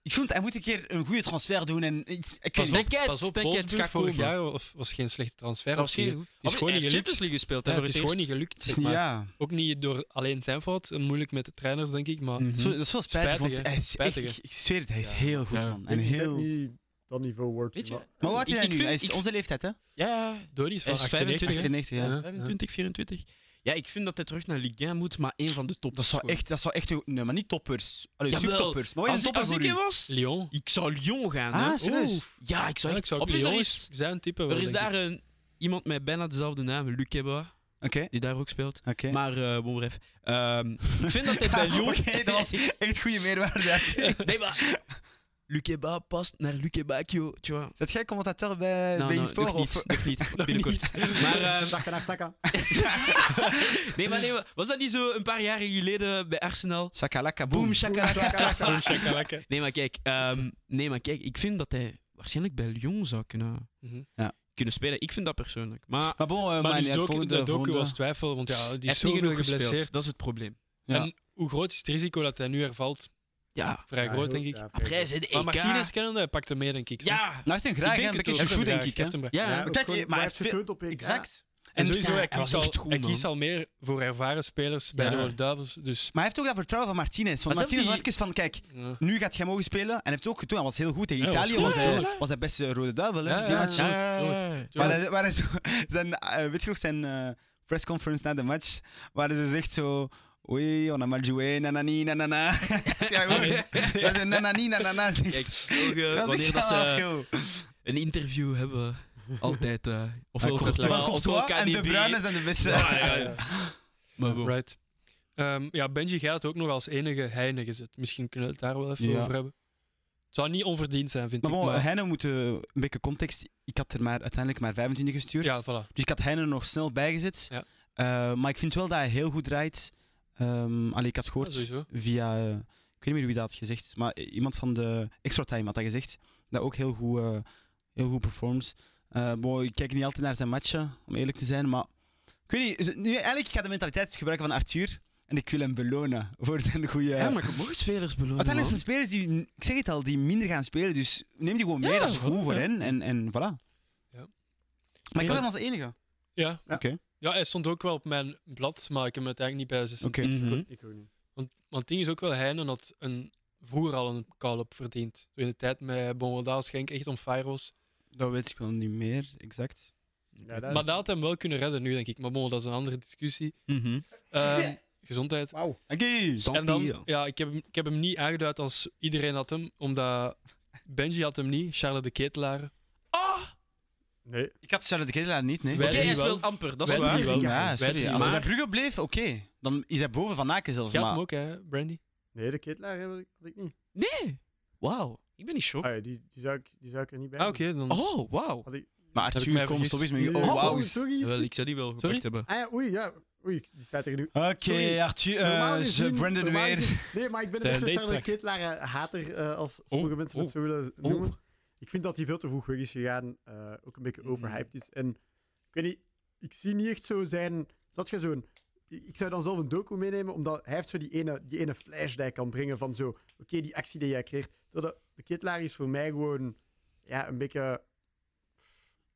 [SPEAKER 2] Ik vond, hij moet een keer een goede transfer doen en iets... Ik weet
[SPEAKER 1] Pas
[SPEAKER 2] niet.
[SPEAKER 1] op,
[SPEAKER 3] denk het,
[SPEAKER 1] pas op.
[SPEAKER 3] denk het,
[SPEAKER 1] Wolfsburg
[SPEAKER 3] gaat
[SPEAKER 1] vorig
[SPEAKER 3] komen.
[SPEAKER 1] jaar was, was geen slechte transfer.
[SPEAKER 3] Dat is
[SPEAKER 1] optie, hè.
[SPEAKER 3] gewoon niet
[SPEAKER 1] gewoon niet gelukt.
[SPEAKER 3] Oh, Champions League gespeeld. hè,
[SPEAKER 1] Ja,
[SPEAKER 3] voor
[SPEAKER 1] het is
[SPEAKER 3] eerst.
[SPEAKER 1] gewoon niet gelukt.
[SPEAKER 2] Het is
[SPEAKER 1] zeg
[SPEAKER 2] niet...
[SPEAKER 1] maar.
[SPEAKER 2] Ja.
[SPEAKER 1] Ook niet door alleen zijn fout. En moeilijk met de trainers, denk ik. Maar
[SPEAKER 2] Zo, dat is wel
[SPEAKER 1] Mhm.
[SPEAKER 2] spijtig,
[SPEAKER 1] Spijtig,
[SPEAKER 2] want
[SPEAKER 1] hè.
[SPEAKER 2] hij is echt...
[SPEAKER 1] Spijtig, hè.
[SPEAKER 2] Ik ik zweer het, hij is
[SPEAKER 1] Ja.
[SPEAKER 2] heel goed,
[SPEAKER 3] Ja.
[SPEAKER 2] man. En
[SPEAKER 4] En
[SPEAKER 2] heel...
[SPEAKER 4] niet dat niveau World Cup,
[SPEAKER 3] Weet je?
[SPEAKER 4] maar-
[SPEAKER 2] Maar wat is
[SPEAKER 3] Ik-
[SPEAKER 2] hij
[SPEAKER 3] ik
[SPEAKER 2] nu?
[SPEAKER 3] vind-
[SPEAKER 2] Hij is
[SPEAKER 3] ik-
[SPEAKER 2] onze leeftijd, hè?
[SPEAKER 3] Ja,
[SPEAKER 1] Dodi is van
[SPEAKER 3] Hij is
[SPEAKER 1] 98.
[SPEAKER 2] 98, ja.
[SPEAKER 1] Ja.
[SPEAKER 3] 25, 24. Ja, ik vind dat hij terug naar Ligue 1 moet, maar één van de top.
[SPEAKER 2] Dat zou echt, dat zou echt een, nee, maar niet toppers. Allee,
[SPEAKER 3] Jawel.
[SPEAKER 2] subtoppers. Maar wat
[SPEAKER 3] Als,
[SPEAKER 2] is een
[SPEAKER 3] ik-
[SPEAKER 2] topper
[SPEAKER 3] als
[SPEAKER 2] voor
[SPEAKER 3] ik
[SPEAKER 2] u?
[SPEAKER 3] hem was,
[SPEAKER 1] Lyon.
[SPEAKER 3] ik zou Lyon gaan. hè.
[SPEAKER 2] Ah, serieus?
[SPEAKER 1] Oeh.
[SPEAKER 3] Ja, ik zou
[SPEAKER 1] Ja,
[SPEAKER 3] echt...
[SPEAKER 1] ik zou ook
[SPEAKER 3] Op is er
[SPEAKER 1] Lyon
[SPEAKER 3] is-
[SPEAKER 1] zijn type wel,
[SPEAKER 3] er is
[SPEAKER 1] denk ik.
[SPEAKER 3] daar een, iemand met bijna dezelfde naam, Luc Ebba,
[SPEAKER 2] Oké,
[SPEAKER 3] die daar ook speelt.
[SPEAKER 2] oké.
[SPEAKER 3] Maar, eh bon bref. Ehm, ik vind
[SPEAKER 1] [LAUGHS]
[SPEAKER 3] dat hij bij Lyon...
[SPEAKER 2] Oké, dat was [LAUGHS] echt goede meerwaarde. uit.
[SPEAKER 3] [LAUGHS] nee, maar... Luc Ebba past naar Luc Ebacchio, tu vois.
[SPEAKER 2] Zet jij commentator bij,
[SPEAKER 3] Nou,
[SPEAKER 2] bij
[SPEAKER 3] nou,
[SPEAKER 2] Insport?
[SPEAKER 3] nog niet,
[SPEAKER 2] of-
[SPEAKER 3] nog niet, binnenkort. [LAUGHS] Maar,
[SPEAKER 4] [LAUGHS]
[SPEAKER 3] ehm,
[SPEAKER 4] Dag naar Saka.
[SPEAKER 3] [LAUGHS] nee, maar nee, maar was dat niet zo een paar jaren geleden bij Arsenal?
[SPEAKER 2] Shakalaka, boom.
[SPEAKER 3] Boom, shakalaka.
[SPEAKER 1] Gewoon shakalaka.
[SPEAKER 3] [LAUGHS] Nee, maar kijk, ehm, nee, maar kijk, ik vind dat hij waarschijnlijk bij Lyon zou kunnen,
[SPEAKER 1] Mhm.
[SPEAKER 2] Ja.
[SPEAKER 3] kunnen spelen. Ik vind dat persoonlijk. Maar
[SPEAKER 2] Maar bon, eh,
[SPEAKER 1] Maar
[SPEAKER 2] maar
[SPEAKER 1] dus
[SPEAKER 2] niet uit,
[SPEAKER 1] Doku,
[SPEAKER 2] volgende,
[SPEAKER 1] de Doku
[SPEAKER 2] volgende.
[SPEAKER 1] was twijfel, want ja, die
[SPEAKER 3] hij
[SPEAKER 1] is
[SPEAKER 3] heeft niet
[SPEAKER 1] zoveel
[SPEAKER 3] genoeg gespeeld.
[SPEAKER 1] geblesseerd.
[SPEAKER 3] Dat is het probleem.
[SPEAKER 2] Ja.
[SPEAKER 1] En hoe groot is het risico dat hij nu hervalt?
[SPEAKER 3] Ja.
[SPEAKER 1] Vrij
[SPEAKER 4] Ja,
[SPEAKER 1] groot,
[SPEAKER 4] heel-
[SPEAKER 1] denk ik.
[SPEAKER 4] ja, vrij
[SPEAKER 3] Après,
[SPEAKER 4] groot.
[SPEAKER 3] zijn de
[SPEAKER 1] Maar
[SPEAKER 3] EK.
[SPEAKER 1] Martinez kennende, hij pakt hem mee, denk ik. hè?
[SPEAKER 3] Ja.
[SPEAKER 2] Nou, hij heeft hem
[SPEAKER 1] Ik
[SPEAKER 2] graag,
[SPEAKER 1] denk
[SPEAKER 2] hè? Een
[SPEAKER 1] het
[SPEAKER 2] beetje
[SPEAKER 1] ook.
[SPEAKER 2] shoe,
[SPEAKER 1] Graag,
[SPEAKER 2] denk ik. hè.
[SPEAKER 1] heeft hem graag.
[SPEAKER 3] Ja.
[SPEAKER 4] Ja,
[SPEAKER 3] ja.
[SPEAKER 4] ook
[SPEAKER 2] Kijk,
[SPEAKER 4] gewoon-
[SPEAKER 2] maar
[SPEAKER 4] hij
[SPEAKER 2] hij
[SPEAKER 4] heeft
[SPEAKER 2] heeft
[SPEAKER 4] getoond op EK.
[SPEAKER 2] Exact.
[SPEAKER 1] En
[SPEAKER 2] En
[SPEAKER 1] sowieso,
[SPEAKER 3] ja,
[SPEAKER 1] hij
[SPEAKER 3] hij was
[SPEAKER 1] kiest, al,
[SPEAKER 3] echt goed,
[SPEAKER 1] hij
[SPEAKER 3] man.
[SPEAKER 1] kiest al meer voor ervaren spelers bij de
[SPEAKER 3] Ja.
[SPEAKER 1] Rode Duivels. Dus,
[SPEAKER 2] Maar hij heeft ook dat vertrouwen van Martinez. Want
[SPEAKER 3] Maar zelf
[SPEAKER 2] Martinez was
[SPEAKER 3] die-
[SPEAKER 2] even van, kijk,
[SPEAKER 1] ja.
[SPEAKER 2] nu gaat jij mogen spelen. En hij heeft het ook getoond. Hij was heel goed. Tegen
[SPEAKER 1] Ja, hij was
[SPEAKER 2] Italië
[SPEAKER 1] goed,
[SPEAKER 2] was hij-
[SPEAKER 1] tuurlijk.
[SPEAKER 2] was hij beste rode duivel,
[SPEAKER 1] Ja,
[SPEAKER 2] hè? Die
[SPEAKER 1] ja,
[SPEAKER 2] match.
[SPEAKER 1] ja.
[SPEAKER 2] Waar hij, waar hij zo, [LAUGHS] zijn, eh, weet je nog, zijn eh, pressconference na de match, waar hij zo zegt zo... Oei, on a mal joué, nanani, [LAUGHS] nanana. ja, gewoon, dat is nanani, nanana. zegt.
[SPEAKER 3] Kijk, ook, eh,
[SPEAKER 2] dat is
[SPEAKER 3] wanneer
[SPEAKER 2] echt
[SPEAKER 3] dat
[SPEAKER 2] zalig,
[SPEAKER 3] ze
[SPEAKER 2] joh.
[SPEAKER 3] een interview hebben, altijd... eh
[SPEAKER 2] Maar
[SPEAKER 3] ofwel
[SPEAKER 2] Courtois-
[SPEAKER 3] Vertlagen,
[SPEAKER 2] maar
[SPEAKER 3] ofwel
[SPEAKER 2] Courtois en De
[SPEAKER 3] KDB.
[SPEAKER 2] Bruyne zijn de beste.
[SPEAKER 4] [LAUGHS]
[SPEAKER 3] Ja,
[SPEAKER 2] [LAUGHS]
[SPEAKER 3] ja, ja. Maar bon.
[SPEAKER 1] Right. Ehm, ja, Benji, jij had ook nog als enige Heine gezet. Misschien kunnen we het daar wel even
[SPEAKER 2] Ja.
[SPEAKER 1] over hebben. Het zou niet onverdiend zijn, vind
[SPEAKER 2] Maar
[SPEAKER 1] ik.
[SPEAKER 2] bon,
[SPEAKER 1] maar-
[SPEAKER 2] Heine moet eh, een beetje context. Ik had er maar, uiteindelijk maar 25 gestuurd.
[SPEAKER 1] ja, voilà.
[SPEAKER 2] Dus ik had Heine nog snel bijgezet.
[SPEAKER 1] Ja.
[SPEAKER 2] Eh, maar ik vind wel dat hij heel goed draait. Ehm allee, ik had
[SPEAKER 1] Ja,
[SPEAKER 2] gehoord
[SPEAKER 1] sowieso.
[SPEAKER 2] via... eh, ik weet niet meer wie dat had gezegd, maar i- iemand van de Extra Time had dat gezegd. Dat ook heel goed, eh, heel goed performs. Eh, bon, ik kijk niet altijd naar zijn matchen, om eerlijk te zijn, maar ik weet niet. is- Nu, eigenlijk gaat de mentaliteit gebruiken van Arthur en ik wil hem belonen voor zijn goede.
[SPEAKER 3] Ja, maar je mocht spelers belonen.
[SPEAKER 2] Uiteindelijk
[SPEAKER 3] man.
[SPEAKER 2] zijn spelers die, ik zeg het al, die minder gaan spelen, dus neem die gewoon mee,
[SPEAKER 3] Ja,
[SPEAKER 2] dat is goed
[SPEAKER 3] voilà,
[SPEAKER 2] voor
[SPEAKER 3] ja.
[SPEAKER 2] hen en, en voilà.
[SPEAKER 1] Ja.
[SPEAKER 2] Maar ik had hem als enige. Oké.
[SPEAKER 1] Ja.
[SPEAKER 2] Oké.
[SPEAKER 1] ja, hij stond ook wel op mijn blad, maar ik heb hem uiteindelijk niet bij zijn
[SPEAKER 3] Mhm.
[SPEAKER 4] Ik ook niet.
[SPEAKER 1] Want, want het ding is ook wel, Heinen had een, vroeger al een call-up verdiend. Zo in de tijd met Bonwoldaal Schenk echt on fire was.
[SPEAKER 2] Dat weet ik wel niet meer, exact.
[SPEAKER 4] Ja, dat-
[SPEAKER 1] Maar dat had hem wel kunnen redden nu, denk ik. Maar bon, dat is een andere
[SPEAKER 4] [LAUGHS]
[SPEAKER 1] discussie.
[SPEAKER 3] Mhm.
[SPEAKER 1] Ehm, gezondheid.
[SPEAKER 4] Wauw.
[SPEAKER 2] Oké.
[SPEAKER 1] En dan, ja, ik heb, hem- ik heb hem niet aangeduid als iedereen had hem, omdat Benji had hem niet, Charles de Ketelaar.
[SPEAKER 4] Nee.
[SPEAKER 2] Ik had Charlotte de Ketelaar niet, nee.
[SPEAKER 1] Wij-
[SPEAKER 3] Oké, hij
[SPEAKER 1] drie wel.
[SPEAKER 3] speelt amper, dat is
[SPEAKER 1] Wij
[SPEAKER 3] waar.
[SPEAKER 1] drie wel.
[SPEAKER 2] Ja,
[SPEAKER 1] Wij
[SPEAKER 2] sorry.
[SPEAKER 1] drie
[SPEAKER 2] Als hij
[SPEAKER 1] wel.
[SPEAKER 2] bij Brugge bleef, oké. Dan is hij boven Van Aken zelfs.
[SPEAKER 1] Jij had
[SPEAKER 2] Maar...
[SPEAKER 1] hem ook, hè, Brandy?
[SPEAKER 4] Nee, de ketelaar heb ik, had ik niet.
[SPEAKER 3] Nee! Wauw, ik ben niet shocked.
[SPEAKER 4] Ah, ja, die, die, zou ik, die zou ik er niet bij
[SPEAKER 1] Ah,
[SPEAKER 4] hebben.
[SPEAKER 1] oké. dan...
[SPEAKER 3] Oh, wauw.
[SPEAKER 2] maar
[SPEAKER 4] Had ik...
[SPEAKER 1] Heb ik mij
[SPEAKER 2] Arthur, kom, stop eens met je.
[SPEAKER 4] Die-
[SPEAKER 2] Oh, wauw.
[SPEAKER 4] sorry.
[SPEAKER 3] Jawel, ik zou die wel
[SPEAKER 1] Sorry?
[SPEAKER 3] gepakt hebben.
[SPEAKER 4] Ah ja, oei, ja. Oei, die staat er nu.
[SPEAKER 2] Oké,
[SPEAKER 4] Sorry.
[SPEAKER 2] Arthur, eh,
[SPEAKER 4] Normaal
[SPEAKER 2] ze-
[SPEAKER 4] gezien-
[SPEAKER 2] Brandon
[SPEAKER 4] normaal
[SPEAKER 2] weer.
[SPEAKER 4] gezien- Nee, maar ik ben
[SPEAKER 1] Tijn
[SPEAKER 4] een beetje
[SPEAKER 1] deed
[SPEAKER 4] Charlotte
[SPEAKER 1] straks.
[SPEAKER 4] Kitlaar eh, hater eh, als sommige mensen het
[SPEAKER 3] oh,
[SPEAKER 4] zo willen noemen. Ik vind dat hij veel te vroeg weg is gegaan, eh, ook een beetje
[SPEAKER 3] Mm.
[SPEAKER 4] overhyped is. En ik weet niet, ik zie niet echt zo zijn. Zat je zo'n. Ik ik zou dan zelf een docu meenemen, omdat hij heeft zo die ene, die ene flash die hij kan brengen van zo. Oké, die actie die jij kreeg. Terwijl de Kitlaar is voor mij gewoon ja, een beetje.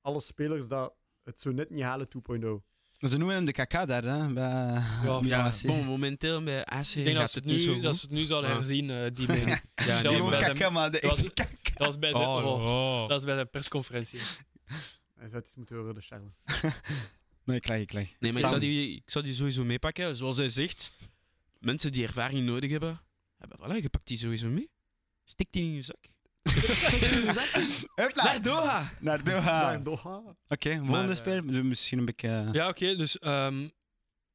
[SPEAKER 4] Alle spelers dat het zo net niet halen 2.0.
[SPEAKER 2] Ze noemen hem de KK daar, hè? Bij...
[SPEAKER 1] Ja,
[SPEAKER 3] Ja,
[SPEAKER 2] zie.
[SPEAKER 3] bon, momenteel bij AC
[SPEAKER 1] Ik denk dat
[SPEAKER 3] gaat
[SPEAKER 1] ze het,
[SPEAKER 3] het niet zo
[SPEAKER 1] nu,
[SPEAKER 3] goed.
[SPEAKER 1] dat ze het nu zouden
[SPEAKER 3] Maar-
[SPEAKER 1] herzien, eh, [LAUGHS] die mening.
[SPEAKER 3] Ja,
[SPEAKER 1] dat
[SPEAKER 3] nee,
[SPEAKER 1] was bij
[SPEAKER 2] Gewoon
[SPEAKER 3] maar...
[SPEAKER 1] zijn-
[SPEAKER 2] KK, maar de
[SPEAKER 1] dat was-
[SPEAKER 2] echte KK.
[SPEAKER 1] Dat is bij zijn,
[SPEAKER 3] Oh,
[SPEAKER 1] oh,
[SPEAKER 3] oh.
[SPEAKER 1] dat is bij zijn
[SPEAKER 3] [LAUGHS]
[SPEAKER 1] persconferentie.
[SPEAKER 4] Hij zou het eens moeten horen, de Charles.
[SPEAKER 2] [LAUGHS] Nee, ik leg, ik leg.
[SPEAKER 3] Nee, maar ik
[SPEAKER 2] Sam.
[SPEAKER 3] zou, die, ik zou die sowieso meepakken. Zoals hij zegt, mensen die ervaring nodig hebben, hebben voilà, je pakt die sowieso mee. Stik die in je zak.
[SPEAKER 2] [LAUGHS] Hupla.
[SPEAKER 3] Naar Doha!
[SPEAKER 2] Naar Doha.
[SPEAKER 4] Naar Doha.
[SPEAKER 2] Oké, volgende
[SPEAKER 3] eh,
[SPEAKER 2] speler. Dus Misschien een beetje... eh,
[SPEAKER 1] Ja, oké. dus ehm,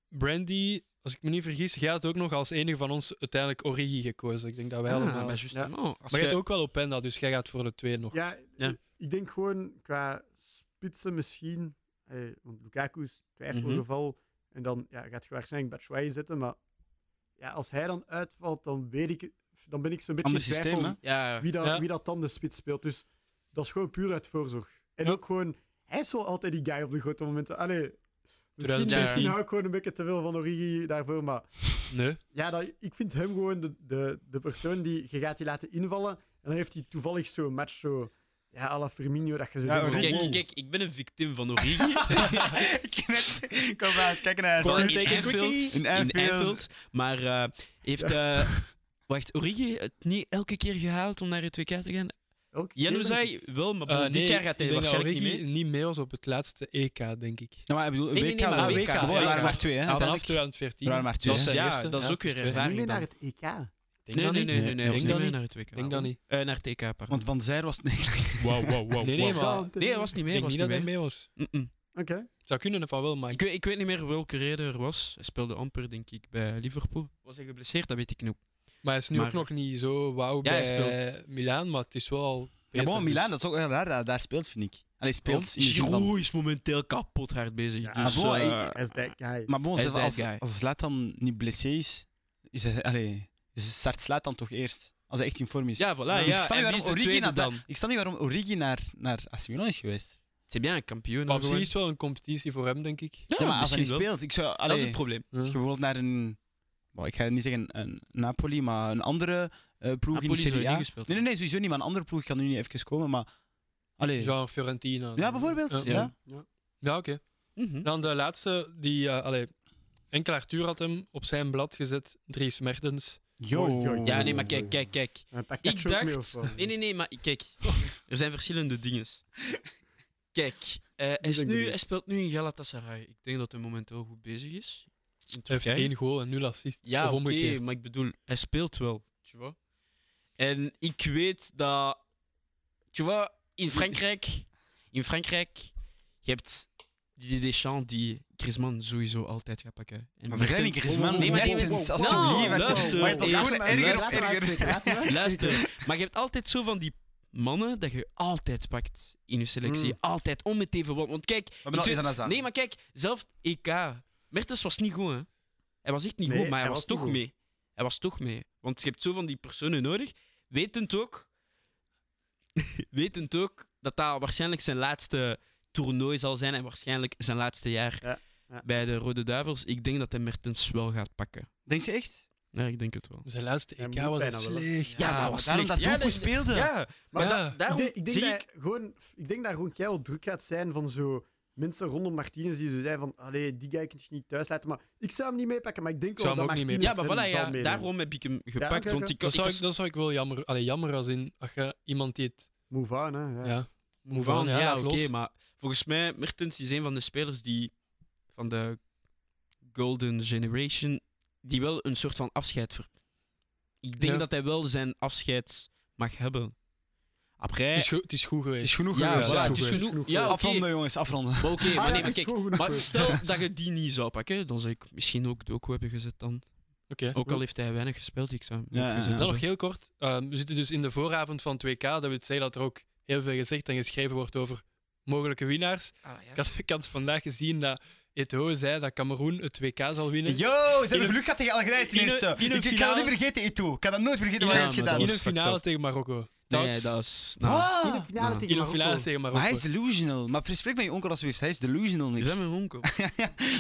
[SPEAKER 1] Brandy, als ik me niet vergis, jij had ook nog als enige van ons uiteindelijk Origi gekozen. Ik denk dat wij
[SPEAKER 3] Ah,
[SPEAKER 1] allemaal...
[SPEAKER 3] maar
[SPEAKER 1] maar
[SPEAKER 3] juist, nou, als
[SPEAKER 1] je
[SPEAKER 3] jij-
[SPEAKER 1] hebt ook wel Openda, dus jij gaat voor de twee nog.
[SPEAKER 4] Ja,
[SPEAKER 3] Ja.
[SPEAKER 4] ik denk gewoon qua spitsen misschien. eh, want Lukaku is twijfelgeval. En dan ja, gaat je waarschijnlijk Batshuayi zetten. Maar ja, als hij dan uitvalt, dan, weet ik, het- dan ben ik zo'n beetje in
[SPEAKER 2] Ander systeem,
[SPEAKER 4] twijfel
[SPEAKER 3] Ja,
[SPEAKER 4] wie dat,
[SPEAKER 1] Ja.
[SPEAKER 4] wie dat dan de spits speelt. Dus dat is gewoon puur uit voorzorg. En
[SPEAKER 1] Ja.
[SPEAKER 4] ook gewoon, hij is wel altijd die guy op de grote momenten. Allee, misschien,
[SPEAKER 1] 2016.
[SPEAKER 4] misschien hou ik gewoon een beetje te veel van Origi daarvoor. Maar
[SPEAKER 1] Nee.
[SPEAKER 4] ja, dat, ik vind hem gewoon de, de, de persoon die je gaat die laten invallen. En dan heeft hij toevallig zo'n match zo. Ja, à la Firmino, dat je zo.
[SPEAKER 2] Ja,
[SPEAKER 4] denkt van,
[SPEAKER 2] Origi.
[SPEAKER 3] Kijk,
[SPEAKER 4] wow.
[SPEAKER 3] kijk, kijk, ik ben een victim
[SPEAKER 1] [LAUGHS]
[SPEAKER 3] van
[SPEAKER 2] [LAUGHS]
[SPEAKER 3] Origi. [LAUGHS]
[SPEAKER 2] ik net, ik was aan het kijken naar
[SPEAKER 3] Gewoon in
[SPEAKER 2] Arthur.
[SPEAKER 3] Anfield.
[SPEAKER 2] In
[SPEAKER 3] In
[SPEAKER 2] Anfield.
[SPEAKER 3] Anfield. Maar eh, heeft...
[SPEAKER 1] [LAUGHS]
[SPEAKER 3] eh, wacht, Origi het niet elke keer gehaald om naar het WK te gaan?
[SPEAKER 4] Elke
[SPEAKER 3] Janu
[SPEAKER 4] keer
[SPEAKER 3] zei wel, maar
[SPEAKER 1] Eh,
[SPEAKER 3] dit
[SPEAKER 1] nee,
[SPEAKER 3] jaar gaat
[SPEAKER 1] ik
[SPEAKER 3] hij
[SPEAKER 1] denk dat
[SPEAKER 3] waarschijnlijk niet
[SPEAKER 1] Origi
[SPEAKER 3] mee.
[SPEAKER 1] was op het laatste EK, denk ik.
[SPEAKER 2] Ja, maar ik ah, bedoel,
[SPEAKER 3] Nee, nee,
[SPEAKER 2] WK.
[SPEAKER 3] nee, maar
[SPEAKER 2] wel.
[SPEAKER 3] WK,
[SPEAKER 2] Er
[SPEAKER 1] ja,
[SPEAKER 2] waren
[SPEAKER 1] ja.
[SPEAKER 2] maar twee, hè?
[SPEAKER 1] Vanaf
[SPEAKER 2] uiteindelijk.
[SPEAKER 1] 2014.
[SPEAKER 2] Er waren maar twee.
[SPEAKER 1] Dat is zijn
[SPEAKER 3] Ja,
[SPEAKER 1] eerste.
[SPEAKER 3] dat is ook weer
[SPEAKER 1] dus twee.
[SPEAKER 4] ben
[SPEAKER 3] ervaring.
[SPEAKER 4] ik niet meer
[SPEAKER 3] dan.
[SPEAKER 4] naar het EK.
[SPEAKER 1] Ik denk
[SPEAKER 3] Nee,
[SPEAKER 1] dat
[SPEAKER 3] nee,
[SPEAKER 1] niet.
[SPEAKER 3] nee, nee, nee.
[SPEAKER 1] Denk
[SPEAKER 3] hij was
[SPEAKER 1] dat
[SPEAKER 3] niet mee
[SPEAKER 1] niet.
[SPEAKER 3] naar het WK.
[SPEAKER 1] Ik denk dat niet.
[SPEAKER 3] Eh, naar het TK, pardon.
[SPEAKER 2] Want Van Zijr was... Nee,
[SPEAKER 3] Wow, wow, wow.
[SPEAKER 1] Nee, nee, maar
[SPEAKER 3] Nee, hij was niet
[SPEAKER 1] ik
[SPEAKER 3] mee.
[SPEAKER 1] denk
[SPEAKER 3] Was
[SPEAKER 1] niet
[SPEAKER 3] niet
[SPEAKER 1] dat hij
[SPEAKER 3] mee.
[SPEAKER 1] mee was.
[SPEAKER 3] Mm-mm.
[SPEAKER 4] Oké.
[SPEAKER 1] Zou kunnen, van wel, maar
[SPEAKER 3] Ik, weet, ik weet niet meer welke reden er was. Hij speelde amper, denk ik, bij Liverpool. Was hij geblesseerd? Dat weet ik nog.
[SPEAKER 1] Maar hij is nu
[SPEAKER 3] Maar-
[SPEAKER 1] ook nog niet zo wauw
[SPEAKER 3] Ja, hij
[SPEAKER 1] bij eh,
[SPEAKER 3] speelt.
[SPEAKER 1] Milaan, maar het is wel al
[SPEAKER 2] Ja,
[SPEAKER 1] beter,
[SPEAKER 2] bon,
[SPEAKER 1] dus-
[SPEAKER 2] Milaan, dat is ook heel raar dat hij daar speelt, vind ik. Allee, speelt. in de zin van-
[SPEAKER 3] Giroud is momenteel kapot hard bezig.
[SPEAKER 4] Ja,
[SPEAKER 3] dus,
[SPEAKER 2] maar bon,
[SPEAKER 3] eh,
[SPEAKER 2] hij-
[SPEAKER 4] Hij is that guy.
[SPEAKER 2] Maar bon,
[SPEAKER 3] Hij is
[SPEAKER 2] zelfs als,
[SPEAKER 3] that guy.
[SPEAKER 2] als Zlatan niet blessé is, is hij, allee, is start Zlatan toch eerst. Als hij echt in vorm is.
[SPEAKER 3] ja, voilà. ja.
[SPEAKER 2] Dus ik snap
[SPEAKER 1] nou
[SPEAKER 2] niet
[SPEAKER 3] en wie is
[SPEAKER 2] waarom
[SPEAKER 3] de
[SPEAKER 2] Origi,
[SPEAKER 3] tweede
[SPEAKER 2] naar,
[SPEAKER 3] dan?
[SPEAKER 2] ik snap niet waarom Origi naar, naar AC Milan is geweest.
[SPEAKER 3] Het is bien, een kampioen.
[SPEAKER 1] Maar op zich
[SPEAKER 3] gewoon.
[SPEAKER 1] is het wel een competitie voor hem, denk ik.
[SPEAKER 3] Ja,
[SPEAKER 2] Ja,
[SPEAKER 3] [LAUGHS]
[SPEAKER 2] maar als hij niet
[SPEAKER 3] misschien wel.
[SPEAKER 2] speelt, ik zou...
[SPEAKER 3] Dat is
[SPEAKER 2] Allee,
[SPEAKER 3] het probleem.
[SPEAKER 2] als je bijvoorbeeld naar een... Bon, ik ga niet zeggen een Napoli, maar een andere eh, ploeg
[SPEAKER 3] Napoli
[SPEAKER 2] in de
[SPEAKER 3] zou
[SPEAKER 2] Serie
[SPEAKER 3] niet
[SPEAKER 2] A.
[SPEAKER 3] gespeeld
[SPEAKER 2] Nee, nee, nee, sowieso niet, maar een andere ploeg kan nu niet even komen, maar... Allee.
[SPEAKER 1] Jean Fiorentina.
[SPEAKER 2] Ja, bijvoorbeeld. Ja.
[SPEAKER 1] Ja, Ja, oké.
[SPEAKER 3] Mhm.
[SPEAKER 1] Dan de laatste, die... eh allee, enkel Arthur had hem op zijn blad gezet. Dries Mertens.
[SPEAKER 4] Yo.
[SPEAKER 2] Oh.
[SPEAKER 3] Ja, nee, maar kijk, kijk, kijk.
[SPEAKER 4] Een
[SPEAKER 3] Ik
[SPEAKER 4] pakketje ook mee of
[SPEAKER 3] dacht...
[SPEAKER 4] zo.
[SPEAKER 3] Nee, nee, nee, maar kijk. Er zijn verschillende dingen. Kijk, eh, hij, is
[SPEAKER 4] denk
[SPEAKER 3] nu,
[SPEAKER 4] ik.
[SPEAKER 3] hij speelt nu in Galatasaray. Ik denk dat hij momenteel goed bezig is. In
[SPEAKER 1] Hij heeft
[SPEAKER 3] Turkije.
[SPEAKER 1] één goal en nul assists.
[SPEAKER 3] Ja,
[SPEAKER 1] of
[SPEAKER 3] oké,
[SPEAKER 1] omgekeerd.
[SPEAKER 3] maar ik bedoel, hij speelt wel. Tu vois. En ik weet dat... Tu vois, in Frankrijk... In Frankrijk, je hebt Didier Deschamps die Griezman sowieso altijd gaat pakken. En
[SPEAKER 2] Maar
[SPEAKER 3] Mertens-
[SPEAKER 2] vergelijk Griezman
[SPEAKER 3] Oh, Nee, maar nee,
[SPEAKER 2] Mertens,
[SPEAKER 3] wow, wow, wow.
[SPEAKER 2] alsjeblieft.
[SPEAKER 3] Nou,
[SPEAKER 2] Mertens.
[SPEAKER 3] luister.
[SPEAKER 2] Maar het was
[SPEAKER 3] Eerst
[SPEAKER 2] gewoon
[SPEAKER 3] maar-
[SPEAKER 2] erger
[SPEAKER 3] luister
[SPEAKER 2] op
[SPEAKER 4] maar
[SPEAKER 2] erger.
[SPEAKER 4] uitspreken, laten we uitspreken.
[SPEAKER 3] [LAUGHS]
[SPEAKER 4] [LAUGHS]
[SPEAKER 3] Luister, maar je hebt altijd zo van die mannen dat je altijd pakt in je selectie.
[SPEAKER 4] Mm.
[SPEAKER 3] Altijd, om het even wat. Want kijk...
[SPEAKER 2] Maar bedoel,
[SPEAKER 3] in
[SPEAKER 2] Eden Hazard.
[SPEAKER 3] Nee, maar kijk, zelf EK. Mertens was niet goed, hè? Hij was echt niet
[SPEAKER 4] Nee,
[SPEAKER 3] goed, maar hij,
[SPEAKER 4] hij
[SPEAKER 3] was,
[SPEAKER 4] was niet
[SPEAKER 3] toch
[SPEAKER 4] goed.
[SPEAKER 3] mee. Hij was toch mee. Want je hebt zo van die personen nodig. Wetend ook, [LAUGHS] wetend ook dat dat waarschijnlijk zijn laatste toernooi zal zijn en waarschijnlijk zijn laatste jaar
[SPEAKER 4] Ja, ja.
[SPEAKER 3] bij de Rode Duivels. Ik denk dat hij Mertens wel gaat pakken.
[SPEAKER 2] Denk je echt?
[SPEAKER 3] Ja, ik denk het wel.
[SPEAKER 1] Zijn laatste
[SPEAKER 4] Hij
[SPEAKER 1] EK
[SPEAKER 4] moet
[SPEAKER 1] was
[SPEAKER 4] bijna
[SPEAKER 1] echt
[SPEAKER 4] wel, hè.
[SPEAKER 1] slecht.
[SPEAKER 3] Ja, maar was
[SPEAKER 2] Daarom
[SPEAKER 3] slecht.
[SPEAKER 2] dat
[SPEAKER 3] Ja, dus-
[SPEAKER 2] Doku
[SPEAKER 3] dat-
[SPEAKER 2] speelde.
[SPEAKER 3] Ja, maar
[SPEAKER 1] Ja.
[SPEAKER 3] da- daarom
[SPEAKER 4] Ik denk, ik denk
[SPEAKER 3] zie
[SPEAKER 4] dat
[SPEAKER 3] ik...
[SPEAKER 4] gewoon, ik denk dat gewoon keihard druk gaat zijn van zo mensen rondom Martinez die zo zijn van allee, die guy kun je niet thuis laten. Maar ik zou hem niet meepakken, maar ik denk
[SPEAKER 1] zou
[SPEAKER 4] wel
[SPEAKER 1] hem
[SPEAKER 4] dat
[SPEAKER 1] ook niet
[SPEAKER 3] Ja,
[SPEAKER 4] Martinez
[SPEAKER 3] maar
[SPEAKER 4] hem
[SPEAKER 3] voilà,
[SPEAKER 4] zal
[SPEAKER 3] ja,
[SPEAKER 4] meenemen.
[SPEAKER 3] daarom heb ik hem gepakt.
[SPEAKER 4] oké,
[SPEAKER 3] Want
[SPEAKER 4] oké.
[SPEAKER 3] ik,
[SPEAKER 1] Dat
[SPEAKER 3] ik
[SPEAKER 1] zou,
[SPEAKER 3] was-
[SPEAKER 1] ik, dat zou ik wel jammer... Allee, jammer als in... Als je iemand die het...
[SPEAKER 4] Move on, hè. Ja. Ah,
[SPEAKER 1] Ja. Move
[SPEAKER 3] Van,
[SPEAKER 1] on, ja,
[SPEAKER 3] ja,
[SPEAKER 1] laat
[SPEAKER 3] oké,
[SPEAKER 1] los.
[SPEAKER 3] maar volgens mij, Mertens is een van de spelers die van de Golden Generation, die wel een soort van afscheid ver... Ik denk
[SPEAKER 1] Ja.
[SPEAKER 3] dat hij wel zijn afscheid mag hebben. Après...
[SPEAKER 1] Het, is goed, het is goed geweest.
[SPEAKER 2] Het is genoeg
[SPEAKER 3] ja,
[SPEAKER 2] geweest.
[SPEAKER 3] voilà,
[SPEAKER 2] ja.
[SPEAKER 3] het is
[SPEAKER 1] goed,
[SPEAKER 3] genoeg.
[SPEAKER 4] goed.
[SPEAKER 3] Ja, oké.
[SPEAKER 2] Afronden, jongens, afronden.
[SPEAKER 3] Maar oké,
[SPEAKER 4] Ah,
[SPEAKER 3] maar
[SPEAKER 4] ja,
[SPEAKER 3] nee, maar
[SPEAKER 4] is
[SPEAKER 3] kijk.
[SPEAKER 4] wel goed
[SPEAKER 3] Maar
[SPEAKER 4] gekozen.
[SPEAKER 3] stel dat je die niet zou pakken, dan zou ik misschien ook Doku hebben gezet dan.
[SPEAKER 1] Oké.
[SPEAKER 3] Ook al heeft hij weinig gespeeld, ik zou hem
[SPEAKER 2] Ja,
[SPEAKER 3] ook
[SPEAKER 2] ja,
[SPEAKER 3] gezet
[SPEAKER 2] ja.
[SPEAKER 1] Dan nog
[SPEAKER 3] hebben.
[SPEAKER 1] heel kort. Ehm, we zitten dus in de vooravond van 2K. Dat wil zeggen dat er ook heel veel gezegd en geschreven wordt over mogelijke winnaars.
[SPEAKER 3] Ah, ja.
[SPEAKER 1] Ik had, ik had vandaag gezien dat Eto'o zei dat Cameroen het 2K zal winnen.
[SPEAKER 2] Yo, ze
[SPEAKER 1] In
[SPEAKER 2] hebben
[SPEAKER 1] een-
[SPEAKER 2] geluk gehad tegen Algerije ten
[SPEAKER 1] in een-
[SPEAKER 2] eerste.
[SPEAKER 1] in een
[SPEAKER 2] Ik- Ik ga dat
[SPEAKER 1] finale-
[SPEAKER 2] niet vergeten, Ito. Ik kan dat nooit vergeten wat
[SPEAKER 3] Ja,
[SPEAKER 2] hij heeft
[SPEAKER 3] maar
[SPEAKER 2] gedaan.
[SPEAKER 3] dat
[SPEAKER 1] in
[SPEAKER 3] was
[SPEAKER 1] een finale
[SPEAKER 3] fucked up.
[SPEAKER 1] tegen Marokko.
[SPEAKER 3] Nee,
[SPEAKER 1] Thoughts?
[SPEAKER 3] dat is... Nou,
[SPEAKER 2] Ah!
[SPEAKER 4] In de finale
[SPEAKER 3] Ja.
[SPEAKER 4] tegen
[SPEAKER 1] in een
[SPEAKER 4] Marokko.
[SPEAKER 1] finale tegen Marokko.
[SPEAKER 2] Maar hij is delusional. Maar spreek met je onkel alsjeblieft. Hij is delusional,
[SPEAKER 3] is
[SPEAKER 2] niks.
[SPEAKER 3] dat mijn onkel?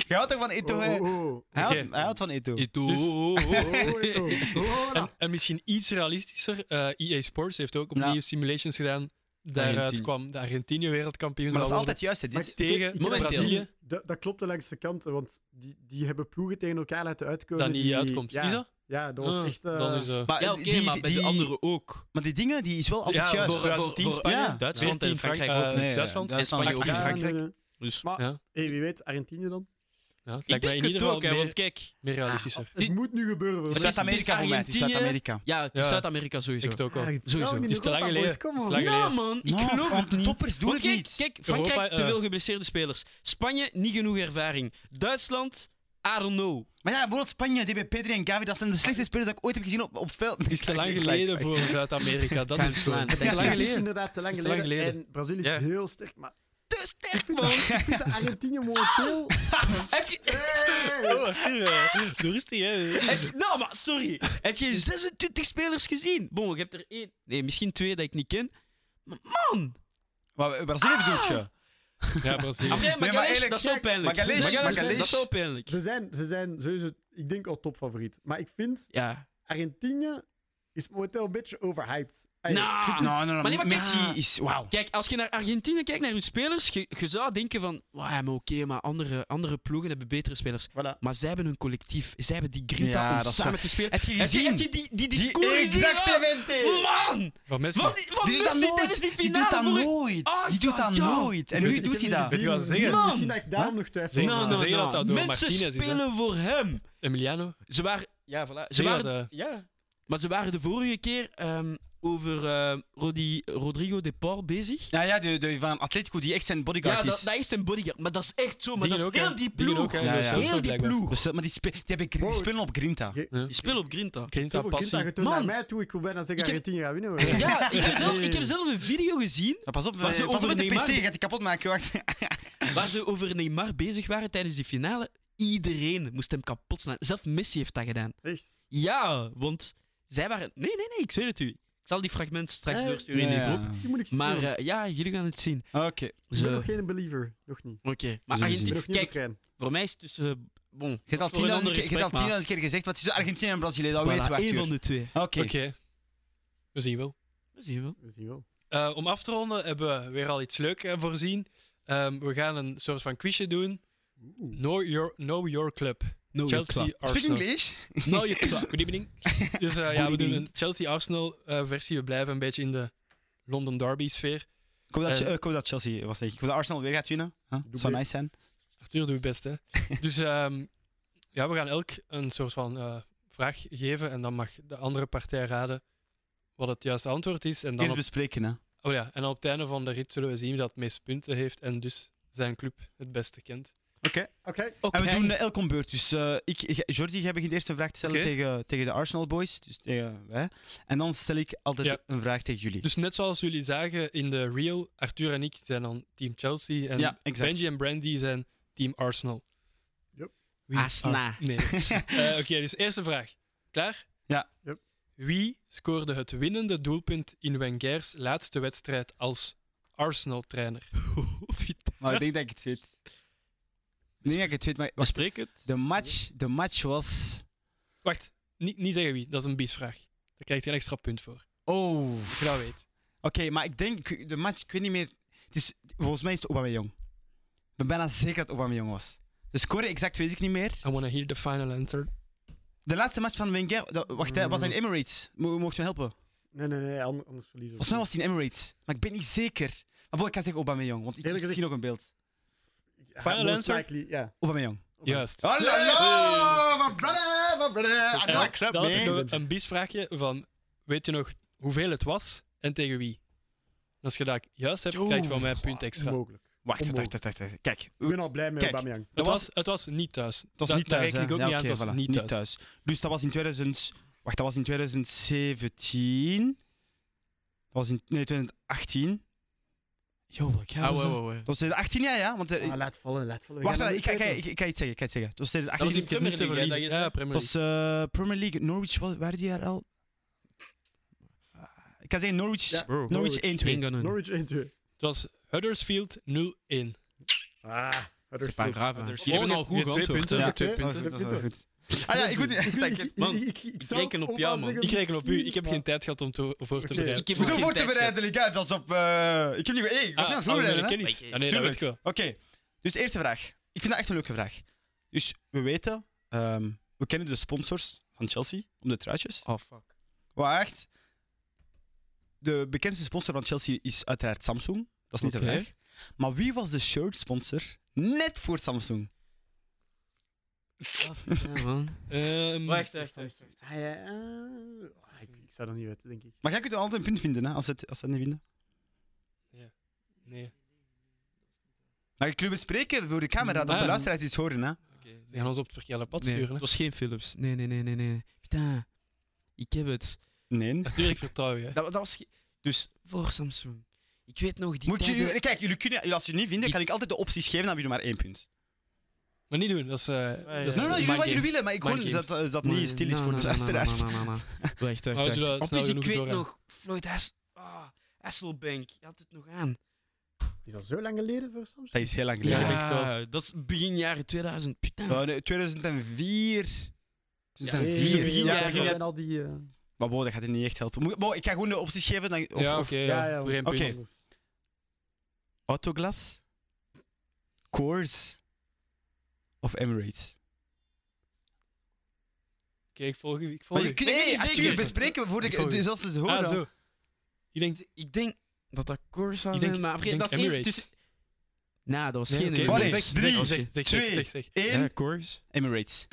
[SPEAKER 2] Je houdt toch van Ito, hè?
[SPEAKER 4] Oh, oh, oh.
[SPEAKER 2] Hij,
[SPEAKER 1] Oké.
[SPEAKER 2] houdt, hij houdt van Ito.
[SPEAKER 3] Eto'o.
[SPEAKER 1] Dus-
[SPEAKER 4] Oh, oh, oh, oh. Oh,
[SPEAKER 1] [LAUGHS]
[SPEAKER 4] voilà.
[SPEAKER 1] En, en misschien iets realistischer, eh, EA Sports heeft ook opnieuw
[SPEAKER 2] Ja.
[SPEAKER 1] simulations gedaan. Daaruit
[SPEAKER 3] Argentinië.
[SPEAKER 1] kwam de Argentinië wereldkampioen.
[SPEAKER 2] Maar dat is
[SPEAKER 3] [LAUGHS]
[SPEAKER 1] zou
[SPEAKER 2] altijd juist, hè,
[SPEAKER 4] Maar
[SPEAKER 2] dit.
[SPEAKER 4] ik- ik-
[SPEAKER 1] tegen
[SPEAKER 4] ik heb
[SPEAKER 3] momenteel.
[SPEAKER 4] het gezien.
[SPEAKER 1] Brazilië.
[SPEAKER 4] Dat, dat klopt langs de kant, want die, die hebben ploegen tegen elkaar laten uitkomen.
[SPEAKER 1] worden dat niet
[SPEAKER 4] die-
[SPEAKER 1] uitkomt.
[SPEAKER 4] Ja,
[SPEAKER 1] Is dat?
[SPEAKER 4] ja, dat was
[SPEAKER 1] Ah,
[SPEAKER 4] echt... eh,
[SPEAKER 1] dan is, eh,
[SPEAKER 2] Maar
[SPEAKER 3] Ja,
[SPEAKER 2] die-
[SPEAKER 3] oké,
[SPEAKER 2] die-
[SPEAKER 3] maar bij de
[SPEAKER 2] die-
[SPEAKER 3] anderen ook.
[SPEAKER 2] Maar die dingen, die is wel altijd
[SPEAKER 1] ja,
[SPEAKER 2] juist.
[SPEAKER 1] voor 2010
[SPEAKER 3] Voor- voor-
[SPEAKER 1] Spanje,
[SPEAKER 2] ja.
[SPEAKER 3] Duitsland en
[SPEAKER 1] 14
[SPEAKER 3] Frankrijk
[SPEAKER 1] Frank-
[SPEAKER 3] ook.
[SPEAKER 1] eh,
[SPEAKER 2] Nee, ja,
[SPEAKER 1] Duitsland en
[SPEAKER 2] Duitsland
[SPEAKER 1] Spanje
[SPEAKER 3] ook.
[SPEAKER 1] ook.
[SPEAKER 4] ja,
[SPEAKER 3] in
[SPEAKER 1] Ja,
[SPEAKER 3] Frankrijk.
[SPEAKER 4] nee, nee.
[SPEAKER 3] Dus
[SPEAKER 4] Maar
[SPEAKER 1] Ja.
[SPEAKER 4] hey, wie weet, Argentinië dan?
[SPEAKER 1] ja, het lijkt
[SPEAKER 3] ik
[SPEAKER 1] mij
[SPEAKER 3] denk
[SPEAKER 1] in ieder
[SPEAKER 3] het
[SPEAKER 1] geval
[SPEAKER 3] ook, hè,
[SPEAKER 1] meer,
[SPEAKER 3] want kijk.
[SPEAKER 1] meer realistischer.
[SPEAKER 4] Het moet nu gebeuren. voor
[SPEAKER 2] Het is
[SPEAKER 4] mij.
[SPEAKER 3] Dit-
[SPEAKER 2] Zuid-Amerika voor mij. Het is
[SPEAKER 3] Argentinië.
[SPEAKER 2] Zuid-Amerika.
[SPEAKER 3] Ja, het is
[SPEAKER 1] Ja.
[SPEAKER 3] Zuid-Amerika sowieso.
[SPEAKER 1] Ik het ook al.
[SPEAKER 4] Ja, ik vertrouw
[SPEAKER 3] Sowieso.
[SPEAKER 4] niet in
[SPEAKER 1] Het is te
[SPEAKER 4] Europa,
[SPEAKER 1] lang
[SPEAKER 4] boys,
[SPEAKER 1] geleden.
[SPEAKER 4] kom
[SPEAKER 1] Het is
[SPEAKER 4] on.
[SPEAKER 1] lang
[SPEAKER 3] Ja,
[SPEAKER 1] geleden.
[SPEAKER 3] man, ik
[SPEAKER 2] Nou,
[SPEAKER 3] geloof
[SPEAKER 2] want
[SPEAKER 3] het niet.
[SPEAKER 2] Toppers doen
[SPEAKER 3] Want
[SPEAKER 2] het
[SPEAKER 3] kijk,
[SPEAKER 2] niet.
[SPEAKER 3] kijk, Frankrijk
[SPEAKER 1] Europa,
[SPEAKER 3] te
[SPEAKER 1] eh.
[SPEAKER 3] veel geblesseerde spelers. Spanje niet genoeg ervaring. Duitsland, I don't know.
[SPEAKER 2] Maar ja, bijvoorbeeld Spanje, DB Pedri en Gavi, dat zijn de
[SPEAKER 3] Ah.
[SPEAKER 2] slechtste spelers dat ik ooit heb gezien op, op veld.
[SPEAKER 1] Het is te lang geleden voor Zuid-Amerika. Dat
[SPEAKER 3] Kan
[SPEAKER 1] is het gewoon.
[SPEAKER 3] slaan.
[SPEAKER 1] Het is te lang
[SPEAKER 4] Het is
[SPEAKER 1] geleden.
[SPEAKER 4] inderdaad te lang
[SPEAKER 1] Het is te lang
[SPEAKER 4] geleden.
[SPEAKER 1] geleden.
[SPEAKER 4] En Brazilië is
[SPEAKER 3] Ja.
[SPEAKER 4] heel sterk, maar
[SPEAKER 3] Te
[SPEAKER 2] Dus
[SPEAKER 3] sterk,
[SPEAKER 4] ik
[SPEAKER 3] man.
[SPEAKER 4] vind de Argentinië momenteel...
[SPEAKER 3] Heb je- [LAUGHS] Oh,
[SPEAKER 4] Hey!
[SPEAKER 3] eh.
[SPEAKER 1] Rustig, hè.
[SPEAKER 3] heb je- Nou, maar sorry.
[SPEAKER 2] [LAUGHS]
[SPEAKER 3] Heb je 26 spelers gezien? Bon, ik heb er één. Nee, misschien twee dat ik niet ken. Maar man!
[SPEAKER 2] Maar Brazilië
[SPEAKER 3] Ah.
[SPEAKER 2] bedoelt je?
[SPEAKER 1] Ja, Brazilië.
[SPEAKER 3] Après, Magalhães,
[SPEAKER 2] eigenlijk,
[SPEAKER 3] dat is wel
[SPEAKER 2] kijk,
[SPEAKER 3] pijnlijk.
[SPEAKER 2] Magalhães,
[SPEAKER 4] Magalhães.
[SPEAKER 3] dat is wel pijnlijk.
[SPEAKER 4] Ze zijn, ze zijn sowieso, ik denk al topfavoriet. Maar ik vind,
[SPEAKER 3] Ja.
[SPEAKER 4] Argentinië is momenteel een beetje overhyped. Hey,
[SPEAKER 3] Nou,
[SPEAKER 2] Nou, nou,
[SPEAKER 3] Maar
[SPEAKER 2] nou.
[SPEAKER 3] nee, maar
[SPEAKER 2] Messi
[SPEAKER 3] kijk-
[SPEAKER 2] is... Wauw.
[SPEAKER 3] Kijk, als je naar Argentinië kijkt, naar hun spelers, je, je zou denken van, "Wauw, ja, maar oké, maar andere, andere ploegen hebben betere spelers.
[SPEAKER 4] Voilà.
[SPEAKER 3] Maar zij hebben hun collectief, zij hebben die grinta
[SPEAKER 2] Ja,
[SPEAKER 3] om
[SPEAKER 2] dat is
[SPEAKER 3] samen te spelen.
[SPEAKER 2] Heb je
[SPEAKER 3] Heb je,
[SPEAKER 2] gezien?
[SPEAKER 3] heb je die, die, die
[SPEAKER 2] Die
[SPEAKER 3] score gezien?
[SPEAKER 2] exactamente.
[SPEAKER 3] Ah, Man!
[SPEAKER 1] Van Messi.
[SPEAKER 3] Van, die- van
[SPEAKER 2] Die doet dat
[SPEAKER 3] Messi tijdens
[SPEAKER 2] nooit.
[SPEAKER 3] die
[SPEAKER 2] Die doet
[SPEAKER 3] finale
[SPEAKER 2] dat
[SPEAKER 3] voor...
[SPEAKER 2] nooit.
[SPEAKER 3] Ah,
[SPEAKER 2] Die doet
[SPEAKER 3] ja,
[SPEAKER 2] dat
[SPEAKER 3] ja. Dus
[SPEAKER 2] nooit. En nu
[SPEAKER 1] Weet je-
[SPEAKER 2] doet hij dat.
[SPEAKER 1] Weet je wat
[SPEAKER 4] Misschien-
[SPEAKER 1] zeggen?
[SPEAKER 4] misschien-
[SPEAKER 3] Man!
[SPEAKER 4] Misschien dat ik daarom nog twijfel.
[SPEAKER 1] Zeg
[SPEAKER 3] No,
[SPEAKER 1] maar. Ze
[SPEAKER 3] no,
[SPEAKER 1] zeggen
[SPEAKER 3] no.
[SPEAKER 1] dat dat door
[SPEAKER 3] Mensen
[SPEAKER 1] Martinez is, hè?
[SPEAKER 3] spelen voor hem.
[SPEAKER 1] Emiliano.
[SPEAKER 3] Ze waren... Ja, voilà. Ze
[SPEAKER 1] Zeg
[SPEAKER 3] waren,
[SPEAKER 1] dat, eh.
[SPEAKER 3] ja. Maar ze waren de vorige keer ehm, over eh, Rodi, Rodrigo de Paul bezig.
[SPEAKER 2] Ja, ja, de, de van Atletico die echt zijn
[SPEAKER 3] Ja,
[SPEAKER 2] bodyguard
[SPEAKER 3] dat,
[SPEAKER 2] is.
[SPEAKER 3] dat is een bodyguard. Maar dat is echt zo. Maar
[SPEAKER 1] Dingen
[SPEAKER 3] dat
[SPEAKER 1] ook,
[SPEAKER 3] is
[SPEAKER 1] hè.
[SPEAKER 3] heel die
[SPEAKER 1] Dingen
[SPEAKER 3] ploeg.
[SPEAKER 1] ook, hè.
[SPEAKER 2] Ja,
[SPEAKER 1] Lo
[SPEAKER 2] ja.
[SPEAKER 1] Celso
[SPEAKER 3] Heel die
[SPEAKER 1] blijkbaar.
[SPEAKER 3] ploeg.
[SPEAKER 2] Dus, eh, maar die, spe- die, hebben, die
[SPEAKER 4] Wow.
[SPEAKER 2] spelen op Grinta.
[SPEAKER 1] Ja.
[SPEAKER 3] Die spelen op Grinta.
[SPEAKER 1] Grinta,
[SPEAKER 4] Zoveel kind
[SPEAKER 1] passie.
[SPEAKER 4] dat je toont
[SPEAKER 3] Man.
[SPEAKER 4] naar mij toe. Ik wil bijna zeggen
[SPEAKER 3] Ik heb-
[SPEAKER 4] Argentinië gaat winnen. hoor.
[SPEAKER 3] Ja, ik heb, zelf, ik heb zelf een video gezien
[SPEAKER 2] Maar pas op,
[SPEAKER 3] Maar
[SPEAKER 2] eh,
[SPEAKER 3] ze
[SPEAKER 2] pas op
[SPEAKER 3] over
[SPEAKER 2] met de
[SPEAKER 3] Neymar-
[SPEAKER 2] PC, gaat die kapot maken. Wacht.
[SPEAKER 3] waar ze over Neymar bezig waren tijdens die finale. Iedereen moest hem kapot slaan. Zelf Messi heeft dat gedaan.
[SPEAKER 4] Echt.
[SPEAKER 3] Ja, want zij waren... Nee, nee, nee, ik zweer het u. Ik zal die fragmenten straks
[SPEAKER 4] Eh,
[SPEAKER 3] doorsturen in de groep.
[SPEAKER 4] Die moet ik zien.
[SPEAKER 3] Maar
[SPEAKER 4] want
[SPEAKER 3] eh, ja, jullie gaan het zien.
[SPEAKER 2] Oké.
[SPEAKER 4] Ik
[SPEAKER 3] Ze-
[SPEAKER 4] ben nog
[SPEAKER 3] Oké,
[SPEAKER 4] geen believer. Nog niet.
[SPEAKER 3] maar
[SPEAKER 2] zullen
[SPEAKER 4] Ik
[SPEAKER 2] Die-
[SPEAKER 4] ben
[SPEAKER 3] Argentinië...
[SPEAKER 4] nog niet op de
[SPEAKER 3] Kijk,
[SPEAKER 4] trein.
[SPEAKER 3] voor mij is het tussen... eh, bon,
[SPEAKER 2] Je hebt al
[SPEAKER 3] voor een ander
[SPEAKER 2] tien
[SPEAKER 3] gesprek, maar-
[SPEAKER 2] keer, keer gezegd, wat is tussen Argentinië en Brazilië? Dat
[SPEAKER 3] voilà,
[SPEAKER 2] weten we,
[SPEAKER 3] één
[SPEAKER 2] Arthur.
[SPEAKER 3] van de twee.
[SPEAKER 2] Oké.
[SPEAKER 1] Oké. We zien wel.
[SPEAKER 3] Dat zie je wel.
[SPEAKER 4] We zien wel.
[SPEAKER 1] Eh, om af te ronden hebben we weer al iets leuks eh, voorzien. Ehm, we gaan een soort van quizje doen.
[SPEAKER 4] Oeh.
[SPEAKER 1] Know your, know your club.
[SPEAKER 3] No,
[SPEAKER 1] Chelsea,
[SPEAKER 2] Speak
[SPEAKER 1] Arsenal.
[SPEAKER 2] English?
[SPEAKER 3] Nou, je klaar.
[SPEAKER 1] Good evening. Dus eh, ja, we doen
[SPEAKER 3] evening.
[SPEAKER 1] een Chelsea-Arsenal-versie. we blijven een beetje in de London Derby-sfeer.
[SPEAKER 2] Ik hoop dat,
[SPEAKER 1] Eh,
[SPEAKER 2] eh, ik hoop dat Chelsea was, denk ik. Ik hoop dat Arsenal weer gaat winnen. Huh?
[SPEAKER 4] Doe
[SPEAKER 2] Zou
[SPEAKER 4] mee.
[SPEAKER 2] nice zijn.
[SPEAKER 1] Arthur, doe je best,
[SPEAKER 2] [LAUGHS]
[SPEAKER 1] hè. dus ehm, ja, we gaan elk een soort van eh, vraag geven. En dan mag de andere partij raden wat het juiste antwoord is. En dan,
[SPEAKER 2] Eerst
[SPEAKER 1] op,
[SPEAKER 2] bespreken, hè.
[SPEAKER 1] oh ja, en dan op het einde van de rit zullen we zien wie dat het meest punten heeft. En dus zijn club het beste kent.
[SPEAKER 4] Oké.
[SPEAKER 3] Oké.
[SPEAKER 2] En we doen eh, elk om beurt. Dus eh, ik, ik- Jordi, jij begint eerst een vraag te stellen
[SPEAKER 1] Oké.
[SPEAKER 2] tegen, tegen de Arsenal boys. Dus tegen wij. En dan stel ik altijd
[SPEAKER 1] Ja.
[SPEAKER 2] een vraag tegen jullie.
[SPEAKER 1] Dus net zoals jullie zagen in de reel, Arthur en ik zijn dan Team Chelsea. En
[SPEAKER 2] ja, exact.
[SPEAKER 1] Benji en Brandy zijn Team Arsenal.
[SPEAKER 4] Yep.
[SPEAKER 1] Wie-
[SPEAKER 2] [LAUGHS]
[SPEAKER 3] Asna.
[SPEAKER 1] Ah, nee. Eh, Oké, dus eerste vraag. Klaar?
[SPEAKER 2] Ja.
[SPEAKER 4] Yep.
[SPEAKER 1] Wie scoorde het winnende doelpunt in Wenger's laatste wedstrijd als Arsenal-trainer?
[SPEAKER 2] Maar ik denk dat ik het weet. Ik denk dat ik het weet, maar wacht,
[SPEAKER 3] Bespreek het.
[SPEAKER 2] de match, de match was...
[SPEAKER 1] Wacht, niet, niet zeggen wie, dat is een biesvraag. Daar krijg je een extra punt voor,
[SPEAKER 2] Oh.
[SPEAKER 1] als
[SPEAKER 2] Oké,
[SPEAKER 1] je dat weet.
[SPEAKER 2] maar ik denk, de match, ik weet niet meer... Het is, volgens mij is het Aubameyang. Ik ben bijna zeker dat het Aubameyang was. De score exact weet ik niet meer.
[SPEAKER 1] I wanna hear the final answer.
[SPEAKER 2] De laatste match van Wenger... dat- wacht, hè, was hij in
[SPEAKER 1] Mm.
[SPEAKER 2] Emirates? Mo mocht je me helpen?
[SPEAKER 4] Nee, nee, nee, an- anders verliezen we.
[SPEAKER 2] Volgens mij was hij in Emirates. Maar ik ben niet zeker. Maar boy, ik kan zeggen Aubameyang, want ik
[SPEAKER 4] Eerlijk
[SPEAKER 2] zie nog een beeld.
[SPEAKER 4] Ja,
[SPEAKER 1] Final
[SPEAKER 4] most
[SPEAKER 1] answer?
[SPEAKER 4] likely, ja.
[SPEAKER 2] Aubameyang.
[SPEAKER 1] Juist.
[SPEAKER 2] Hallo, my brother, my brother. I know a club,
[SPEAKER 1] Dan had ik
[SPEAKER 2] man.
[SPEAKER 1] nog een biesvraagje van, weet je nog hoeveel het was en tegen wie? Als je dat juist hebt, krijg je van mij een punt extra.
[SPEAKER 4] Mogelijk.
[SPEAKER 2] Wacht, wacht,
[SPEAKER 4] Onmogelijk.
[SPEAKER 2] wacht, wacht, wacht. Kijk,
[SPEAKER 4] Ik ben al blij met
[SPEAKER 2] Kijk.
[SPEAKER 4] Aubameyang.
[SPEAKER 1] Het
[SPEAKER 2] Dat
[SPEAKER 1] was, het was niet thuis. Dat
[SPEAKER 2] Het was niet thuis.
[SPEAKER 1] Daar reken ik
[SPEAKER 2] hè?
[SPEAKER 1] ook
[SPEAKER 2] Ja,
[SPEAKER 1] niet aan,
[SPEAKER 2] oké,
[SPEAKER 1] het was
[SPEAKER 2] voilà,
[SPEAKER 1] niet thuis.
[SPEAKER 2] Dus dat was in 2000... Wacht, dat was in 2017. Dat was in... Nee, 2018. Yo, wat jaar
[SPEAKER 3] Ah,
[SPEAKER 2] was
[SPEAKER 3] wow,
[SPEAKER 2] dat?
[SPEAKER 3] wow, wow.
[SPEAKER 2] Dat was 2018, ja, ja. Want, er-
[SPEAKER 4] Ah, laat vallen, laat vallen. We
[SPEAKER 2] eh, wacht, eh,
[SPEAKER 4] gaan
[SPEAKER 2] ik, ik,
[SPEAKER 4] dat niet
[SPEAKER 2] ik,
[SPEAKER 4] weten.
[SPEAKER 2] ik kan iets zeggen. Ik kan iets zeggen. Het was
[SPEAKER 1] Dat was
[SPEAKER 2] 2018.
[SPEAKER 1] in
[SPEAKER 3] in Premier
[SPEAKER 1] Premier
[SPEAKER 3] League, hè,
[SPEAKER 1] League.
[SPEAKER 3] dat is,
[SPEAKER 1] Ja,
[SPEAKER 3] hè?
[SPEAKER 1] Premier
[SPEAKER 2] Het was
[SPEAKER 1] League.
[SPEAKER 2] eh, Premier League. Norwich, wa- waren die daar al? Ah, Ik kan zeggen Norwich,
[SPEAKER 4] Ja,
[SPEAKER 3] Bro.
[SPEAKER 2] Norwich,
[SPEAKER 4] Norwich.
[SPEAKER 2] 1-2.
[SPEAKER 4] Norwich 1-2.
[SPEAKER 1] Het was Huddersfield 0-1.
[SPEAKER 4] Ah,
[SPEAKER 3] C'est pas grave. hè.
[SPEAKER 1] Huddersfield.
[SPEAKER 3] Jullie hebben al
[SPEAKER 1] Oh, je- je
[SPEAKER 3] goed
[SPEAKER 1] hebt twee
[SPEAKER 3] geantwoord.
[SPEAKER 1] punten.
[SPEAKER 3] hè.
[SPEAKER 1] Ja. twee punten.
[SPEAKER 2] dat is wel goed. Ah ja, ik moet...
[SPEAKER 4] Ik,
[SPEAKER 2] Dank
[SPEAKER 4] ik,
[SPEAKER 2] je.
[SPEAKER 4] ik,
[SPEAKER 3] Man,
[SPEAKER 4] ik, ik, zou
[SPEAKER 3] reken
[SPEAKER 4] het
[SPEAKER 3] op jou,
[SPEAKER 4] allemaal
[SPEAKER 3] man.
[SPEAKER 1] Ik
[SPEAKER 4] zeggen,
[SPEAKER 1] reken op u. Ik heb
[SPEAKER 4] maar-
[SPEAKER 1] geen tijd gehad om te, voor te
[SPEAKER 4] Oké.
[SPEAKER 1] bereiden.
[SPEAKER 3] Ik heb nog
[SPEAKER 2] Hoezo
[SPEAKER 3] geen
[SPEAKER 2] voor te
[SPEAKER 3] tijd gehad.
[SPEAKER 2] bereiden, Likaat? Dat is op... eh, Ik heb niet... Hey,
[SPEAKER 1] Ah,
[SPEAKER 2] ik was niet aan het
[SPEAKER 1] algemene
[SPEAKER 2] voorbereiden, hè.
[SPEAKER 1] kennis.
[SPEAKER 3] Maar ik-
[SPEAKER 1] Ah, nee, dat weet
[SPEAKER 2] Tuurlijk.
[SPEAKER 1] ik wel.
[SPEAKER 2] Oké, dus de eerste vraag. Ik vind dat echt een leuke vraag. Dus we weten, ehm, we kennen de sponsors van Chelsea om de truitjes.
[SPEAKER 3] Oh, fuck.
[SPEAKER 2] Wacht. De bekendste sponsor van Chelsea is uiteraard Samsung. Dat is niet
[SPEAKER 3] Oké.
[SPEAKER 2] de vraag. Maar wie was de shirt sponsor net voor Samsung?
[SPEAKER 3] Ja, man.
[SPEAKER 1] Ehm,
[SPEAKER 3] Wacht, wacht, wacht. wacht.
[SPEAKER 4] Ah, ja, eh, ah, ik, ik zou dat niet weten, denk ik.
[SPEAKER 2] Maar jij kunt altijd een punt vinden, hè, als ze het, als ze het niet vinden.
[SPEAKER 1] Nee.
[SPEAKER 2] Maar je kunt bespreken voor de camera, dat
[SPEAKER 1] Ah.
[SPEAKER 2] de luisteraars iets horen. Hè.
[SPEAKER 1] Ze gaan ons op het verkeerde pad
[SPEAKER 3] Nee,
[SPEAKER 2] [LAUGHS]
[SPEAKER 1] sturen.
[SPEAKER 3] het
[SPEAKER 1] hè.
[SPEAKER 3] was geen Philips. Nee, nee, nee, nee, nee. Putain. Ik heb het.
[SPEAKER 2] Nee.
[SPEAKER 1] Arthur, ik vertrouw je. hè.
[SPEAKER 3] Dat, dat was... ge- Dus, voor Samsung. Ik weet nog die
[SPEAKER 2] Moet je,
[SPEAKER 3] tijden-
[SPEAKER 2] u- kijk, jullie kunnen, als jullie niet vinden,
[SPEAKER 3] Die-
[SPEAKER 2] kan ik altijd de opties geven, dan hebben jullie maar één punt.
[SPEAKER 1] Maar niet doen, dat is... eh,
[SPEAKER 3] ja.
[SPEAKER 1] dat is
[SPEAKER 2] Nee,
[SPEAKER 3] Nee,
[SPEAKER 2] nee,
[SPEAKER 3] nee,
[SPEAKER 2] jullie
[SPEAKER 1] mind
[SPEAKER 2] wat jullie
[SPEAKER 1] games.
[SPEAKER 2] willen, maar ik hoor
[SPEAKER 1] Mind
[SPEAKER 2] dat, dat dat niet stil is
[SPEAKER 3] Nee,
[SPEAKER 2] voor
[SPEAKER 3] nee,
[SPEAKER 2] de
[SPEAKER 3] nee, nee, nee,
[SPEAKER 2] luisteraars.
[SPEAKER 3] nee, nee, nee. Wacht, wacht,
[SPEAKER 1] Houd je
[SPEAKER 3] wacht.
[SPEAKER 1] dat
[SPEAKER 3] Op
[SPEAKER 1] snel
[SPEAKER 3] is, ik
[SPEAKER 1] genoeg
[SPEAKER 3] weet
[SPEAKER 1] door, hè?
[SPEAKER 3] nog. Floyd Hass... Ah, Hasselbank. Je had het nog aan.
[SPEAKER 4] Is dat zo lang geleden voor Samsung?
[SPEAKER 2] Dat is heel lang
[SPEAKER 1] Ja,
[SPEAKER 2] geleden.
[SPEAKER 1] ik
[SPEAKER 3] dat is begin jaren 2000. Putain.
[SPEAKER 2] Eh, nee, 2004.
[SPEAKER 3] Ja,
[SPEAKER 4] Nee,
[SPEAKER 2] 2004.
[SPEAKER 4] nee,
[SPEAKER 3] begin
[SPEAKER 2] Ja,
[SPEAKER 3] jaren.
[SPEAKER 4] dat
[SPEAKER 2] begin jaren.
[SPEAKER 4] zijn al die... eh,
[SPEAKER 2] Maar wow, dat gaat er niet echt helpen. Moet- wow, ik ga gewoon de opties geven. Dan, of,
[SPEAKER 1] Ja,
[SPEAKER 2] of
[SPEAKER 1] oké.
[SPEAKER 4] ja, ja,
[SPEAKER 1] ja, voor één
[SPEAKER 2] oké.
[SPEAKER 1] punt.
[SPEAKER 4] anders.
[SPEAKER 2] Autoglas, Coors of Emirates.
[SPEAKER 1] Oké, ik volg u. Ik volg
[SPEAKER 2] Maar je
[SPEAKER 1] u.
[SPEAKER 2] kunt
[SPEAKER 3] Ik weet
[SPEAKER 2] nee,
[SPEAKER 3] niet
[SPEAKER 2] Arthur
[SPEAKER 3] zeker.
[SPEAKER 2] bespreken voor
[SPEAKER 1] Ik hoor
[SPEAKER 2] de,
[SPEAKER 1] je.
[SPEAKER 2] zoals we het horen.
[SPEAKER 1] Ah, zo. Je denkt...
[SPEAKER 3] Ik denk dat dat Cor
[SPEAKER 2] Ah,
[SPEAKER 3] zou
[SPEAKER 1] Ik
[SPEAKER 3] zijn,
[SPEAKER 1] denk,
[SPEAKER 3] maar
[SPEAKER 1] ik
[SPEAKER 3] après,
[SPEAKER 1] denk
[SPEAKER 3] dat is één
[SPEAKER 1] Emirates.
[SPEAKER 3] tussen... Nou, dat was
[SPEAKER 1] Nee,
[SPEAKER 3] geen
[SPEAKER 1] oké,
[SPEAKER 2] Emirates.
[SPEAKER 1] zeg-
[SPEAKER 2] Wat is-
[SPEAKER 1] zeg-
[SPEAKER 2] drie,
[SPEAKER 1] zeg- zeg-
[SPEAKER 2] twee. Oh,
[SPEAKER 1] zeg- zeg.
[SPEAKER 2] Eén, Emirates.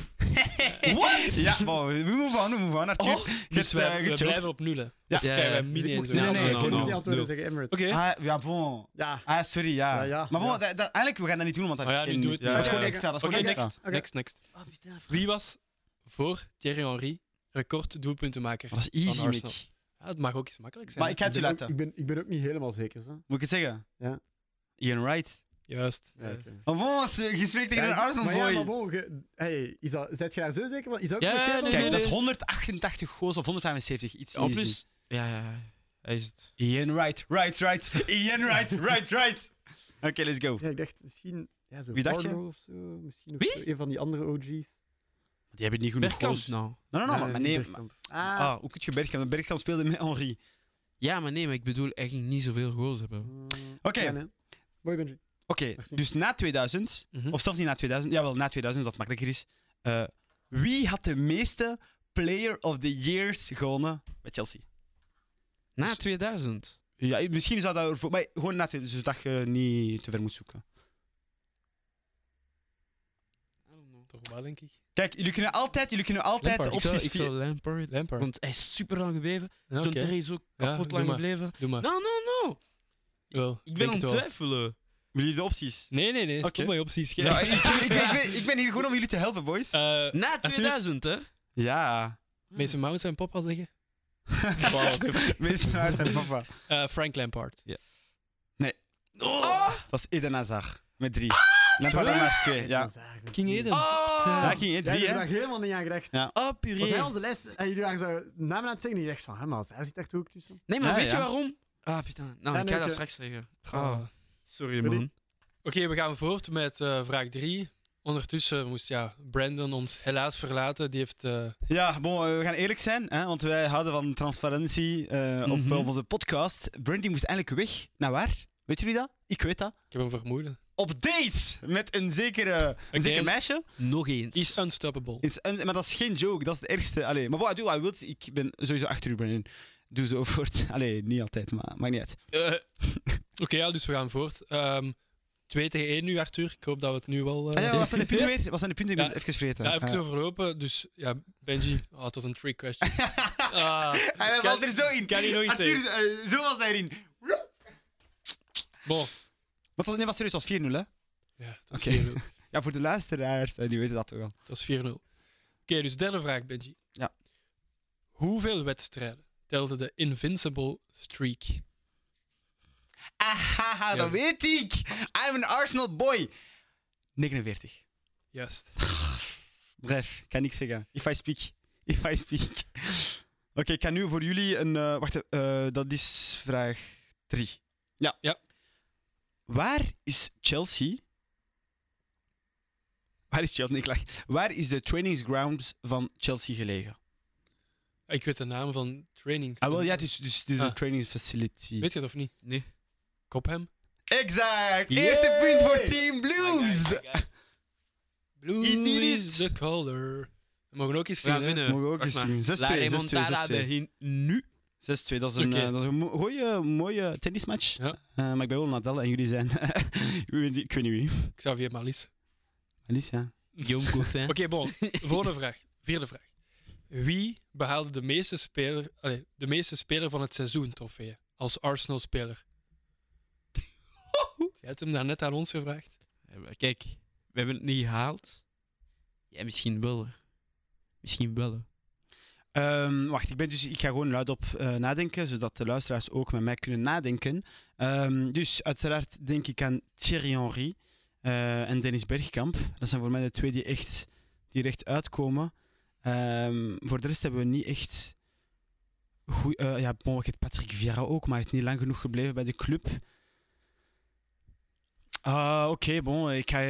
[SPEAKER 2] What? [LAUGHS] Ja, wow, we move on, we move on, Arthur.
[SPEAKER 3] Oh,
[SPEAKER 2] Je
[SPEAKER 1] Dus
[SPEAKER 2] hebt,
[SPEAKER 1] wij,
[SPEAKER 2] eh,
[SPEAKER 1] we
[SPEAKER 2] gechoked.
[SPEAKER 1] blijven op nullen.
[SPEAKER 2] Ja.
[SPEAKER 1] Of krijgen wij mini
[SPEAKER 4] Dus ik
[SPEAKER 1] en
[SPEAKER 4] moet-
[SPEAKER 1] zo.
[SPEAKER 2] Nee, nee,
[SPEAKER 4] ik
[SPEAKER 2] no,
[SPEAKER 4] kan
[SPEAKER 2] no,
[SPEAKER 4] niet antwoorden
[SPEAKER 3] no.
[SPEAKER 4] zeggen Emirates.
[SPEAKER 1] Oké.
[SPEAKER 2] Ah, ja, bon.
[SPEAKER 4] Ja.
[SPEAKER 2] Ah, sorry, ja.
[SPEAKER 4] Ja, ja,
[SPEAKER 2] maar bon,
[SPEAKER 4] ja.
[SPEAKER 2] dat, dat- eigenlijk, we gaan dat niet doen, want dat
[SPEAKER 1] Oh ja,
[SPEAKER 2] heeft
[SPEAKER 1] nu
[SPEAKER 2] geen-
[SPEAKER 1] doe het.
[SPEAKER 2] dat is
[SPEAKER 1] Ja,
[SPEAKER 2] gewoon
[SPEAKER 1] ja, ja.
[SPEAKER 2] extra. Dat is
[SPEAKER 1] Oké,
[SPEAKER 2] gewoon extra.
[SPEAKER 1] next,
[SPEAKER 4] Oké.
[SPEAKER 1] next, next.
[SPEAKER 3] oh, putain,
[SPEAKER 1] Wie was voor Thierry Henry record doelpuntenmaker?
[SPEAKER 2] Maar dat is easy,
[SPEAKER 1] Van
[SPEAKER 2] Mick.
[SPEAKER 1] Arsenal. Ja, het mag ook eens makkelijk zijn.
[SPEAKER 2] Maar ik ga
[SPEAKER 1] hè.
[SPEAKER 2] het u
[SPEAKER 4] ben ook-
[SPEAKER 2] laten.
[SPEAKER 4] Ik ben, ik ben ook niet helemaal zeker. Zo.
[SPEAKER 2] Moet ik het zeggen?
[SPEAKER 4] Ja.
[SPEAKER 2] Ian Wright.
[SPEAKER 1] Juist.
[SPEAKER 4] Ja, oké.
[SPEAKER 2] Maar bon, ze- je spreekt tegen
[SPEAKER 4] Ja,
[SPEAKER 2] een Arsenal
[SPEAKER 4] maar ja, maar
[SPEAKER 2] boy.
[SPEAKER 4] bon, ge- hey, is dat, zet je daar zo zeker van? Is dat ook
[SPEAKER 1] Ja,
[SPEAKER 4] bekend
[SPEAKER 1] nee,
[SPEAKER 4] dan?
[SPEAKER 1] nee,
[SPEAKER 2] Kijk, dat is
[SPEAKER 1] nee.
[SPEAKER 2] 188 goals of 175, iets
[SPEAKER 3] Op
[SPEAKER 2] easy.
[SPEAKER 3] plus... Ja, ja, ja. Hij is het.
[SPEAKER 2] Ian Wright, right, right. Ian Wright, right, right. Oké, let's go.
[SPEAKER 4] Ja, ik dacht misschien... Ja, zo
[SPEAKER 2] Wie dacht je?
[SPEAKER 4] Arno of zo. Misschien ook
[SPEAKER 3] Wie?
[SPEAKER 4] zo een van die andere OG's.
[SPEAKER 2] Die hebben niet genoeg
[SPEAKER 3] Bergkamp
[SPEAKER 2] goals.
[SPEAKER 3] nou.
[SPEAKER 2] Nee, nee, nee,
[SPEAKER 4] Eh,
[SPEAKER 2] maar nee. maar-
[SPEAKER 4] Bergkamp. Ah.
[SPEAKER 2] Ah, hoe kun je Bergkamp? Bergkamp speelde met Henri.
[SPEAKER 3] Ja, maar nee, maar ik bedoel, hij ging niet zoveel goals hebben.
[SPEAKER 2] Oké.
[SPEAKER 4] eh, Ja, nee. Mooi, Benji.
[SPEAKER 2] Oké,
[SPEAKER 4] Merci.
[SPEAKER 2] dus na 2000,
[SPEAKER 3] Hm?
[SPEAKER 1] Mhm.
[SPEAKER 2] of zelfs niet na 2000, jawel, na 2000, dat het makkelijker is. eh, wie had de meeste Player of the Years gewonnen bij Chelsea?
[SPEAKER 3] Na
[SPEAKER 2] Dus-
[SPEAKER 3] 2000.
[SPEAKER 2] Ja, misschien zou dat ervoor... Maar gewoon na 2000, zodat je niet te ver moet zoeken.
[SPEAKER 1] Toch wel, denk ik.
[SPEAKER 2] Kijk, jullie kunnen altijd, jullie kunnen altijd
[SPEAKER 1] Lampard,
[SPEAKER 3] Ik zou,
[SPEAKER 2] opties...
[SPEAKER 3] ik
[SPEAKER 2] vier-
[SPEAKER 3] zou Lampard...
[SPEAKER 1] Lampard.
[SPEAKER 3] Want hij is super lang gebleven.
[SPEAKER 1] Ja,
[SPEAKER 3] Toen
[SPEAKER 1] oké.
[SPEAKER 3] Terry is ook
[SPEAKER 1] Ja,
[SPEAKER 3] kapot
[SPEAKER 1] doe
[SPEAKER 3] lang
[SPEAKER 1] maar.
[SPEAKER 3] gebleven.
[SPEAKER 1] Doe
[SPEAKER 2] Nou,
[SPEAKER 1] maar.
[SPEAKER 3] No, no, no.
[SPEAKER 1] Wel,
[SPEAKER 3] Ik ben
[SPEAKER 1] denk
[SPEAKER 3] aan het
[SPEAKER 1] het wel.
[SPEAKER 3] twijfelen.
[SPEAKER 2] Willen jullie de opties?
[SPEAKER 1] Nee, nee, nee. Stop
[SPEAKER 2] Oké.
[SPEAKER 1] mij op, zie
[SPEAKER 2] Ja, ik, ik, ik, ben, ik ben hier gewoon om jullie te helpen, boys.
[SPEAKER 3] Na
[SPEAKER 1] Eh, Arthur?
[SPEAKER 3] 2000, hè?
[SPEAKER 2] Ja.
[SPEAKER 1] Mason Mount en papa zeggen.
[SPEAKER 2] [LAUGHS] Mensen uit zijn papa.
[SPEAKER 1] Eh, Frank Lampard.
[SPEAKER 3] Oh,
[SPEAKER 2] Dat is Eden Hazard. Met drie. Lampard
[SPEAKER 1] Sorry?
[SPEAKER 2] Ah, maar twee, ja.
[SPEAKER 4] Zagen.
[SPEAKER 1] King Eden.
[SPEAKER 3] Oh,
[SPEAKER 2] Ja, ik ging eh,
[SPEAKER 4] Daar heb
[SPEAKER 2] drie,
[SPEAKER 4] ik
[SPEAKER 2] hè?
[SPEAKER 4] nog helemaal niet aan gedacht.
[SPEAKER 2] Ja.
[SPEAKER 3] Ah,
[SPEAKER 4] Want
[SPEAKER 3] puree.
[SPEAKER 4] bij onze les, en jullie waren zo namen aan het zeggen, en je dacht van, hè, maar hij zit echt ook tussen.
[SPEAKER 3] Nee, maar
[SPEAKER 2] Ja,
[SPEAKER 3] weet je
[SPEAKER 2] ja.
[SPEAKER 3] waarom? Ah, putain. Nou,
[SPEAKER 4] Ja,
[SPEAKER 3] ik
[SPEAKER 4] nee,
[SPEAKER 3] ga
[SPEAKER 4] ik,
[SPEAKER 3] dat
[SPEAKER 4] eh,
[SPEAKER 3] straks zeggen.
[SPEAKER 1] Ah.
[SPEAKER 3] Ah, Sorry,
[SPEAKER 4] Ready?
[SPEAKER 3] man.
[SPEAKER 1] Oké, we gaan voort met eh, vraag 3. Ondertussen moest ja, Brandon ons helaas verlaten. Die heeft eh,
[SPEAKER 2] Ja, bon, eh, we gaan eerlijk zijn, hè, want wij houden van transparantie eh op,
[SPEAKER 3] Mhm.
[SPEAKER 2] op onze podcast. Brandy moest eindelijk weg. Naar waar? Weet jullie dat? Ik weet dat.
[SPEAKER 1] ik heb een vermoeden.
[SPEAKER 2] Op date met een zekere, een zeker
[SPEAKER 1] Again.
[SPEAKER 2] meisje.
[SPEAKER 3] Nog eens.
[SPEAKER 1] Is unstoppable.
[SPEAKER 2] Is een- maar dat is geen joke, dat is het ergste. Allee, maar wat doe wat je wilt, ik ben sowieso achter u, Brandon. Doe zo [LAUGHS] voort. Allee, niet altijd, maar maakt niet uit.
[SPEAKER 1] Eh, Oké, ja, dus we gaan voort. Ehm 2 tegen 1 nu, Arthur. Ik hoop dat we het nu wel...
[SPEAKER 2] Ah
[SPEAKER 1] eh,
[SPEAKER 2] ja, wat zijn de punten weer? Wat zijn de punten? Ik ben
[SPEAKER 1] Ja.
[SPEAKER 2] het even vergeten.
[SPEAKER 1] Ja, heb ik
[SPEAKER 2] Ah.
[SPEAKER 1] zo verlopen. Dus ja, Benji, oh, het was een trick
[SPEAKER 2] [LAUGHS]
[SPEAKER 1] question. Ah,
[SPEAKER 2] En [LAUGHS] hij
[SPEAKER 1] Kan-
[SPEAKER 2] valt er zo in.
[SPEAKER 1] kan hij nog iets
[SPEAKER 2] Arthur,
[SPEAKER 1] zeggen?
[SPEAKER 2] eh, zo was hij erin.
[SPEAKER 1] Bon,
[SPEAKER 2] Wat was, nee, was serieus, het was 4-0, hè?
[SPEAKER 1] ja, het was
[SPEAKER 2] Oké.
[SPEAKER 1] 4-0.
[SPEAKER 2] Ja, voor de luisteraars, eh, die weten dat toch wel.
[SPEAKER 1] Het was 4-0. Oké, dus derde vraag, Benji.
[SPEAKER 2] Ja.
[SPEAKER 1] Hoeveel wedstrijden telde de Invincible Streak?
[SPEAKER 2] Ahaha, Ah, dat
[SPEAKER 1] Ja.
[SPEAKER 2] weet ik. I'm an Arsenal boy. 49.
[SPEAKER 1] Juist.
[SPEAKER 2] Bref, ik kan niks zeggen. If I speak. [LAUGHS] If I speak. [LAUGHS] Oké, ik kan nu voor jullie een... eh, wacht, eh, dat is vraag 3. Ja.
[SPEAKER 1] Ja.
[SPEAKER 2] Waar is Chelsea... Waar is Chelsea? Nee, ik lach. Waar is de trainingsground van Chelsea gelegen?
[SPEAKER 1] Ah, Ik weet de naam van training.
[SPEAKER 2] Ah, wel, ja, dus, dus, dus
[SPEAKER 1] Ah.
[SPEAKER 2] de training facility.
[SPEAKER 1] Weet je het of niet?
[SPEAKER 3] Nee.
[SPEAKER 1] Copham?
[SPEAKER 2] Exact!
[SPEAKER 4] Yay!
[SPEAKER 2] Eerste punt voor Team Blues!
[SPEAKER 1] Blue
[SPEAKER 2] Eat it.
[SPEAKER 1] is the color. We mogen ook iets
[SPEAKER 3] We gaan
[SPEAKER 1] zien, hè?
[SPEAKER 3] winnen.
[SPEAKER 2] Mogen we ook
[SPEAKER 3] Wacht
[SPEAKER 2] eens
[SPEAKER 3] maar.
[SPEAKER 2] zien. 6-2,
[SPEAKER 3] La
[SPEAKER 2] 6-2,
[SPEAKER 3] remontada
[SPEAKER 2] 6-2.
[SPEAKER 3] begint nu.
[SPEAKER 2] 6-2, dat is een,
[SPEAKER 1] Oké.
[SPEAKER 2] eh, dat is een mo- mooie, mooie tennismatch.
[SPEAKER 1] Ja.
[SPEAKER 2] Eh, maar ik ben wel Nadal en jullie zijn... [LAUGHS] ik weet niet- ik weet niet wie.
[SPEAKER 1] Xavier Malis.
[SPEAKER 2] Alicia.
[SPEAKER 1] [LAUGHS]
[SPEAKER 3] Jong Goffin.
[SPEAKER 1] Oké,
[SPEAKER 3] [LAUGHS]
[SPEAKER 1] bon. Volgende vraag. Vierde vraag. Wie behaalde de meeste speler, allee, de meeste speler van het seizoen trofee als
[SPEAKER 3] [LAUGHS]
[SPEAKER 1] Arsenal-speler? Je hebt hem daarnet aan ons gevraagd.
[SPEAKER 3] Eh, Kijk, we hebben het niet gehaald. Ja, misschien wel. hè. Misschien wel. hè.
[SPEAKER 2] Ehm, wacht, ik, ben dus, ik ga gewoon luidop eh, nadenken, zodat de luisteraars ook met mij kunnen nadenken. Ehm, dus uiteraard denk ik aan Thierry Henry eh, en Dennis Bergkamp. Dat zijn voor mij de twee die echt, die recht uitkomen. Ehm, voor de rest hebben we niet echt... Goeie, eh, ja, bon, ik heb Patrick Vieira ook, maar hij is niet lang genoeg gebleven bij de club. Ah, Oké, bon, ik ga,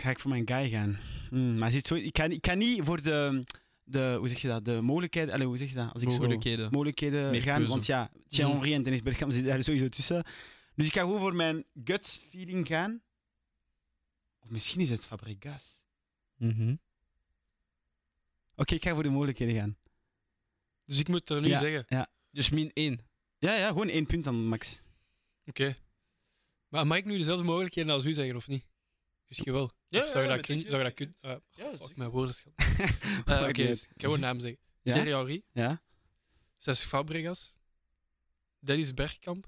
[SPEAKER 2] ga ik voor mijn guy gaan. Hmm, maar hij zit zo, ik, kan, ik kan niet voor de de, hoe zeg je dat, de mogelijkheden, allee, hoe zeg je dat, als ik zo [LAUGHS]
[SPEAKER 3] Mogelijkheden.
[SPEAKER 2] mogelijkheden
[SPEAKER 3] Meer
[SPEAKER 2] gaan,
[SPEAKER 3] keuze.
[SPEAKER 2] want ja, Thierry
[SPEAKER 1] Mm.
[SPEAKER 2] Henry en Dennis Bergkamp zitten daar sowieso tussen. Dus ik ga gewoon voor mijn gut feeling gaan. Of misschien is het Fabregas.
[SPEAKER 3] Mhm.
[SPEAKER 2] Oké, ik ga voor de mogelijkheden gaan.
[SPEAKER 1] Dus ik moet er nu
[SPEAKER 2] Ja.
[SPEAKER 1] zeggen.
[SPEAKER 3] Dus min 1.
[SPEAKER 2] Ja, ja, gewoon één punt dan,
[SPEAKER 1] [LAUGHS]
[SPEAKER 2] Max.
[SPEAKER 1] Oké. Maar mag ik nu dezelfde mogelijkheden als u zeggen, of niet? Misschien wel.
[SPEAKER 3] Ja,
[SPEAKER 1] of zou je dat
[SPEAKER 3] ja, met
[SPEAKER 1] klinken?
[SPEAKER 3] een
[SPEAKER 1] Zou je dat
[SPEAKER 3] keer-
[SPEAKER 1] kunnen? eh,
[SPEAKER 3] Ja,
[SPEAKER 1] fuck, mijn
[SPEAKER 3] [LAUGHS]
[SPEAKER 1] woordenschat. Eh,
[SPEAKER 2] Maakt
[SPEAKER 1] Oké,
[SPEAKER 2] niet
[SPEAKER 1] dus
[SPEAKER 2] uit.
[SPEAKER 1] ik ga gewoon naam zeggen.
[SPEAKER 2] Ja?
[SPEAKER 1] Thierry Henry,
[SPEAKER 2] Ja?
[SPEAKER 1] 60 Fabregas, Dennis Bergkamp.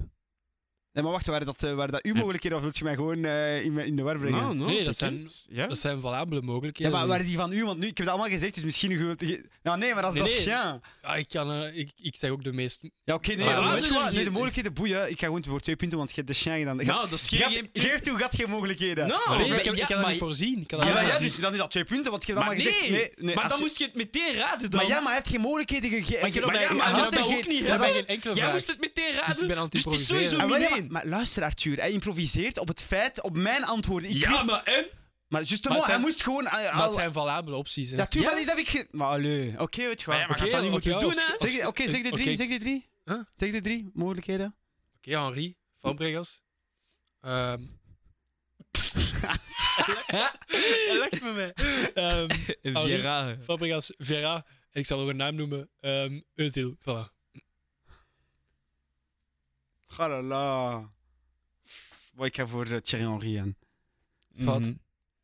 [SPEAKER 2] Nee, maar wacht, waren dat, eh, waren dat uw mogelijkheden of wil je mij gewoon eh, in, in de war brengen?
[SPEAKER 3] Nou,
[SPEAKER 1] Nee, dat zijn-
[SPEAKER 3] Ja?
[SPEAKER 1] Dat zijn valabele
[SPEAKER 2] ja,
[SPEAKER 1] mogelijkheden.
[SPEAKER 2] maar waren die van u? Want nu, ik heb dat allemaal gezegd, dus misschien u wilt... Nou, nee, maar dat is
[SPEAKER 1] Nee,
[SPEAKER 2] dat is
[SPEAKER 1] nee.
[SPEAKER 2] ja.
[SPEAKER 1] Ah, ik, kan, eh, ik, ik zeg ook de meest...
[SPEAKER 3] Ah,
[SPEAKER 2] Ja, oké, nee,
[SPEAKER 1] Maar dus
[SPEAKER 2] dan
[SPEAKER 1] waarom
[SPEAKER 2] weet je
[SPEAKER 1] zijn
[SPEAKER 2] wat?
[SPEAKER 1] er
[SPEAKER 2] Nee, de
[SPEAKER 1] geen-
[SPEAKER 2] mogelijkheden boeien. Ik ga gewoon voor twee punten, want je hebt de Shang gedaan. Gaat-
[SPEAKER 3] Nou, dat is geen...
[SPEAKER 2] Gaat-
[SPEAKER 3] geen-
[SPEAKER 2] geef toe, gaat geen mogelijkheden.
[SPEAKER 3] Nou,
[SPEAKER 1] Maar
[SPEAKER 3] maar-
[SPEAKER 1] nee, ik, heb-
[SPEAKER 3] ja,
[SPEAKER 1] ik kan dat
[SPEAKER 3] maar-
[SPEAKER 1] niet voorzien. Ik kan
[SPEAKER 2] Ja,
[SPEAKER 1] dat
[SPEAKER 2] maar
[SPEAKER 1] niet
[SPEAKER 2] ja,
[SPEAKER 1] voorzien.
[SPEAKER 2] dus dan is dat twee punten, want ik heb dat
[SPEAKER 3] Maar
[SPEAKER 2] maar gezegd.
[SPEAKER 3] nee, maar dan moest je het meteen raden dan.
[SPEAKER 2] Maar ja, maar hij heeft geen mogelijkheden gegeven.
[SPEAKER 3] Maar je hebt
[SPEAKER 1] Maar ja,
[SPEAKER 3] dat-
[SPEAKER 1] maar
[SPEAKER 3] je
[SPEAKER 1] dat
[SPEAKER 3] hebt dat
[SPEAKER 1] is
[SPEAKER 3] ook niet
[SPEAKER 1] Ik heb
[SPEAKER 3] hebben.
[SPEAKER 1] geen enkele
[SPEAKER 3] Jij
[SPEAKER 1] vraag.
[SPEAKER 3] moest het meteen
[SPEAKER 1] Dus ik ben
[SPEAKER 3] raden.
[SPEAKER 1] aan het
[SPEAKER 3] Dus het is
[SPEAKER 1] improviseren.
[SPEAKER 3] sowieso
[SPEAKER 2] Ah, wel, ja,
[SPEAKER 3] min
[SPEAKER 2] maar,
[SPEAKER 3] 1.
[SPEAKER 2] maar luister, Arthur, hij improviseert op het feit, op mijn antwoorden. Ik
[SPEAKER 3] Ja,
[SPEAKER 2] wist,
[SPEAKER 3] maar en?
[SPEAKER 2] maar juist
[SPEAKER 1] Maar het
[SPEAKER 2] hij
[SPEAKER 1] zijn-
[SPEAKER 2] moest gewoon. ah,
[SPEAKER 1] Maar het
[SPEAKER 2] ah,
[SPEAKER 1] zijn valabele opties. Hè.
[SPEAKER 2] Ja, tuurlijk,
[SPEAKER 3] Ja?
[SPEAKER 2] maar dat heb ik. ge- Maar allee, oké, weet je wel.
[SPEAKER 3] Maar ja, maar
[SPEAKER 2] Oké,
[SPEAKER 3] gaat dat niet
[SPEAKER 1] oké,
[SPEAKER 3] moeten
[SPEAKER 1] als-
[SPEAKER 3] doen, hè?
[SPEAKER 1] als-
[SPEAKER 2] zeg, oké, zeg de
[SPEAKER 1] Oké,
[SPEAKER 2] drie, zeg de drie.
[SPEAKER 1] Huh?
[SPEAKER 2] Zeg de drie mogelijkheden.
[SPEAKER 1] Oké, Henri,
[SPEAKER 3] [LAUGHS]
[SPEAKER 1] Fabregas. Ehm. Hij lacht met [LAUGHS] mij. [LAUGHS] Ehm,
[SPEAKER 3] Viera.
[SPEAKER 1] Fabregas, Vera. En ik zal nog een naam noemen. Ehm Özil. Voilà.
[SPEAKER 2] Galala. Wat ik ga voor eh, Thierry Henry aan.
[SPEAKER 3] Mhm.
[SPEAKER 1] Fout.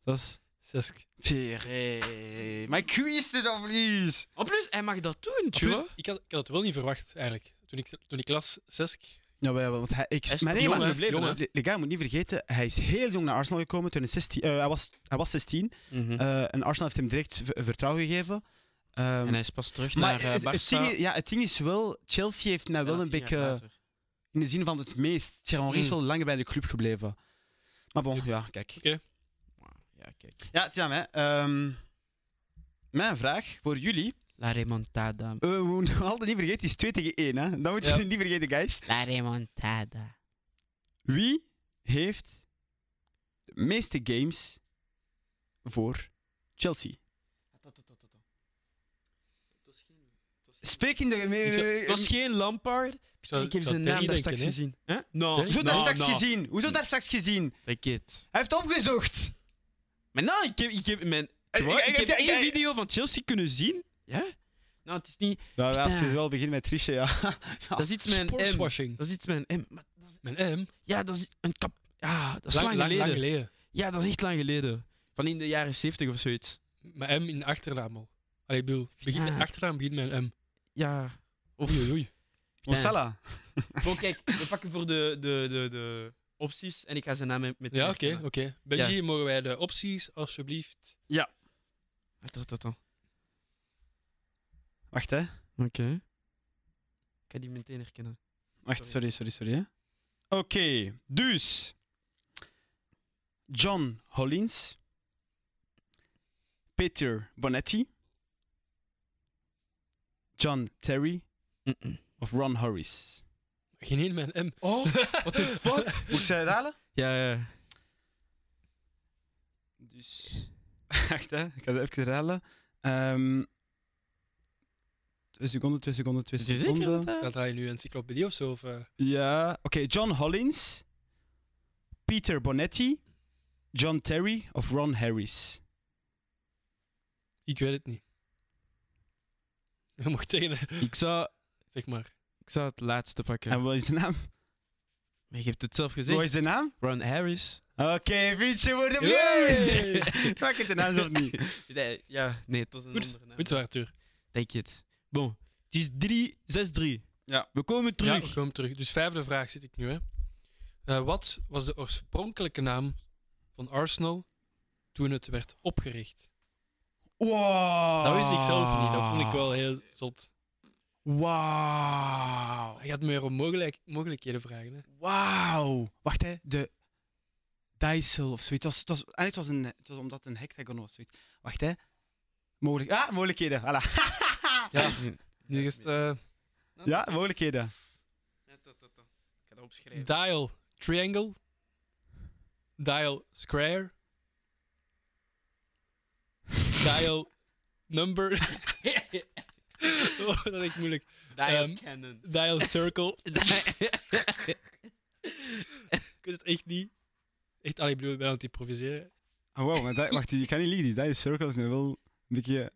[SPEAKER 2] Dat is.
[SPEAKER 1] Zesk.
[SPEAKER 2] Pire. Maar ik wist het of niet?
[SPEAKER 3] En plus, hij mag dat doen,
[SPEAKER 1] En plus, ik, had, ik had het wel niet verwacht, eigenlijk. Toen ik, toen ik las Zesk.
[SPEAKER 2] Ja, maar ja, want hij... Ik,
[SPEAKER 3] Hij is
[SPEAKER 2] maar nee,
[SPEAKER 3] jong,
[SPEAKER 2] maar...
[SPEAKER 1] hè?
[SPEAKER 3] gebleven,
[SPEAKER 1] jongen.
[SPEAKER 3] hè?
[SPEAKER 2] Le- Lega, je moet niet vergeten, hij is heel jong naar Arsenal gekomen. Toen hij, 16, eh, hij, was, hij was 16
[SPEAKER 3] Mhm.
[SPEAKER 2] eh, en Arsenal heeft hem direct v- vertrouwen gegeven. Ehm,
[SPEAKER 3] En hij is pas terug
[SPEAKER 2] maar
[SPEAKER 3] naar eh,
[SPEAKER 2] het, het ding,
[SPEAKER 3] Barça.
[SPEAKER 2] is- ja, het ding is wel, Chelsea heeft mij wel een beetje, in de zin van het meest, Thierry Henry is
[SPEAKER 3] Mhm.
[SPEAKER 1] Mm.
[SPEAKER 2] wel langer bij de club gebleven. Maar bon, ja, kijk.
[SPEAKER 1] Oké.
[SPEAKER 3] Ja, kijk.
[SPEAKER 2] Ja, Tiam, hè. ehm, Mijn vraag voor jullie.
[SPEAKER 3] La remontada.
[SPEAKER 2] Eh, we moeten [LAUGHS] altijd niet vergeten, het is 2 tegen 1. Hè? Dat moet je
[SPEAKER 1] Ja.
[SPEAKER 2] niet vergeten, guys.
[SPEAKER 3] La remontada.
[SPEAKER 2] Wie heeft de meeste games voor Chelsea? Spreek in de
[SPEAKER 1] Eh,
[SPEAKER 2] eh,
[SPEAKER 3] Het was
[SPEAKER 2] gemeente.
[SPEAKER 3] geen Lampard.
[SPEAKER 1] Ik zou,
[SPEAKER 3] ik heb
[SPEAKER 1] ik zou
[SPEAKER 3] zijn
[SPEAKER 1] Terry
[SPEAKER 3] naam daar
[SPEAKER 1] denken,
[SPEAKER 3] straks
[SPEAKER 1] hè.
[SPEAKER 3] gezien. Nou, Huh? No,
[SPEAKER 1] Terry?
[SPEAKER 2] Zo daar
[SPEAKER 3] no,
[SPEAKER 2] straks
[SPEAKER 3] no.
[SPEAKER 2] gezien. Hoezo daar straks gezien?
[SPEAKER 3] Like it.
[SPEAKER 2] Hij heeft opgezocht.
[SPEAKER 3] Maar nou, ik heb, ik heb, mijn,
[SPEAKER 1] Eh,
[SPEAKER 2] Ik- ik-
[SPEAKER 3] ik
[SPEAKER 2] ik-
[SPEAKER 3] heb
[SPEAKER 2] ik-
[SPEAKER 3] één
[SPEAKER 2] ik-
[SPEAKER 3] video van Chelsea kunnen zien. Ja? Nou, het is niet...
[SPEAKER 2] Nou,
[SPEAKER 3] als je
[SPEAKER 2] wel begint met Trisha, ja.
[SPEAKER 1] Ah,
[SPEAKER 3] Dat is iets met een M.
[SPEAKER 1] Sportswashing.
[SPEAKER 3] Dat is iets met een M. Maar-
[SPEAKER 1] Mijn M?
[SPEAKER 3] Ja, dat is een kap... Ja, dat is
[SPEAKER 1] Lang,
[SPEAKER 3] lang,
[SPEAKER 1] lang,
[SPEAKER 3] geleden.
[SPEAKER 1] lang geleden.
[SPEAKER 3] Ja, dat is echt lang geleden. Van in de jaren 70 of zoiets.
[SPEAKER 1] Mijn M in de achternaam al. Allee, ik bedoel, begin,
[SPEAKER 3] Ja.
[SPEAKER 1] achternaam begint met een M.
[SPEAKER 3] Ja. Of...
[SPEAKER 1] Oei, oei, oei.
[SPEAKER 2] Onsala.
[SPEAKER 3] Bon, kijk, we pakken voor de, de, de, de opties en ik ga zijn naam met... met
[SPEAKER 1] Ja, oké, oké. Benji, mogen wij de opties alsjeblieft?
[SPEAKER 3] Attends, attends, attends.
[SPEAKER 2] Wacht, hè.
[SPEAKER 3] Oké. Ik ga die meteen herkennen.
[SPEAKER 2] Wacht, sorry, sorry, sorry. hè. Oké, dus. John Hollins. Peter Bonetti. John Terry of Ron Harris.
[SPEAKER 1] Geen één met een M.
[SPEAKER 3] Oh, what the fuck?
[SPEAKER 2] Moet ik ze herhalen?
[SPEAKER 3] ja, ja.
[SPEAKER 2] Dus. Wacht, hè. [LAUGHS] Ik ga ze even herhalen. Ehm twee seconden, twee seconden, twee
[SPEAKER 3] Is je
[SPEAKER 2] seconden.
[SPEAKER 3] zeker dat dat-
[SPEAKER 1] Gaat hij nu een encyclopedie of zo? Of, eh?
[SPEAKER 2] Ja, oké. John Hollins, Peter Bonetti, John Terry of Ron Harris.
[SPEAKER 1] ik weet het niet. Je mocht tegen, [LAUGHS]
[SPEAKER 3] Ik zou,
[SPEAKER 1] zeg maar.
[SPEAKER 3] ik zou het laatste pakken.
[SPEAKER 2] En wat is de naam?
[SPEAKER 3] Maar je hebt het zelf
[SPEAKER 2] Wat
[SPEAKER 3] gezegd.
[SPEAKER 2] is de naam?
[SPEAKER 3] Ron Harris.
[SPEAKER 2] Oké, Vietje wordt opnieuw! [LAUGHS]
[SPEAKER 3] [LAUGHS]
[SPEAKER 2] Pak het de naam of niet?
[SPEAKER 3] Nee, ja, nee, het was een
[SPEAKER 1] Goed,
[SPEAKER 3] andere naam.
[SPEAKER 1] Goed zo, Arthur.
[SPEAKER 3] Denk je het. Bon, het is 3, 6, 3.
[SPEAKER 2] Ja.
[SPEAKER 3] We komen
[SPEAKER 1] Ja,
[SPEAKER 3] terug.
[SPEAKER 1] we komen terug. Dus vijfde vraag zit ik nu, hè. Eh, wat was de oorspronkelijke naam van Arsenal toen het werd opgericht?
[SPEAKER 2] Wow.
[SPEAKER 1] Dat wist ik zelf niet. Dat vond ik wel heel zot.
[SPEAKER 2] Wauw.
[SPEAKER 1] Je gaat me weer om mogelijk, mogelijkheden vragen, hè.
[SPEAKER 2] Wauw. Wacht, hè. De Dijssel of zoiets. Het was, het was, eigenlijk was een, het was omdat het een hectagon was. Zoiets. Wacht, hè. Mogelijk, ah, mogelijkheden. Voilà. [LAUGHS]
[SPEAKER 1] Ja, nu is het... eh,
[SPEAKER 2] Ja, mogelijkheden.
[SPEAKER 3] Ik ga dat opschrijven.
[SPEAKER 1] Dial triangle. Dial square. dial number. [LAUGHS] oh, dat is moeilijk.
[SPEAKER 3] Dial
[SPEAKER 1] Ehm,
[SPEAKER 3] [LAUGHS] Cannon.
[SPEAKER 1] Dial circle. Ik weet het echt niet. Echt, allee, ik bedoel, ik ben aan het improviseren.
[SPEAKER 2] Oh, wow, maar dat- wacht, die kan niet liegen. Die Dice Circle is nu wel een beetje...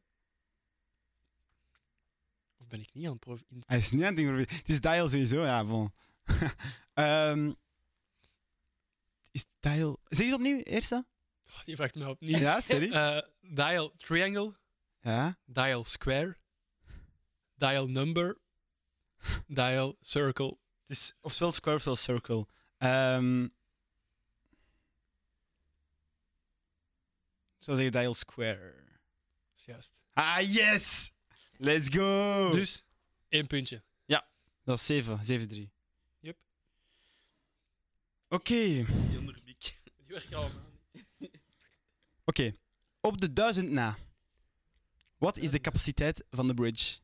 [SPEAKER 1] Of ben ik niet aan het improviseren?
[SPEAKER 2] Hij is niet aan het improviseren. Het is Dial sowieso, ja, bon. [LAUGHS] Ehm, is Dial... Zeg eens opnieuw, eerste.
[SPEAKER 1] Oh, die vraagt me opnieuw.
[SPEAKER 2] Ja, sorry.
[SPEAKER 1] Eh, dial triangle.
[SPEAKER 2] Ja.
[SPEAKER 1] Dial square. Dial number. Dial circle.
[SPEAKER 2] Het is ofwel Square ofwel Circle. Ehm, ik zou zeggen Dial Square.
[SPEAKER 1] Dat is juist.
[SPEAKER 2] Ah, yes! Let's go!
[SPEAKER 1] Dus, één puntje.
[SPEAKER 2] Dat is 7, 7-3.
[SPEAKER 1] Yep.
[SPEAKER 2] Oké.
[SPEAKER 3] Die andere biek.
[SPEAKER 1] Die werkt allemaal.
[SPEAKER 2] Oké, op de duizend na. Wat is de capaciteit van de bridge?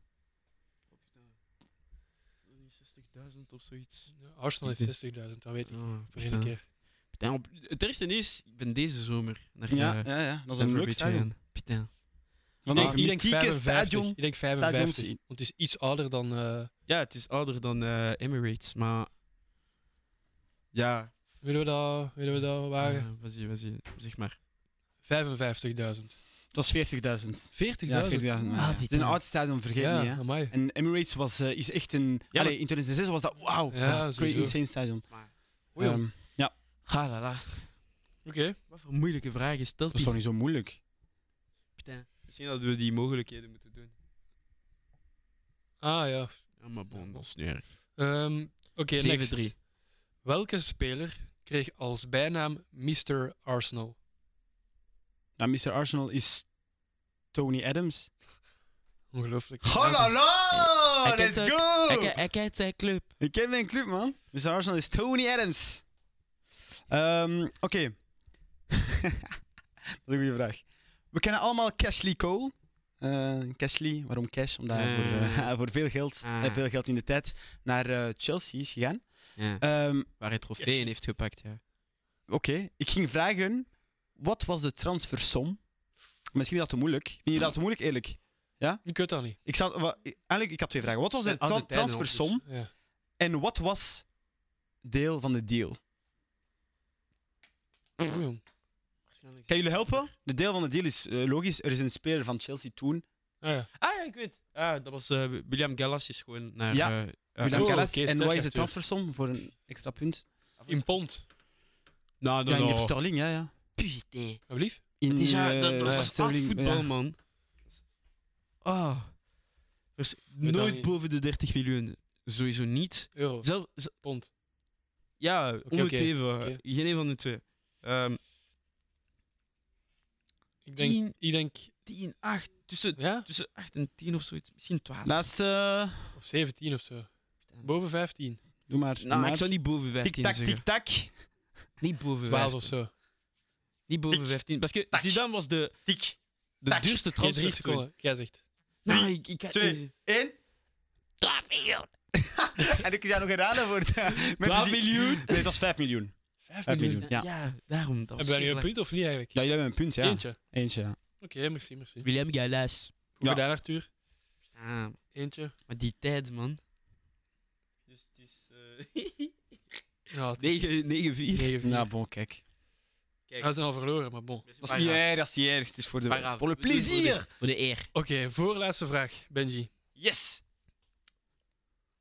[SPEAKER 3] 60.000 of zoiets.
[SPEAKER 1] Ja, Arsenal heeft 60.000, dat
[SPEAKER 2] Ah,
[SPEAKER 1] weet ik.
[SPEAKER 3] Oh,
[SPEAKER 1] Voor één keer.
[SPEAKER 3] Putain, op- het eerste is, ik ben deze zomer naar
[SPEAKER 2] Ja,
[SPEAKER 3] eh,
[SPEAKER 2] ja, ja. Dat is een
[SPEAKER 3] Stamford
[SPEAKER 2] leuk
[SPEAKER 3] Bridge
[SPEAKER 2] stadion.
[SPEAKER 3] gegaan. Putain.
[SPEAKER 2] Van
[SPEAKER 1] Ik-
[SPEAKER 2] een
[SPEAKER 1] ik denk
[SPEAKER 2] mythieke
[SPEAKER 1] 55.
[SPEAKER 2] stadion.
[SPEAKER 1] Ik denk 55.
[SPEAKER 2] Stadion
[SPEAKER 1] Want het is iets ouder dan. eh,
[SPEAKER 3] Ja, het is ouder dan eh, Emirates, maar... Ja,
[SPEAKER 1] willen we dat, willen we dat wagen?
[SPEAKER 3] eh, wat zie je, wat zie je, zeg maar.
[SPEAKER 1] 55.000.
[SPEAKER 2] Dat is 40.000.
[SPEAKER 1] 40.000?
[SPEAKER 2] Ja, 40.000.
[SPEAKER 1] Ja,
[SPEAKER 2] ja. Het is een
[SPEAKER 3] putain.
[SPEAKER 2] oud stadion, vergeet niet. Hè.
[SPEAKER 1] amai.
[SPEAKER 2] En Emirates was, eh, is echt een...
[SPEAKER 3] Ja,
[SPEAKER 2] Allee, in 2006 was dat... Wauw,
[SPEAKER 1] Ja,
[SPEAKER 2] dat is een
[SPEAKER 1] sowieso.
[SPEAKER 2] insane stadion.
[SPEAKER 3] Oei,
[SPEAKER 2] Ehm,
[SPEAKER 3] Ha, la, la.
[SPEAKER 1] Oké.
[SPEAKER 3] Wat voor moeilijke vragen stelt
[SPEAKER 2] dat is toch
[SPEAKER 3] hij?
[SPEAKER 2] niet zo moeilijk?
[SPEAKER 3] Putain. Misschien dat we die mogelijkheden moeten doen.
[SPEAKER 1] Ah ja.
[SPEAKER 3] Ja, maar bon, dat is niet erg.
[SPEAKER 1] Ehm, Oké, next.
[SPEAKER 3] 7-3.
[SPEAKER 1] Welke speler kreeg als bijnaam Mr. Arsenal?
[SPEAKER 2] Nou, Mr. Arsenal is Tony Adams.
[SPEAKER 1] Ongelooflijk.
[SPEAKER 3] Hij
[SPEAKER 2] Hallo!
[SPEAKER 3] kent
[SPEAKER 2] Let's
[SPEAKER 3] ook-
[SPEAKER 2] go!
[SPEAKER 3] Hij, ki- hij kijkt zijn club.
[SPEAKER 2] Ik ken mijn club, man. Mr. Arsenal is Tony Adams. Ehm, Oké. [LAUGHS] dat is een goede vraag. We kennen allemaal Cashley Cole. hè? eh, Cashley. Waarom cash? Omdat hij voor, eh, [LAUGHS]
[SPEAKER 3] Ah.
[SPEAKER 2] voor veel geld,
[SPEAKER 3] Ah.
[SPEAKER 2] en veel geld in de tijd, naar eh, Chelsea is gegaan.
[SPEAKER 3] Ja,
[SPEAKER 2] Ehm,
[SPEAKER 3] waar hij trofeeën heeft gepakt. Ja.
[SPEAKER 2] Oké, ik ging vragen, wat was de transfersom? Misschien is dat te moeilijk. Vind je dat te moeilijk, eerlijk?
[SPEAKER 1] Ik weet dat niet.
[SPEAKER 2] Ik zat, wa- eigenlijk, ik had twee vragen. Wat was de
[SPEAKER 3] En oude
[SPEAKER 2] tra-
[SPEAKER 3] tijden
[SPEAKER 2] transfersom
[SPEAKER 1] Ja.
[SPEAKER 2] en wat was deel van de deal?
[SPEAKER 1] Oeh.
[SPEAKER 2] Kan jullie helpen? De deel van de deal is eh, logisch. Er is een speler van Chelsea toen.
[SPEAKER 1] Ah, ja.
[SPEAKER 3] Ah, ja, ik weet. Ah, dat was eh, William Gallas is gewoon naar.
[SPEAKER 2] Ja,
[SPEAKER 3] eh, eh,
[SPEAKER 2] William
[SPEAKER 1] oh,
[SPEAKER 2] Gallas.
[SPEAKER 1] oké, sterk
[SPEAKER 2] en wat is de
[SPEAKER 1] natuurlijk.
[SPEAKER 2] transfersom voor een extra punt?
[SPEAKER 1] In pond,
[SPEAKER 3] Nou,
[SPEAKER 2] Ja,
[SPEAKER 3] nou,
[SPEAKER 2] in de
[SPEAKER 3] nou.
[SPEAKER 2] Sterling, ja. ja.
[SPEAKER 3] Putain.
[SPEAKER 1] alblieft.
[SPEAKER 2] In,
[SPEAKER 3] Het is ja,
[SPEAKER 2] eh,
[SPEAKER 3] dat, dat
[SPEAKER 2] eh,
[SPEAKER 3] was hard
[SPEAKER 2] Sterling,
[SPEAKER 3] voetbal,
[SPEAKER 2] ja.
[SPEAKER 3] man. Ah. Dat is
[SPEAKER 1] dat
[SPEAKER 3] nooit
[SPEAKER 1] niet.
[SPEAKER 3] boven de 30 miljoen. Sowieso niet.
[SPEAKER 1] Euro,
[SPEAKER 3] Zelf, z-
[SPEAKER 1] pond.
[SPEAKER 3] ja, onbeteven.
[SPEAKER 1] oké.
[SPEAKER 3] eh, Geen een van de twee. Ehm
[SPEAKER 1] Ik denk,
[SPEAKER 3] 10,
[SPEAKER 1] ik denk,
[SPEAKER 3] 10, 8. Tussen,
[SPEAKER 1] ja,
[SPEAKER 3] tussen 8 en 10 of zoiets. Misschien 12.
[SPEAKER 2] Nou, Laatste.
[SPEAKER 1] of 17 of zo. Boven 15,
[SPEAKER 2] Doe maar. doe
[SPEAKER 3] nou,
[SPEAKER 2] maar.
[SPEAKER 3] ik zou niet boven 15
[SPEAKER 2] Tik-tak,
[SPEAKER 3] zeggen.
[SPEAKER 2] tik-tak.
[SPEAKER 3] Niet boven
[SPEAKER 1] 12
[SPEAKER 3] 15.
[SPEAKER 1] of zo.
[SPEAKER 3] Niet boven
[SPEAKER 2] Tik.
[SPEAKER 3] 15. Parce que
[SPEAKER 2] Tak.
[SPEAKER 3] Zidane was de,
[SPEAKER 2] Tik.
[SPEAKER 3] de
[SPEAKER 2] Tak.
[SPEAKER 3] duurste
[SPEAKER 1] Geen
[SPEAKER 3] transfer.
[SPEAKER 1] 3 seconden, jij zegt.
[SPEAKER 3] Nee, ik, ik ga
[SPEAKER 2] twee.
[SPEAKER 3] niet-
[SPEAKER 2] Eén. 12 miljoen. [LAUGHS] en ik zou nog herhalen voor de mensen
[SPEAKER 3] 12
[SPEAKER 2] die-
[SPEAKER 3] miljoen.
[SPEAKER 2] Nee, het was 5 miljoen.
[SPEAKER 1] 5
[SPEAKER 2] Vijf
[SPEAKER 1] miljoen.
[SPEAKER 2] miljoen. Ja.
[SPEAKER 3] Ja. daarom. Dat
[SPEAKER 1] Hebben
[SPEAKER 3] was
[SPEAKER 1] wij nu
[SPEAKER 3] zeer
[SPEAKER 1] een
[SPEAKER 3] laag.
[SPEAKER 1] punt of niet eigenlijk?
[SPEAKER 2] Ja, jullie hebben een punt, ja.
[SPEAKER 1] Eentje.
[SPEAKER 2] Eentje, ja.
[SPEAKER 1] Oké, merci, merci. Goed
[SPEAKER 3] William Gallas.
[SPEAKER 2] Ja.
[SPEAKER 1] gedaan, Arthur.
[SPEAKER 3] Ah,
[SPEAKER 1] Eentje.
[SPEAKER 3] maar die tijd, man. Dus het is...
[SPEAKER 1] Ja, het is
[SPEAKER 3] 9-4.
[SPEAKER 1] 9-4.
[SPEAKER 2] Nou, bon, kijk.
[SPEAKER 1] Ja, we zijn al verloren, maar bon.
[SPEAKER 2] Dat is niet erg, dat is niet erg. Het is voor de,
[SPEAKER 3] Paraat.
[SPEAKER 2] het is voor de plezier.
[SPEAKER 3] Voor de eer.
[SPEAKER 1] Oké, voorlaatste vraag, Benji.
[SPEAKER 2] Yes.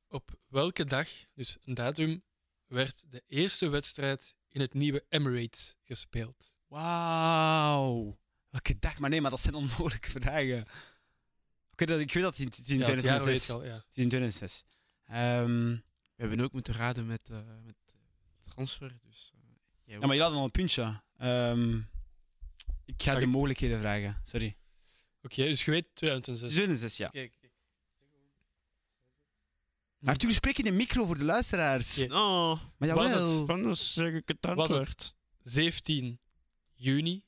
[SPEAKER 1] Op welke dag, dus een datum, werd de eerste wedstrijd in het nieuwe Emirates gespeeld?
[SPEAKER 2] Wauw. Welke dag. Maar nee, maar dat zijn onmogelijke vragen. Oké, dat, ik weet dat het in- het is
[SPEAKER 1] ja,
[SPEAKER 2] in
[SPEAKER 1] het jaar weet
[SPEAKER 2] 2006.
[SPEAKER 1] je al, ja.
[SPEAKER 2] Het is in 2006. Ehm,
[SPEAKER 3] We hebben ook moeten raden met, eh, met transfer. Dus, eh, jij
[SPEAKER 2] ja, maar je had al een puntje. Ehm, ik ga
[SPEAKER 1] Oké.
[SPEAKER 2] de mogelijkheden vragen. Sorry.
[SPEAKER 1] Oké, dus je weet
[SPEAKER 2] Het
[SPEAKER 1] 2006.
[SPEAKER 2] is 2006, ja.
[SPEAKER 1] Oké, oké.
[SPEAKER 2] Arthur, spreek in de micro voor de luisteraars.
[SPEAKER 1] Ja.
[SPEAKER 3] No.
[SPEAKER 2] Maar
[SPEAKER 1] Was
[SPEAKER 2] jawel.
[SPEAKER 1] het?
[SPEAKER 3] Anders zeg ik het
[SPEAKER 1] Was het? 17 juni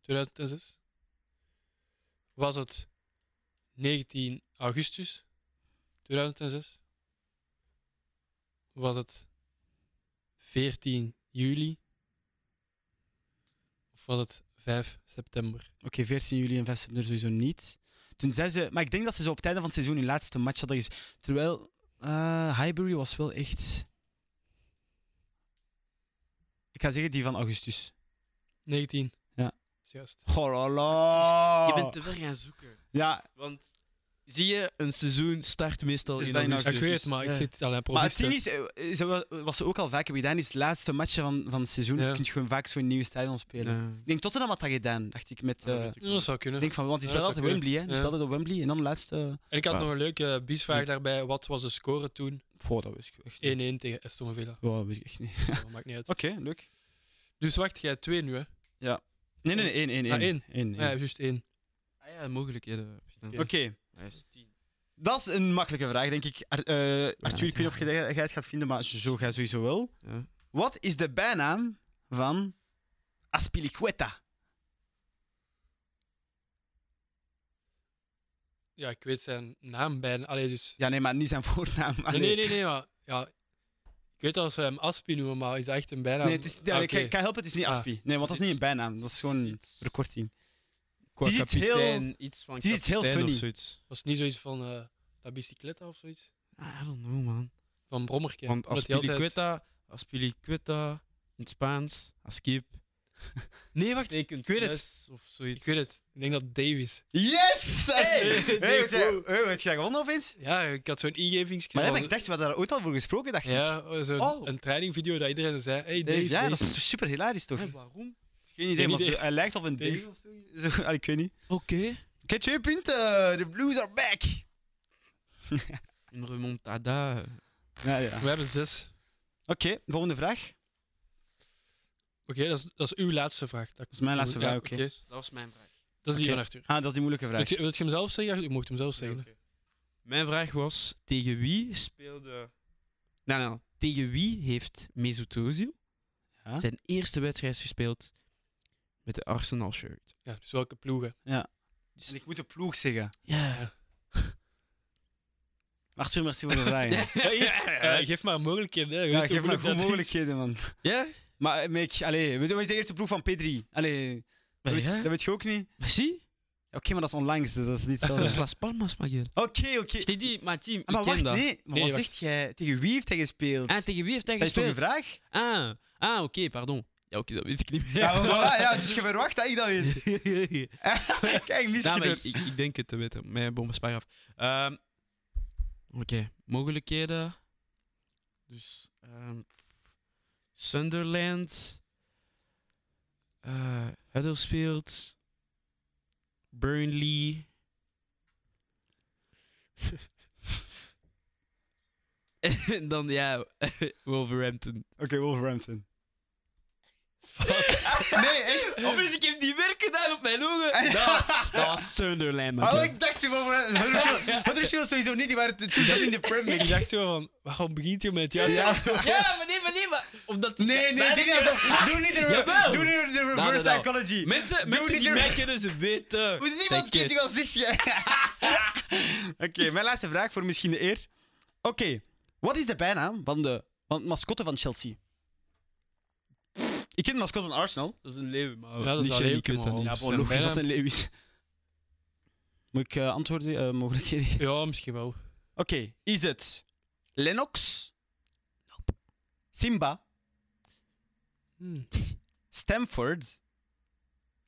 [SPEAKER 1] 2006. Was het 19 augustus 2006? Was het 14 juli? Of was het 5 september?
[SPEAKER 2] Oké, 14 juli en 5 september sowieso niet. Toen zei ze, maar ik denk dat ze zo op het einde van het seizoen hun laatste match hadden gespeeld. Terwijl eh, Highbury was wel echt. Ik ga zeggen die van augustus.
[SPEAKER 1] 19.
[SPEAKER 2] Ja.
[SPEAKER 1] Is Juist.
[SPEAKER 2] Oh la la.
[SPEAKER 3] Je bent te ver gaan zoeken.
[SPEAKER 2] Ja,
[SPEAKER 3] Want zie je, een seizoen start meestal
[SPEAKER 2] Het is
[SPEAKER 3] in
[SPEAKER 2] dat in
[SPEAKER 1] Ja,
[SPEAKER 3] augustus.
[SPEAKER 1] ik weet het, maar ik
[SPEAKER 3] Ja.
[SPEAKER 1] zit alleen
[SPEAKER 2] maar het
[SPEAKER 1] provincie.
[SPEAKER 2] ding is, eh, ze wa- wat ze ook al vaak hebben gedaan, is het laatste match van, van het seizoen.
[SPEAKER 1] Ja.
[SPEAKER 2] Kun je gewoon vaak zo'n nieuwe stadion spelen. Ik denk Tottenham had dat gedaan, dacht ik. Met, eh,
[SPEAKER 3] Ja,
[SPEAKER 2] ik
[SPEAKER 3] dat weet ik
[SPEAKER 1] dat
[SPEAKER 3] wel.
[SPEAKER 1] zou kunnen.
[SPEAKER 2] denk van, want die
[SPEAKER 1] Ja, dat
[SPEAKER 2] speelden
[SPEAKER 1] zou
[SPEAKER 2] altijd Wembley, hè? Die
[SPEAKER 1] Ja.
[SPEAKER 2] speelden op Wembley en dan de laatste.
[SPEAKER 1] En ik had
[SPEAKER 3] Waar?
[SPEAKER 1] nog een leuke biesvraag
[SPEAKER 3] Zie-
[SPEAKER 1] daarbij. Wat was de score toen? 1-1
[SPEAKER 2] Goh, dat weet ik echt niet.
[SPEAKER 1] tegen Aston Villa.
[SPEAKER 2] [LAUGHS] Ja, dat weet ik echt niet.
[SPEAKER 1] Dat maakt niet uit.
[SPEAKER 2] Oké, leuk.
[SPEAKER 1] Dus wacht, jij 2 nu, hè?
[SPEAKER 2] Nee, nee, nee, één, één,
[SPEAKER 1] Ah,
[SPEAKER 2] één.
[SPEAKER 1] één.
[SPEAKER 2] Eén,
[SPEAKER 1] Ja,
[SPEAKER 2] één.
[SPEAKER 1] juist 1.
[SPEAKER 3] Ah ja, mogelijkheden.
[SPEAKER 1] Oké.
[SPEAKER 2] Oké, dat is een makkelijke vraag, denk ik. Ar- eh, Arthur, ik weet niet of je- jij het gaat vinden, maar zo ga je sowieso wel.
[SPEAKER 3] Ja.
[SPEAKER 2] Wat is de bijnaam van Aspilicueta?
[SPEAKER 1] Ja, ik weet zijn naam bijna. Allee, dus...
[SPEAKER 2] Ja, nee, maar niet zijn [LAUGHS] voornaam.
[SPEAKER 1] Nee,
[SPEAKER 2] Allee.
[SPEAKER 1] nee, nee, nee, maar... Ja, ik weet dat ze hem Aspi noemen, maar is dat echt een bijnaam?
[SPEAKER 2] Nee, het is, ja,
[SPEAKER 1] Ah,
[SPEAKER 2] ik, ik kan helpen, het is niet
[SPEAKER 1] Ah.
[SPEAKER 2] Aspi. Nee, want dat is niet een bijnaam, dat is gewoon een
[SPEAKER 3] Iets-
[SPEAKER 2] verkorting.
[SPEAKER 3] Qua
[SPEAKER 2] Het is iets
[SPEAKER 3] kapitein, iets van
[SPEAKER 2] het is iets heel
[SPEAKER 3] kapitein of
[SPEAKER 2] funny.
[SPEAKER 3] zoiets.
[SPEAKER 1] Was het niet zoiets van eh La Bicicleta of zoiets?
[SPEAKER 3] Ah, I don't know, man.
[SPEAKER 1] Van Brommerke.
[SPEAKER 3] Want
[SPEAKER 1] Omdat
[SPEAKER 3] als
[SPEAKER 1] hij altijd-
[SPEAKER 3] Piliqueta, als Piliqueta, in het Spaans, als kip.
[SPEAKER 1] Nee, wacht.
[SPEAKER 3] Ik
[SPEAKER 1] weet het.
[SPEAKER 3] Of zoiets.
[SPEAKER 1] Ik weet het. Ik denk dat Davis.
[SPEAKER 2] Yes! Hey,
[SPEAKER 1] Hey,
[SPEAKER 2] wat jij, hey, wat jij gewonnen opeens?
[SPEAKER 1] Ja, ik had zo'n ingevingskje.
[SPEAKER 2] Maar ja,
[SPEAKER 1] van-
[SPEAKER 2] maar ik dacht, we hadden daar ooit al voor gesproken, dacht ik.
[SPEAKER 1] Ja, zo'n
[SPEAKER 3] Oh.
[SPEAKER 1] een trainingvideo dat iedereen zei. Hey, Dave,
[SPEAKER 2] Dave, ja,
[SPEAKER 1] Dave.
[SPEAKER 2] dat is toch super hilarisch, toch?
[SPEAKER 3] Hé, waarom?
[SPEAKER 2] Geen idee, maar
[SPEAKER 1] idee.
[SPEAKER 2] zo- hij lijkt op een
[SPEAKER 1] Dave.
[SPEAKER 2] Dave of [LAUGHS] zo. Zo, Ik weet niet.
[SPEAKER 3] Oké.
[SPEAKER 2] Ik heb twee punten, eh, de Blues are back!
[SPEAKER 3] Een remontada.
[SPEAKER 2] Ja, ja.
[SPEAKER 1] We hebben zes.
[SPEAKER 2] Oké, volgende vraag.
[SPEAKER 1] Oké, dat, is, dat is uw laatste vraag. Dat,
[SPEAKER 2] is mijn laatste
[SPEAKER 1] Ja,
[SPEAKER 2] vraag, oké.
[SPEAKER 3] Dus Dat was mijn vraag.
[SPEAKER 1] Dat is die
[SPEAKER 2] Oké.
[SPEAKER 1] van Arthur.
[SPEAKER 2] Ah, dat is die moeilijke
[SPEAKER 1] Wil
[SPEAKER 2] vraag.
[SPEAKER 1] je, wilt je hem zelf zeggen? Je mocht hem zelf zeggen. hè.
[SPEAKER 3] Mijn vraag was, tegen wie speelde... Nou, nou, tegen wie heeft Mesut Ozil
[SPEAKER 2] Ja.
[SPEAKER 3] zijn eerste wedstrijd gespeeld met de Arsenal shirt?
[SPEAKER 1] Ja, dus welke ploegen?
[SPEAKER 2] Dus ik moet de ploeg zeggen.
[SPEAKER 3] Ja.
[SPEAKER 2] Arthur, merci voor de [LAUGHS] vraag. ja,
[SPEAKER 1] [LAUGHS] Eh, geef maar mogelijkheden. Hè. Je weet hoe
[SPEAKER 2] geef
[SPEAKER 1] moeilijk
[SPEAKER 2] maar gewoon
[SPEAKER 1] dat is.
[SPEAKER 2] mogelijkheden, man.
[SPEAKER 3] Ja?
[SPEAKER 2] Maar eh, Mick, allee, we zijn de eerste ploeg van P3. Allee, dat, weet, dat weet je ook niet?
[SPEAKER 3] Maar zie,
[SPEAKER 2] Oké, maar dat is onlangs, dus dat is niet
[SPEAKER 3] [LAUGHS] dat is
[SPEAKER 2] hetzelfde.
[SPEAKER 3] Las Palmas, Magier.
[SPEAKER 2] Oké, oké.
[SPEAKER 3] Ik die, mijn team, ik
[SPEAKER 2] Ah, Maar
[SPEAKER 3] ken
[SPEAKER 2] wacht,
[SPEAKER 3] dat.
[SPEAKER 2] nee. Maar
[SPEAKER 1] Nee,
[SPEAKER 2] wat
[SPEAKER 1] wacht.
[SPEAKER 2] zegt jij? Tegen wie heeft hij gespeeld?
[SPEAKER 3] Ah, tegen wie heeft hij
[SPEAKER 2] dat is toch
[SPEAKER 3] gespeeld?
[SPEAKER 2] een vraag?
[SPEAKER 3] Ah, ah oké, pardon. Ja, oké, dat weet ik niet meer.
[SPEAKER 2] Ja, voilà, ja, dus je verwacht dat ik dat weet. [LAUGHS] Kijk,
[SPEAKER 3] Nou, maar
[SPEAKER 2] misschien.
[SPEAKER 3] ik, ik, ik denk het te weten. Mijn bom spaar af. Ehm, Oké, mogelijkheden. Dus ehm, Sunderland, eh, Huddersfield, Burnley. [LAUGHS] en dan ja, [LAUGHS] Wolverhampton.
[SPEAKER 2] Oké, Wolverhampton. nee, echt?
[SPEAKER 3] Of is ik heb die werk gedaan op mijn
[SPEAKER 2] Ah, [LAUGHS]
[SPEAKER 3] ogen.
[SPEAKER 2] ja.
[SPEAKER 3] Dat, dat was Sunderland. man.
[SPEAKER 2] Oh, ik dacht je
[SPEAKER 3] [LAUGHS]
[SPEAKER 2] Wolverhampton. Huddersfield- Huddersfield sowieso niet, die waren t- toen zat in de Premier
[SPEAKER 1] Ik
[SPEAKER 2] League.
[SPEAKER 1] dacht zo van, waarom begint je met het juiste
[SPEAKER 2] Ja.
[SPEAKER 3] Ja, maar nee, maar nee, maar omdat
[SPEAKER 2] Nee, nee, doe niet, dat- doe niet de, re-
[SPEAKER 3] Ah! Jawel.
[SPEAKER 2] doe niet de reverse
[SPEAKER 3] Nou, nou, nou.
[SPEAKER 2] psychology.
[SPEAKER 3] Mensen,
[SPEAKER 2] niet
[SPEAKER 3] mensen die
[SPEAKER 2] er-
[SPEAKER 3] mij kennen, ze weten.
[SPEAKER 2] Moet niemand
[SPEAKER 3] Take
[SPEAKER 2] kent
[SPEAKER 3] it.
[SPEAKER 2] die wel zegt jij. [LAUGHS] Oké, mijn laatste vraag voor misschien de eer. Oké, wat is de bijnaam van de van de mascotte van Chelsea? Ik ken de mascotte van Arsenal.
[SPEAKER 3] Dat is een leeuw,
[SPEAKER 1] Oh,
[SPEAKER 3] maar
[SPEAKER 1] Ja, dat is
[SPEAKER 3] niet
[SPEAKER 1] een
[SPEAKER 3] Jenny
[SPEAKER 1] leeuw,
[SPEAKER 3] kunt dat
[SPEAKER 1] man.
[SPEAKER 3] niet.
[SPEAKER 1] Ja,
[SPEAKER 2] Oh,
[SPEAKER 1] Zijn
[SPEAKER 2] logisch,
[SPEAKER 1] bijnaam?
[SPEAKER 2] dat zijn Lewis. Moet ik eh, antwoorden, eh, mogelijkheden? Oké,
[SPEAKER 1] Ja, misschien wel.
[SPEAKER 2] is het Lennox? Simba?
[SPEAKER 1] Hm, Ik
[SPEAKER 2] Stamford?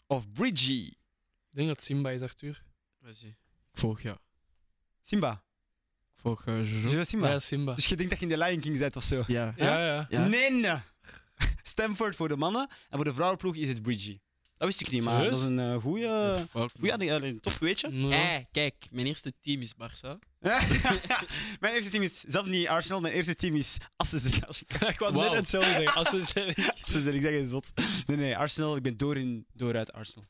[SPEAKER 2] Of Bridgie?
[SPEAKER 1] denk dat Simba is, Arthur.
[SPEAKER 3] Ik volg ja.
[SPEAKER 2] Simba.
[SPEAKER 3] Ik volg eh,
[SPEAKER 2] Dus
[SPEAKER 3] Jojo.
[SPEAKER 2] je was Simba.
[SPEAKER 1] Ja, Simba.
[SPEAKER 2] Dus je denkt dat je in de Lion King bent of zo?
[SPEAKER 3] Ja.
[SPEAKER 1] Ja, ja.
[SPEAKER 3] Ja.
[SPEAKER 2] Nee, nee. Stamford voor de mannen en voor de vrouwenploeg is het Bridgie. Dat wist ik niet, maar
[SPEAKER 1] Serieus?
[SPEAKER 2] dat is een eh, goeie, goede.
[SPEAKER 3] Fuck, man.
[SPEAKER 2] Goeie, een top weetje.
[SPEAKER 1] Ja.
[SPEAKER 3] Eh, kijk, mijn eerste team is Barça.
[SPEAKER 2] mijn eerste team is zelf niet Arsenal, mijn eerste team is Assen de
[SPEAKER 1] [LAUGHS]
[SPEAKER 2] Belgica.
[SPEAKER 1] ik wou
[SPEAKER 3] Wauw.
[SPEAKER 1] net hetzelfde zeggen. Als ze zeggen-
[SPEAKER 2] Assen de- ik zeg het zot. Nee, nee, Arsenal, ik ben door in, door uit Arsenal.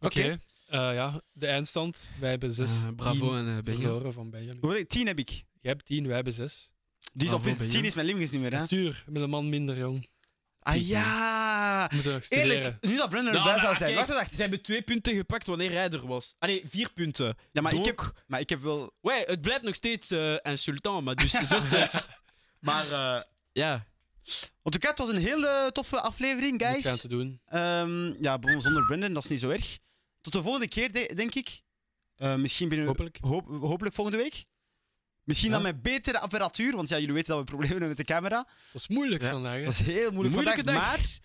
[SPEAKER 1] Oké. eh, ja, de eindstand. Wij hebben zes.
[SPEAKER 3] Eh, bravo
[SPEAKER 1] tien
[SPEAKER 3] en eh, Benjamin.
[SPEAKER 1] verloren van Benjamin.
[SPEAKER 2] Hoeveel? Tien heb ik.
[SPEAKER 1] Jij hebt tien, wij hebben zes.
[SPEAKER 2] Die is op
[SPEAKER 3] Bravo,
[SPEAKER 2] is-
[SPEAKER 3] ben je.
[SPEAKER 2] tien is mijn lemmings niet meer, hè?
[SPEAKER 1] Arthur, met een man minder, jong.
[SPEAKER 2] Ah ja!
[SPEAKER 1] We moeten nog studeren.
[SPEAKER 2] Eerlijk, nu dat Brenner
[SPEAKER 3] Nou,
[SPEAKER 2] erbij zou
[SPEAKER 3] nou,
[SPEAKER 2] zijn.
[SPEAKER 3] kijk,
[SPEAKER 2] Wacht, wacht.
[SPEAKER 3] Ze hebben twee punten gepakt wanneer hij er was. Allee, vier punten.
[SPEAKER 2] Ja, maar ik
[SPEAKER 3] Dronk.
[SPEAKER 2] heb, maar ik heb wel.
[SPEAKER 3] Ouais, het blijft nog steeds eh insultant, maar dus 6-6. maar eh, [LAUGHS] ja.
[SPEAKER 2] En tout cas, het was een heel eh, toffe aflevering,
[SPEAKER 1] Niks aan
[SPEAKER 2] guys.
[SPEAKER 1] te doen.
[SPEAKER 2] Ehm, ja, bon, zonder Brendan, dat is niet zo erg. Tot de volgende keer, de- denk ik. Eh, misschien binnen...
[SPEAKER 1] Hopelijk.
[SPEAKER 2] hoop- hopelijk volgende week. Misschien
[SPEAKER 1] Ja.
[SPEAKER 2] dan met betere apparatuur, want ja, jullie weten dat we problemen hebben met de camera.
[SPEAKER 1] Dat is moeilijk
[SPEAKER 3] Ja.
[SPEAKER 1] vandaag. hè.
[SPEAKER 2] Dat is heel moeilijk
[SPEAKER 3] Moeilijke
[SPEAKER 2] vandaag,
[SPEAKER 3] dag.
[SPEAKER 2] maar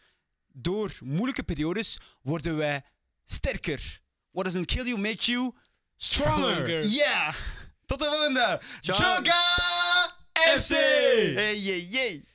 [SPEAKER 2] door moeilijke periodes worden wij sterker. What doesn't kill you make you stronger.
[SPEAKER 1] Stronger.
[SPEAKER 2] Yeah! Tot de volgende!
[SPEAKER 1] Ciao.
[SPEAKER 2] Joga!
[SPEAKER 3] FC!
[SPEAKER 2] Hey, hey, hey!